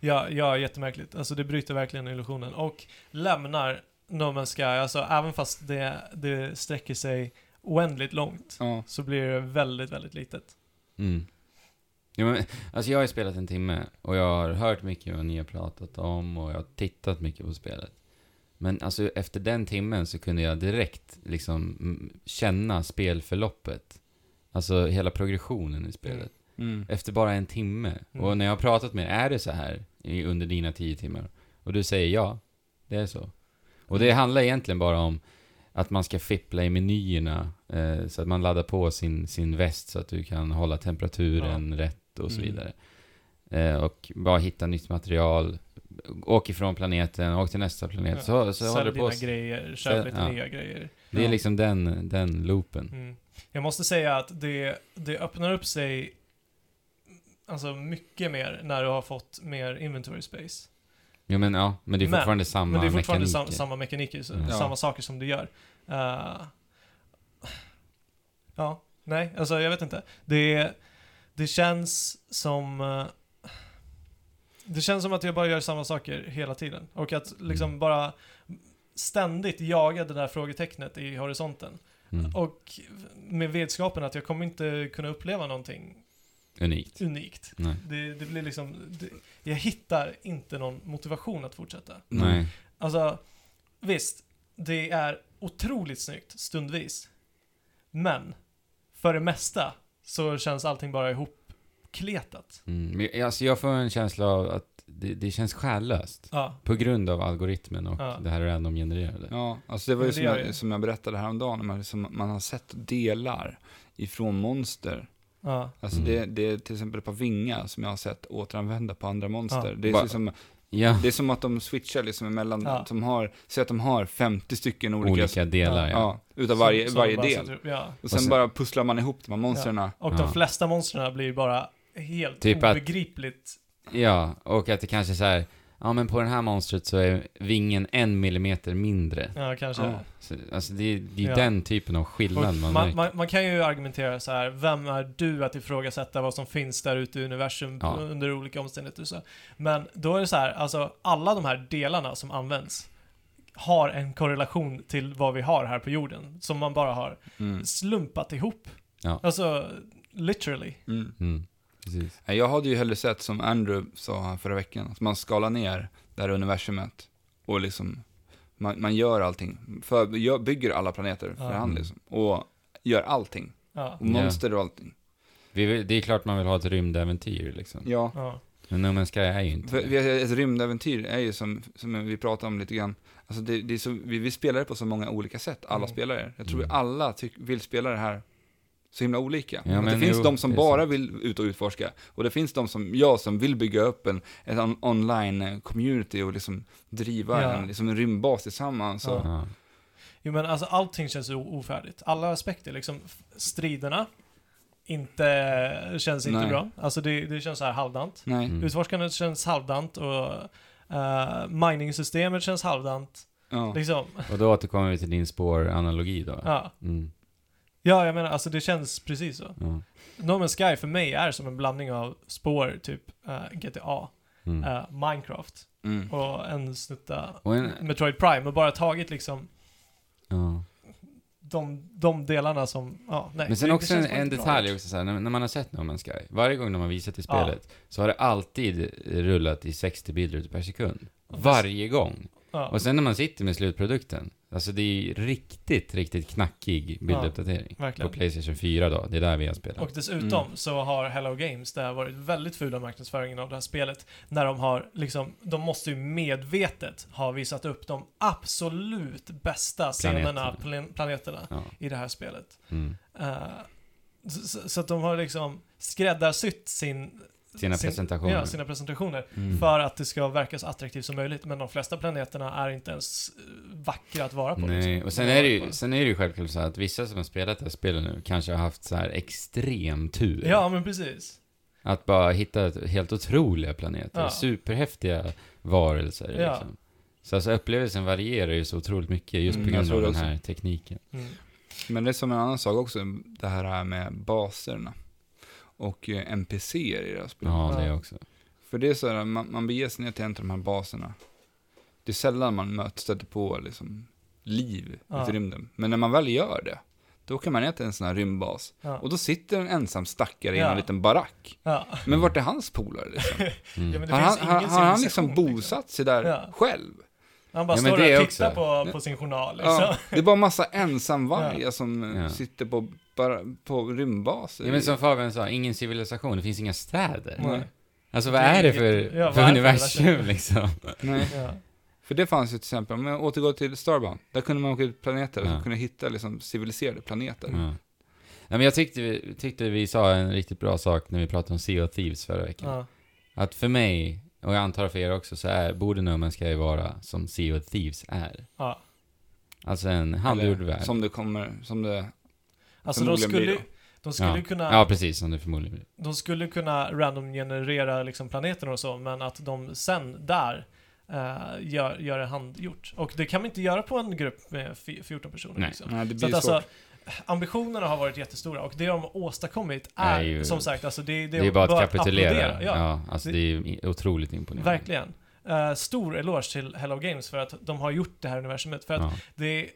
Ja, ja, jättemärkligt. Alltså det bryter verkligen illusionen och lämnar No Man's Sky, alltså även fast det, det sträcker sig oändligt långt Ja. så blir det väldigt, väldigt litet. Mm. Ja, men, alltså jag har ju spelat en timme och jag har hört mycket vad ni har pratat om och jag har tittat mycket på spelet. Men alltså efter den timmen så kunde jag direkt liksom mm, känna spelförloppet. Alltså hela progressionen i spelet. Mm. Efter bara en timme. Mm. Och när jag har pratat med dig, är det så här i, under dina tio timmar? Och du säger ja, det är så. Och Mm. det handlar egentligen bara om att man ska fippla i menyerna eh, så att man laddar på sin, sin väst så att du kan hålla temperaturen rätt och så Mm. vidare. Eh, och bara hitta nytt material. Åk ifrån planeten, åk till nästa planet. Ja. Så, så håller Sälj det på. dina s- grejer, Sälj- köp lite ja. nya grejer. Det är Ja. liksom den, den loopen. Mm. Jag måste säga att det, det öppnar upp sig alltså mycket mer när du har fått mer inventory space. Ja, men, ja, men det är Men- fortfarande samma Men det är fortfarande sam, mekaniker. samma mekaniker, så, Mm. Ja. samma saker som du gör. Eh, ja, nej, alltså jag vet inte. Det, det känns som... eh, det känns som att jag bara gör samma saker hela tiden. Och att liksom Mm. bara ständigt jaga det där frågetecknet i horisonten. mm. Och med vetskapen att jag kommer inte kunna uppleva någonting Unikt. unikt. Nej. Det, det blir liksom, det, jag hittar inte någon motivation att fortsätta. Mm. Nej. Alltså, visst, det är otroligt snyggt stundvis. Men, för det mesta så känns allting bara ihopkletat. Mm. Men, jag- alltså, jag får en känsla av att det, det känns själlöst. Ja, På grund av algoritmen och Ja. det här random-genererade. Ja, alltså det var ju Men det som gör jag, ju. som jag berättade häromdagen, när man, som man har sett delar ifrån monster. ja, Alltså Mm. det, det är till exempel ett par vingar som jag har sett återanvända på andra monster. Ja. Det, är Va- liksom, Ja, det är som att de switchar liksom emellan, Ja. att de har, säg att de har 50 stycken olika, olika delar ja. ja. utav varje, som- som varje bara del. sätter upp- Ja. Och sen, Och sen- bara pusslar man ihop de här monstren. Och Ja. de flesta monstren blir bara helt Typ att- obegripligt. Ja, och att det kanske är så här, ja men på den här monstret så är vingen en millimeter mindre. Ja, kanske. Ja. Så, alltså det, är- det är Ja. den typen av skillnad man, man, märker. man, man kan ju argumentera så här, vem är du att ifrågasätta vad som finns där ute i universum Ja. under olika omständigheter och så. Men då är det så här, alltså alla de här delarna som används har en korrelation till vad vi har här på jorden, som man bara har Mm. slumpat ihop. Ja. Alltså, literally. Mm. Mm, precis. Nej, Jag hade ju hellre sett, som Andrew sa här förra veckan, att man skalar ner det här universumet och liksom, man, man gör allting. För jag bygger alla planeter för Ja. hand liksom. Och gör allting. Ja. Och Ja. monster och allting. Vi vill, det är klart man vill ha ett rymdäventyr liksom. Ja. Ja. Men No Man's Sky är ju inte För, det. vi- ett rymdäventyr är ju som, som vi pratade om lite grann, alltså det, det är så, vi, vi spelar det på så många olika sätt, alla Mm. spelare. Jag tror Mm. vi alla tyck, vill spela det här så himla olika. Ja, Att men det finns jo, de som det är bara sant. vill ut och utforska, och det finns de som jag som vill bygga upp en ett on- online-community och liksom driva Ja. en, liksom en rymdbas tillsammans. Och, Ja. Jo men alltså allting känns o- ofärdigt. Alla aspekter liksom. f- Striderna, inte, känns inte Nej. bra. Alltså det, det känns så här halvdant. Nej. Mm. Utforskandet känns halvdant och eh, mining-systemet känns halvdant. Ja. Liksom. Och då återkommer vi till din spår-analogi då. Ja. Mm, ja, jag menar alltså det känns precis så. ja. No Man's Sky för mig är som en blandning av spår, typ eh, GTA, Mm. eh, Minecraft Mm. och en snutta Och en, Metroid Prime och bara tagit liksom ja. de, de delarna som, ja, nej. Men sen det- det också en, känns bara en inte bra detalj gjort. också så här, när, när man har sett No Man's Sky, varje gång de har visat i Ja. spelet så har det alltid rullat i 60 bilder per sekund. Och det- Varje gång. Ja. Och sen när man sitter med slutprodukten, alltså det är ju riktigt, riktigt knackig bilduppdatering. Verkligen. På Playstation 4 då, det är där vi har spelat. Och dessutom Mm. så har Hello Games, det har varit väldigt fula marknadsföringen av det här spelet, när de har liksom, de måste ju medvetet ha visat upp de absolut bästa scenerna, plan- planeterna, Ja. i det här spelet. Mm. Eh, så- så, så att de har liksom skräddarsytt sin, Sina sin- presentationer. Ja, sina presentationer Mm. för att det ska verka så attraktivt som möjligt. Men de flesta planeterna är inte ens eh, vackra att vara på. Mm. Nej, liksom. och sen De är, det vackra. ju, sen är det ju självklart så här att vissa som har spelat det här spelet nu kanske har haft så här extrem tur. Ja, men precis. Att bara hitta ett- helt otroliga planeter, Ja. superhäftiga varelser Ja. liksom. Så alltså upplevelsen varierar ju så otroligt mycket just Mm, på jag grund tror av det den här tekniken. Mm. Men det är som en annan sak också, det här med baserna. Och eh, NPCer i det här spelet. Ja, Ja. det också. För det är så här, man, man beger sig ner till en av de här baserna. Det är sällan man möts, stöter på liksom, liv Ja. ute i rymden. Men när man väl gör det, då kan man ner till en sån här rymdbas. Ja. Och då sitter en ensam stackare i Ja. en liten barack. ja. Men vart är hans polare liksom? Mm. Ja, men det Har finns han, ingen har, har han liksom civilisation, bosatt sig där Ja. själv? Han bara Ja, men står det där och också. tittar på, på sin journal liksom. Ja, det är bara massa ensamvargar som eh, Ja. sitter på, bara, på rymdbaser. Ja, men som Fabian sa, ingen civilisation, det finns inga städer. Nej. Alltså vad Det är är det riktigt- för, Mm. ja, vad är det för för universum universum? liksom? Nej. Ja. För det fanns ju till exempel, om jag återgår till Starbound, där kunde man åka ut planeter och Ja. kunde hitta liksom civiliserade planeter. Ja. Nej, men jag tyckte vi, tyckte vi sa en riktigt bra sak när vi pratade om Sea of Thieves förra veckan. Ja. Att för mig, och jag antar för er också, så är Bodenummen ska ju vara som Sea of Thieves är. Ja. Alltså en handgjord Eller värld. Som det kommer, som det... Alltså de Förmodligen skulle, blir de skulle ja. kunna ja, precis som det förmodligen blir. De skulle kunna random generera liksom planeter och så, men att de sen där eh, gör, gör det handgjort. Och det kan man inte göra på en grupp med fj- 14 personer. Nej. Liksom. Nej, Mm, det Så blir att svårt. alltså, ambitionerna har varit jättestora och det de har åstadkommit är, Är ju- som sagt, alltså det, det, Det är ju bara bör att kapitulera. applådera. Ja, Ja, alltså det är ju i- otroligt imponerande. Verkligen. Eh, stor eloge till Hello Games för att de har gjort det här universumet. För att Ja. det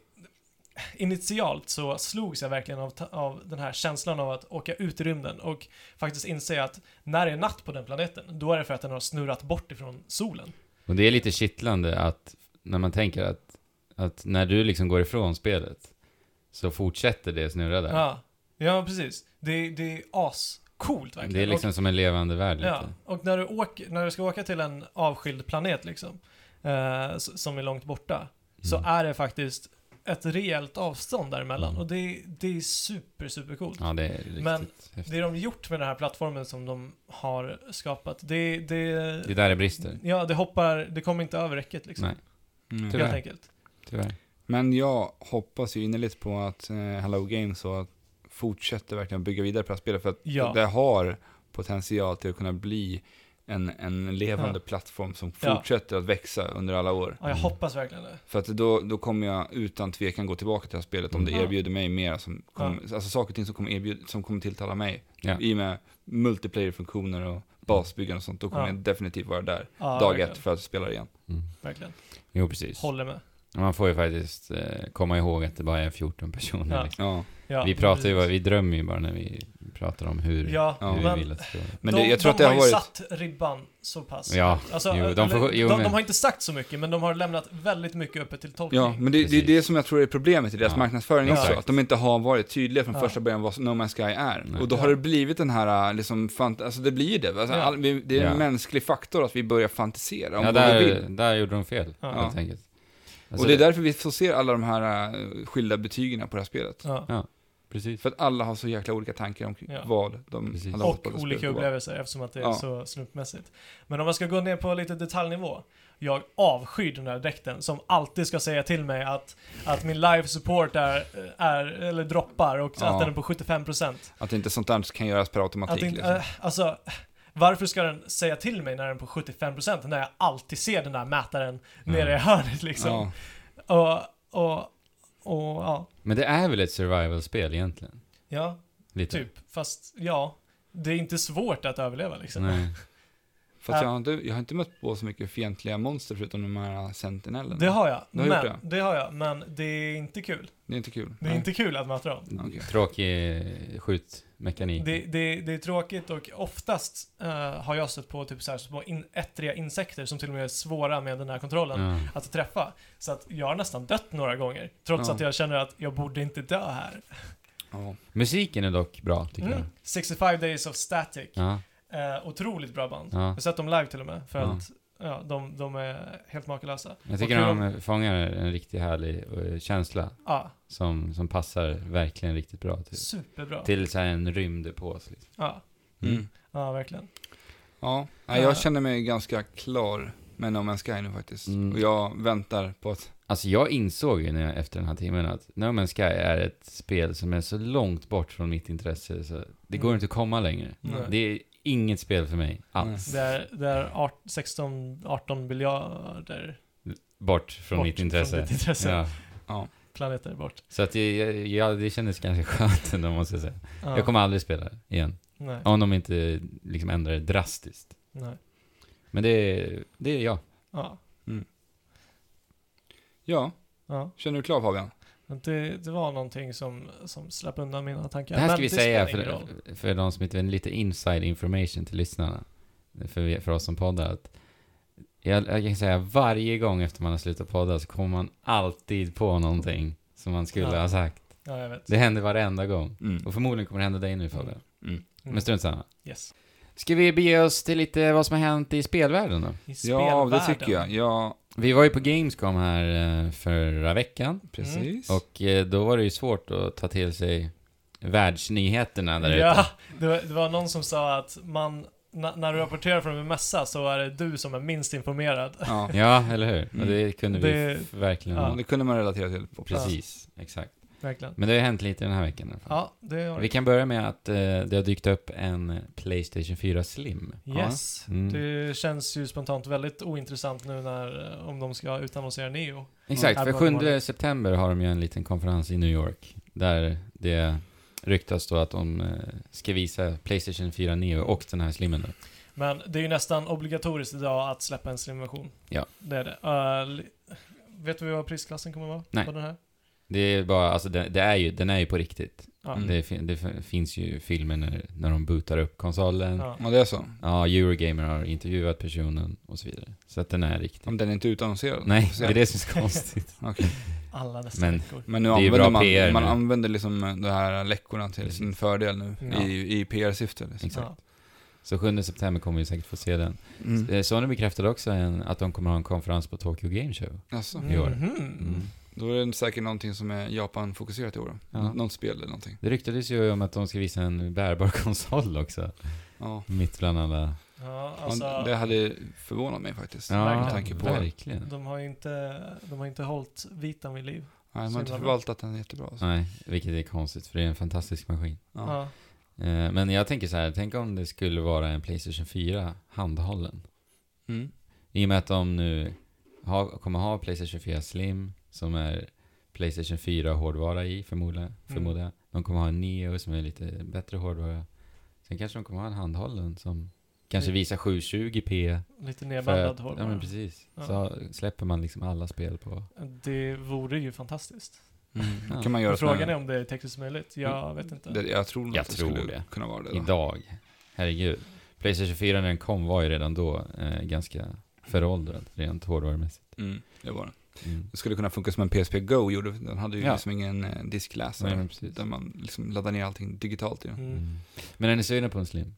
Initialt så slogs jag verkligen av, ta- av den här känslan av att åka ut i rymden och faktiskt inse att när det är natt på den planeten, då är det för att den har snurrat bort ifrån solen. Och det är lite kittlande att, när man tänker att, att när du liksom går ifrån spelet, så fortsätter det snurra där. Ja, ja precis. Det, det är ascoolt verkligen. det är liksom som en levande värld och, lite. ja, och när, du åker, när du ska åka till en avskild planet liksom, eh, s- som är långt borta, så Mm. är det faktiskt ett rejält avstånd däremellan. Mm. Och det, det är super, super coolt. Ja, det är riktigt Men häftigt. Det de gjort med den här plattformen som de har skapat, det... det, Det är där det brister. ja, det hoppar, det kommer inte över räcket liksom. Nej, Mm. tyvärr. Helt enkelt. tyvärr. Men jag hoppas ju innerligt på att eh, Hello Games så att fortsätter verkligen bygga vidare på det här spelet. För att Ja. det har potential till att kunna bli en, en levande plattform som Ja. fortsätter att växa under alla år. Ja, jag Mm. hoppas verkligen det. För att då, då kommer jag utan tvekan gå tillbaka till det här spelet om det Mm. Ja. erbjuder mig mer som kommer, alltså saker och ting som kommer, erbjud, som kommer tilltala mig. Ja. I och med multiplayer-funktioner och basbyggande och sånt, då kommer Ja. jag definitivt vara där Ja, dag verkligen. ett för att spela det igen. Mm. Verkligen. Jo, precis. Håller med. Man får ju faktiskt eh, komma ihåg att det bara är 14 personer. Ja. Liksom. Ja. Ja, vi pratar ju, precis. vi drömmer ju bara när vi pratar om hur, Ja, Ja. hur vi men vill att det ska vara. Men de, det, jag tror de att det har ju varit... satt ribban så pass. Ja, Alltså, jo, eller, de de, får- jo, de, men- har inte sagt så mycket, men de har lämnat väldigt mycket öppet till tolkning. Ja, men det, det är Precis. det som jag tror är problemet i deras Ja. marknadsföring också. Exakt. Att de inte har varit tydliga från Ja. första början vad No Man's Sky är. Nej. Och då har Ja. det blivit den här, äh, liksom, fant- alltså det blir ju det. Alltså, Ja. all, vi, det är en Ja. mänsklig faktor att vi börjar fantisera om Ja, vad vi vill. där, där gjorde de fel, Ja. helt enkelt. Alltså, och alltså det är därför vi får se alla de här äh, skilda betygen på det här spelet. Ja. Precis. För att alla har så jäkla olika tankar om Ja. vad de Precis. hade hoppats Och på att olika spelet var. upplevelser eftersom att det är Ja. så slumpmässigt. Men om man ska gå ner på lite detaljnivå. Jag avskyr den här dräkten som alltid ska säga till mig att, att min live support är, är eller droppar och Ja. att den är på 75%. Att inte sånt där kan göras per automatik. Att inte, liksom. äh, alltså, varför ska den säga till mig när den är på 75% när jag alltid ser den där mätaren nere i hörnet liksom? Mm. ja. Och, och, och ja, Men det är väl ett survival-spel egentligen? ja, Lite. typ. Fast ja, det är inte svårt att överleva liksom. Nej. Fast jag har, inte, jag har inte mött på så mycket fientliga monster förutom de här sentinellerna. Det har jag, Du har gjort men, det har jag, men det är inte kul. Det är inte kul. Det är Nej. inte kul att möta dem. Okej. Tråkig eh, skjutmekanik. Det, det, det är tråkigt och oftast eh, har jag stött på typ så här små in, ettriga insekter som till och med är svåra med den här kontrollen Ja. att träffa. Så att jag har nästan dött några gånger, trots Ja. att jag känner att jag borde inte dö här. Ja. Musiken är dock bra, tycker Mm. jag. 65 Days of Static. Ja, Eh, otroligt bra band. Ja. Jag har sett dem live till och med, för Ja. att ja, de, de är helt makalösa. jag tycker Och hur de fångar en riktigt härlig eh, känsla Ja, som, som passar verkligen riktigt bra till, superbra. till så här en rymdepås. Liksom. Ja, Mm. Mm. ja, verkligen. Ja, nej, Ja. jag känner mig ganska klar med No Man's Sky nu faktiskt. Mm. Och jag väntar på att... Alltså jag insåg ju när jag, efter den här timmen att No Man's Sky är ett spel som är så långt bort från mitt intresse så det går Mm. inte att komma längre. Nej. Det är inget spel för mig alls. Det är, det är art- 16-18 biljarder Bort från bort mitt intresse. från ditt intresse. Ja. Planeter bort. Så att det, jag- ja, det kändes ganska skönt ändå måste jag säga. Ja, Jag kommer aldrig spela det igen. Nej, Om de inte liksom ändrar det drastiskt. nej. Men det, är- det är jag. Ja, Ja, ja. känner du klar Fabian? Men Det, det var någonting som, som släppte undan mina tankar. det här ska Men vi det säga spelar ingen för, roll. för de som inte vet, lite inside information till lyssnarna. För, vi- för oss som poddar. Att jag, jag kan säga varje gång efter man har slutat podda så kommer man alltid på någonting som man skulle Ja. ha sagt. Ja, jag vet. Det händer varenda gång. Mm. Och förmodligen kommer det hända dig nu Fabian. Mm. Mm. Men strunt samma. Yes. Ska vi bege oss till lite vad som har hänt i spelvärlden I då? Ja, det spelvärlden. tycker jag. Ja, Vi var ju på Gamescom här eh, förra veckan. precis. Mm. Och eh, då var det ju svårt att ta till sig världsnyheterna där ute. Ja, det var, det var någon som sa att man na- när du rapporterar från en mässa så är det du som är minst informerad. Ja. Ja, eller hur? Och Mm. det kunde vi Det- f- verkligen... Ja. Ja, Det kunde man relatera till. På plats. Precis, exakt. Verkligen. Men det har hänt lite den här veckan i alla fall. Ja, det har Mm. Vi kan börja med att eh, det har dykt upp en Playstation 4 Slim. Yes. Ja. Mm. Det känns ju spontant väldigt ointressant nu när, eh, om de ska utannonsera Neo. Exakt, Mm. för 7 september har de ju en liten konferens i New York där det ryktas då att de eh, ska visa Playstation 4 Neo och den här slimmen då. Men det är ju nästan obligatoriskt idag att släppa en slimversion. Ja. Det är det. Eh, li- vet du vad prisklassen kommer vara? Nej. På den här? Det är bara, alltså det, det är ju, den är ju på riktigt. Ja. Mm. Det, fi- det fi- finns ju filmer när, när de bootar upp konsolen. Ja. Ja. Ja, det är så. Eurogamer har intervjuat personen och så vidare. Så att den är riktig. Om den är inte utannonserad. Nej, Så- det är det som är konstigt. Okej. Alla dessa Men- Mm, veckor. Men nu Det är ju använder bra man, PR man nu. använder liksom de här läckorna till Precis. sin fördel nu Ja. i, i PR-syfte. Liksom. Exakt. Ja. Så 7 september kommer vi säkert få se den. Mm. Eh, Sony bekräftade också en, att de kommer ha en konferens på Tokyo Game Show. Alltså, i år. Mhm. Mm. då är det säkert någonting som är Japan-fokuserat i år. Ja. Nå- Något spel eller någonting. Det ryktades ju om att de ska visa en bärbar konsol också. Ja. Mitt bland alla... Ja, Ja, alltså, det hade förvånat mig faktiskt. verkligen. Med tanke på... Nej, Verkligen. de har ju inte, de har inte hållit vitan vid liv. man har inte Himla bra. förvaltat den jättebra. Alltså. Nej, vilket är konstigt för det är en fantastisk maskin. Ja. Ja. Eh, Men jag tänker så här, tänk om det skulle vara en Playstation 4 handhållen. Mm. I och med att de nu har, kommer ha Playstation 4 Slim som är Playstation 4 hårdvara i Mm. förmodligen. förmodar jag. De kommer ha en Neo som är lite bättre hårdvara. Sen kanske de kommer ha en handhållen som kanske Mm. visar 720p. Lite För nedbandad att- Ja men hårdvara. precis. Ja. Så släpper man liksom alla spel på... det vore ju fantastiskt. Ja. Mm. kan man göra Men frågan är sådana- om det är tekniskt möjligt. Mm. Jag vet inte. det, Jag tror nog Jag att det tror skulle det. kunna vara det. då. Idag. Herregud. Playstation 4 när den kom var ju redan då eh, ganska föråldrad rent hårdvarumässigt. Mm, det var det. Mm. Det skulle kunna funka som en PSP Go gjorde. Den hade ju Ja. liksom ingen eh, diskläsare. Nej, men precis. där man liksom laddar ner allting digitalt i den. Mm. Mm. Men är ni sugna på en Slim?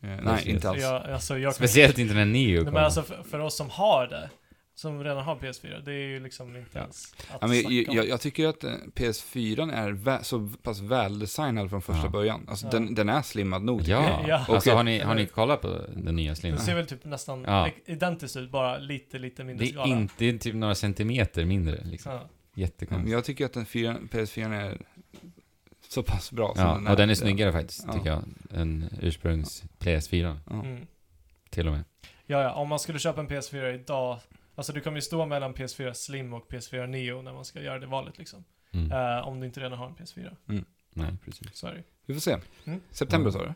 Eh, Precis. nej, inte alls. Jag, alltså, jag kan, Speciellt inte när Neo nej, kom. men alltså för, för oss som har det, som redan har PS4, det är ju liksom inte Ja. ens att Ja, men snacka jag, om. jag, jag tycker att eh, PS4 är vä- så pass väldesignad från första Ja. början. Alltså Ja. den, den är slimmad nog. tycker jag. ja. Ja. Alltså Okej. har ni, har ni kollat på den nya Slim? Den ser väl typ nästan Ja. i- identiskt ut, bara lite, lite Det mindre är, inte, det är typ några centimeter mindre liksom. Ja. Men Jättekonstigt. Jag tycker att den 4, PS4 är så pass bra som Ja, är. och den är snyggare faktiskt, Ja. tycker jag, än ursprungs PS4 Ja. Mm. till och med. Ja, ja, om man skulle köpa en PS4 idag, alltså du kommer ju stå mellan PS4 Slim och PS4 Neo när man ska göra det valet liksom. Mm. Eh, om du inte redan har en PS4, Nej, precis. så är det ju. Vi får se. Mm. September Ja. sa du?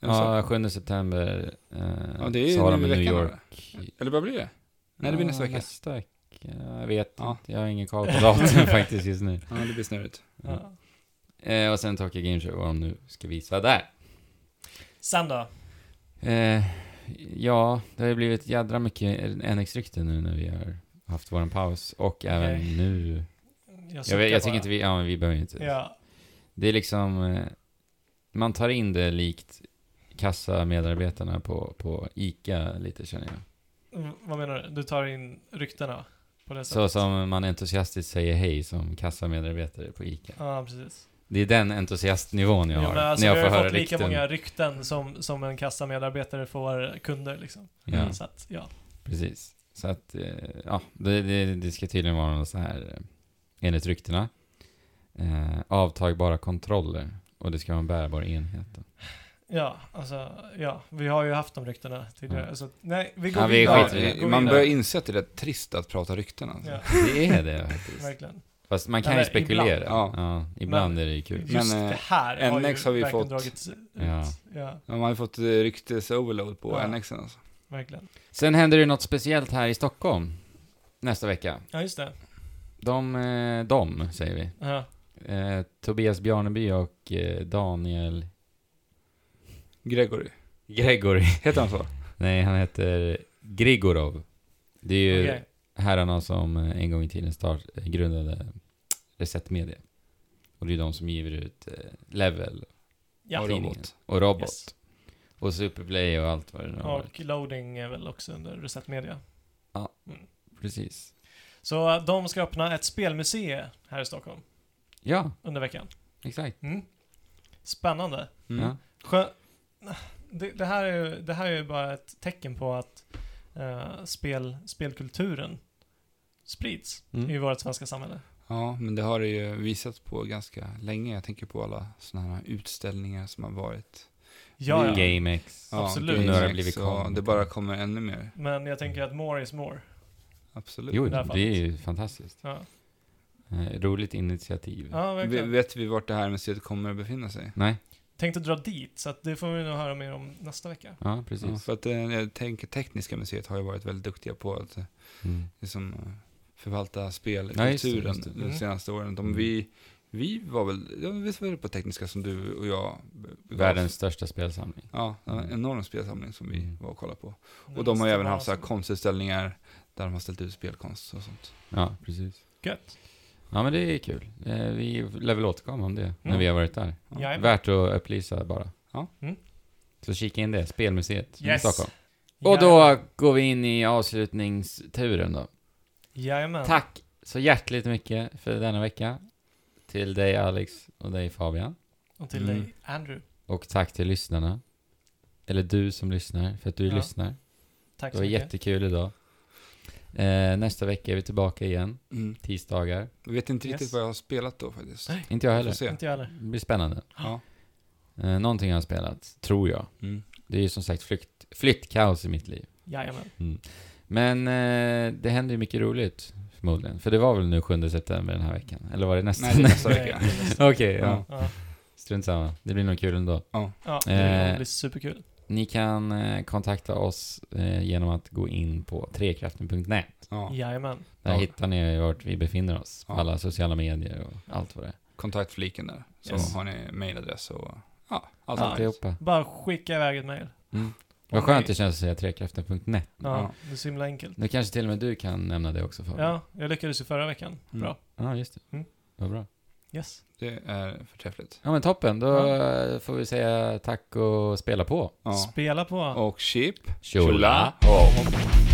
Eller så- Ja, 7 september eh, Alltså. Ja, det är så har de nu i en New veckan, York Eller vad blir det? Nej, det blir nästa Ja, vecka. Nästa vecka. Jag vet Ja. inte. Jag har ingen koll på datum faktiskt just nu. Ja, det blir snurrigt. Mm. Ja. Eh, och sen Tokyo Game Show, vad de nu ska visa där. Sen då? Eh, ja, det har ju blivit jädra mycket NX-rykten nu när vi har haft våran paus. Och även nu. Jag, vet, jag suckar tycker inte vi... Ja, men vi behöver ju inte. bara. Ja, Det är liksom... Eh, man tar in det likt kassamedarbetarna på, på ICA lite känner jag. Mm, vad menar du? Du tar in ryktena på det Så sättet? som man entusiastiskt säger hej som kassamedarbetare på ICA. Ja, precis. Det är den entusiastnivån jag Jo, har. men alltså, när vi jag har får ju höra fått lika rykten. många rykten som, som en kassamedarbetare får kunder liksom. Ja, Så att, ja. precis. Så att, eh, ja, det, det, det ska tydligen vara något så här, eh, enligt ryktena, eh, avtagbara kontroller. Och det ska vara en bärbar enhet. Då. Ja, alltså, ja. Vi har ju haft de ryktena tidigare. Ja. Så att, nej, vi går Mm. Ja, vi vidare. skiter i det. Vi går eh, man vidare. börjar inse att det är rätt trist att prata rykten alltså. Ja, Det är det faktiskt. verkligen. Fast man kan Eller ju spekulera. ibland. Ja. Ja. ibland Men- är det ju kul. Just Men, eh, det här har NX ju har vi verkligen fått- dragits ut. Ja. ja, Ja, Man har ju fått eh, ryktes-overload på Ja. NXen alltså. verkligen. Sen händer det något speciellt här i Stockholm nästa vecka. Ja, just det. De, eh, de säger vi. Ja. Eh, Tobias Bjarneby och eh, Daniel Gregory. Gregory. Heter han så? Nej, han heter Grigorov. Det är ju Okej. herrarna som eh, en gång i tiden start, eh, grundade Reset Media. Och det är de som ger ut eh, Level Ja. Och tidningen. Robot. och Robot. Yes. Och Superplay och allt vad det nu har varit. Och loading är väl också under Reset Media. Precis. Så eh, de ska öppna ett spelmuseum här i Stockholm Ja, under veckan. exakt. Mm. Spännande. Mm. Ja. Skö- det, det, här är, ju- det här är ju bara ett tecken på att eh, spel, spelkulturen sprids Mm. i vårt svenska samhälle. Ja, men det har det ju visat på ganska länge. Jag tänker på alla sådana här utställningar som har varit. Ja, ja. Game X. Ja, Absolut. Game Nu har det X, blivit och kom- Det bara kommer ännu mer. Men jag tänker att more is more. Absolut. Jo, I det här det är ju fantastiskt. Ja, Eh, roligt initiativ. ja Vi- verkligen. vet vi vart det här museet kommer att befinna sig? Nej, Tänkte dra dit, så att det får vi nog höra mer om nästa vecka. ja precis. För att eh, jag tänker Tekniska museet har ju varit väldigt duktiga på att eh, Mm. liksom, eh, förvalta Ja, just det, spelkulturen just det. de Mm. senaste åren. De, Mm. vi, vi var väl, ja, visst var det på Tekniska som du och jag begav Världens största spelsamling. Ja, det var en Mm. enorm spelsamling som vi Mm. var och kollade på. Och de har ju Det även var haft så här så- konstutställningar där de har ställt ut spelkonst och sånt. Ja, precis. Gött. Ja, men det är kul. Eh, vi lär väl återkomma om det när Mm. vi har varit där. Ja. Jajamän. Värt att upplysa bara. Ja. Mm. Så kika in det, Spelmuseet i Yes. Stockholm. Och då går vi in i avslutningsturen då. Jajamän. Tack så hjärtligt mycket för denna vecka. Till dig Alex och dig Fabian. Och till Mm. dig, Andrew. Och tack till lyssnarna. Eller du som lyssnar, för att du Ja. lyssnar. Tack Det så var mycket. jättekul idag. Eh, nästa vecka är vi tillbaka igen, Mm. tisdagar. Jag vet inte Yes. riktigt vad jag har spelat då faktiskt. Nej. Inte jag Får heller. se. Inte jag heller. Det blir spännande. Ja. Eh, någonting jag har spelat, tror jag. Mm. Det är ju som sagt flykt, flyttkaos i mitt liv. Jajamän. Men eh, det händer ju mycket roligt, förmodligen. För det var väl nu 7 september den här veckan? Eller var det nästa? Nej, det är nästa Nej, vecka. det är nästa. Okej, Ja. ja. Ja, Strunt samma. Det blir nog kul ändå. ja det kommer Eh. bli superkul. Ni kan eh, kontakta oss eh, genom att gå in på trekraften.net. Ja. Jajamän. Där Ja. hittar ni vart vi befinner oss. På Ja. alla sociala medier och allt vad det är. Kontaktfliken där. Så Yes. har ni mailadress och ja, allt Ja. möjligt. Alltihopa. Bara skicka iväg ett mejl. Mm. Vad Om skönt ni- det känns att säga trekraften.net. Ja, Ja. det är så himla enkelt. Nu kanske till och med du kan nämna det också Fabian? Ja, jag lyckades ju förra veckan. Mm. Bra. Ja, just det. Mm. Vad bra. Yes. Det är förträffligt. Ja men toppen, då Ja. eh, får vi säga tack och spela på. Ja. Spela på. Och chip. Tjola! och- Och-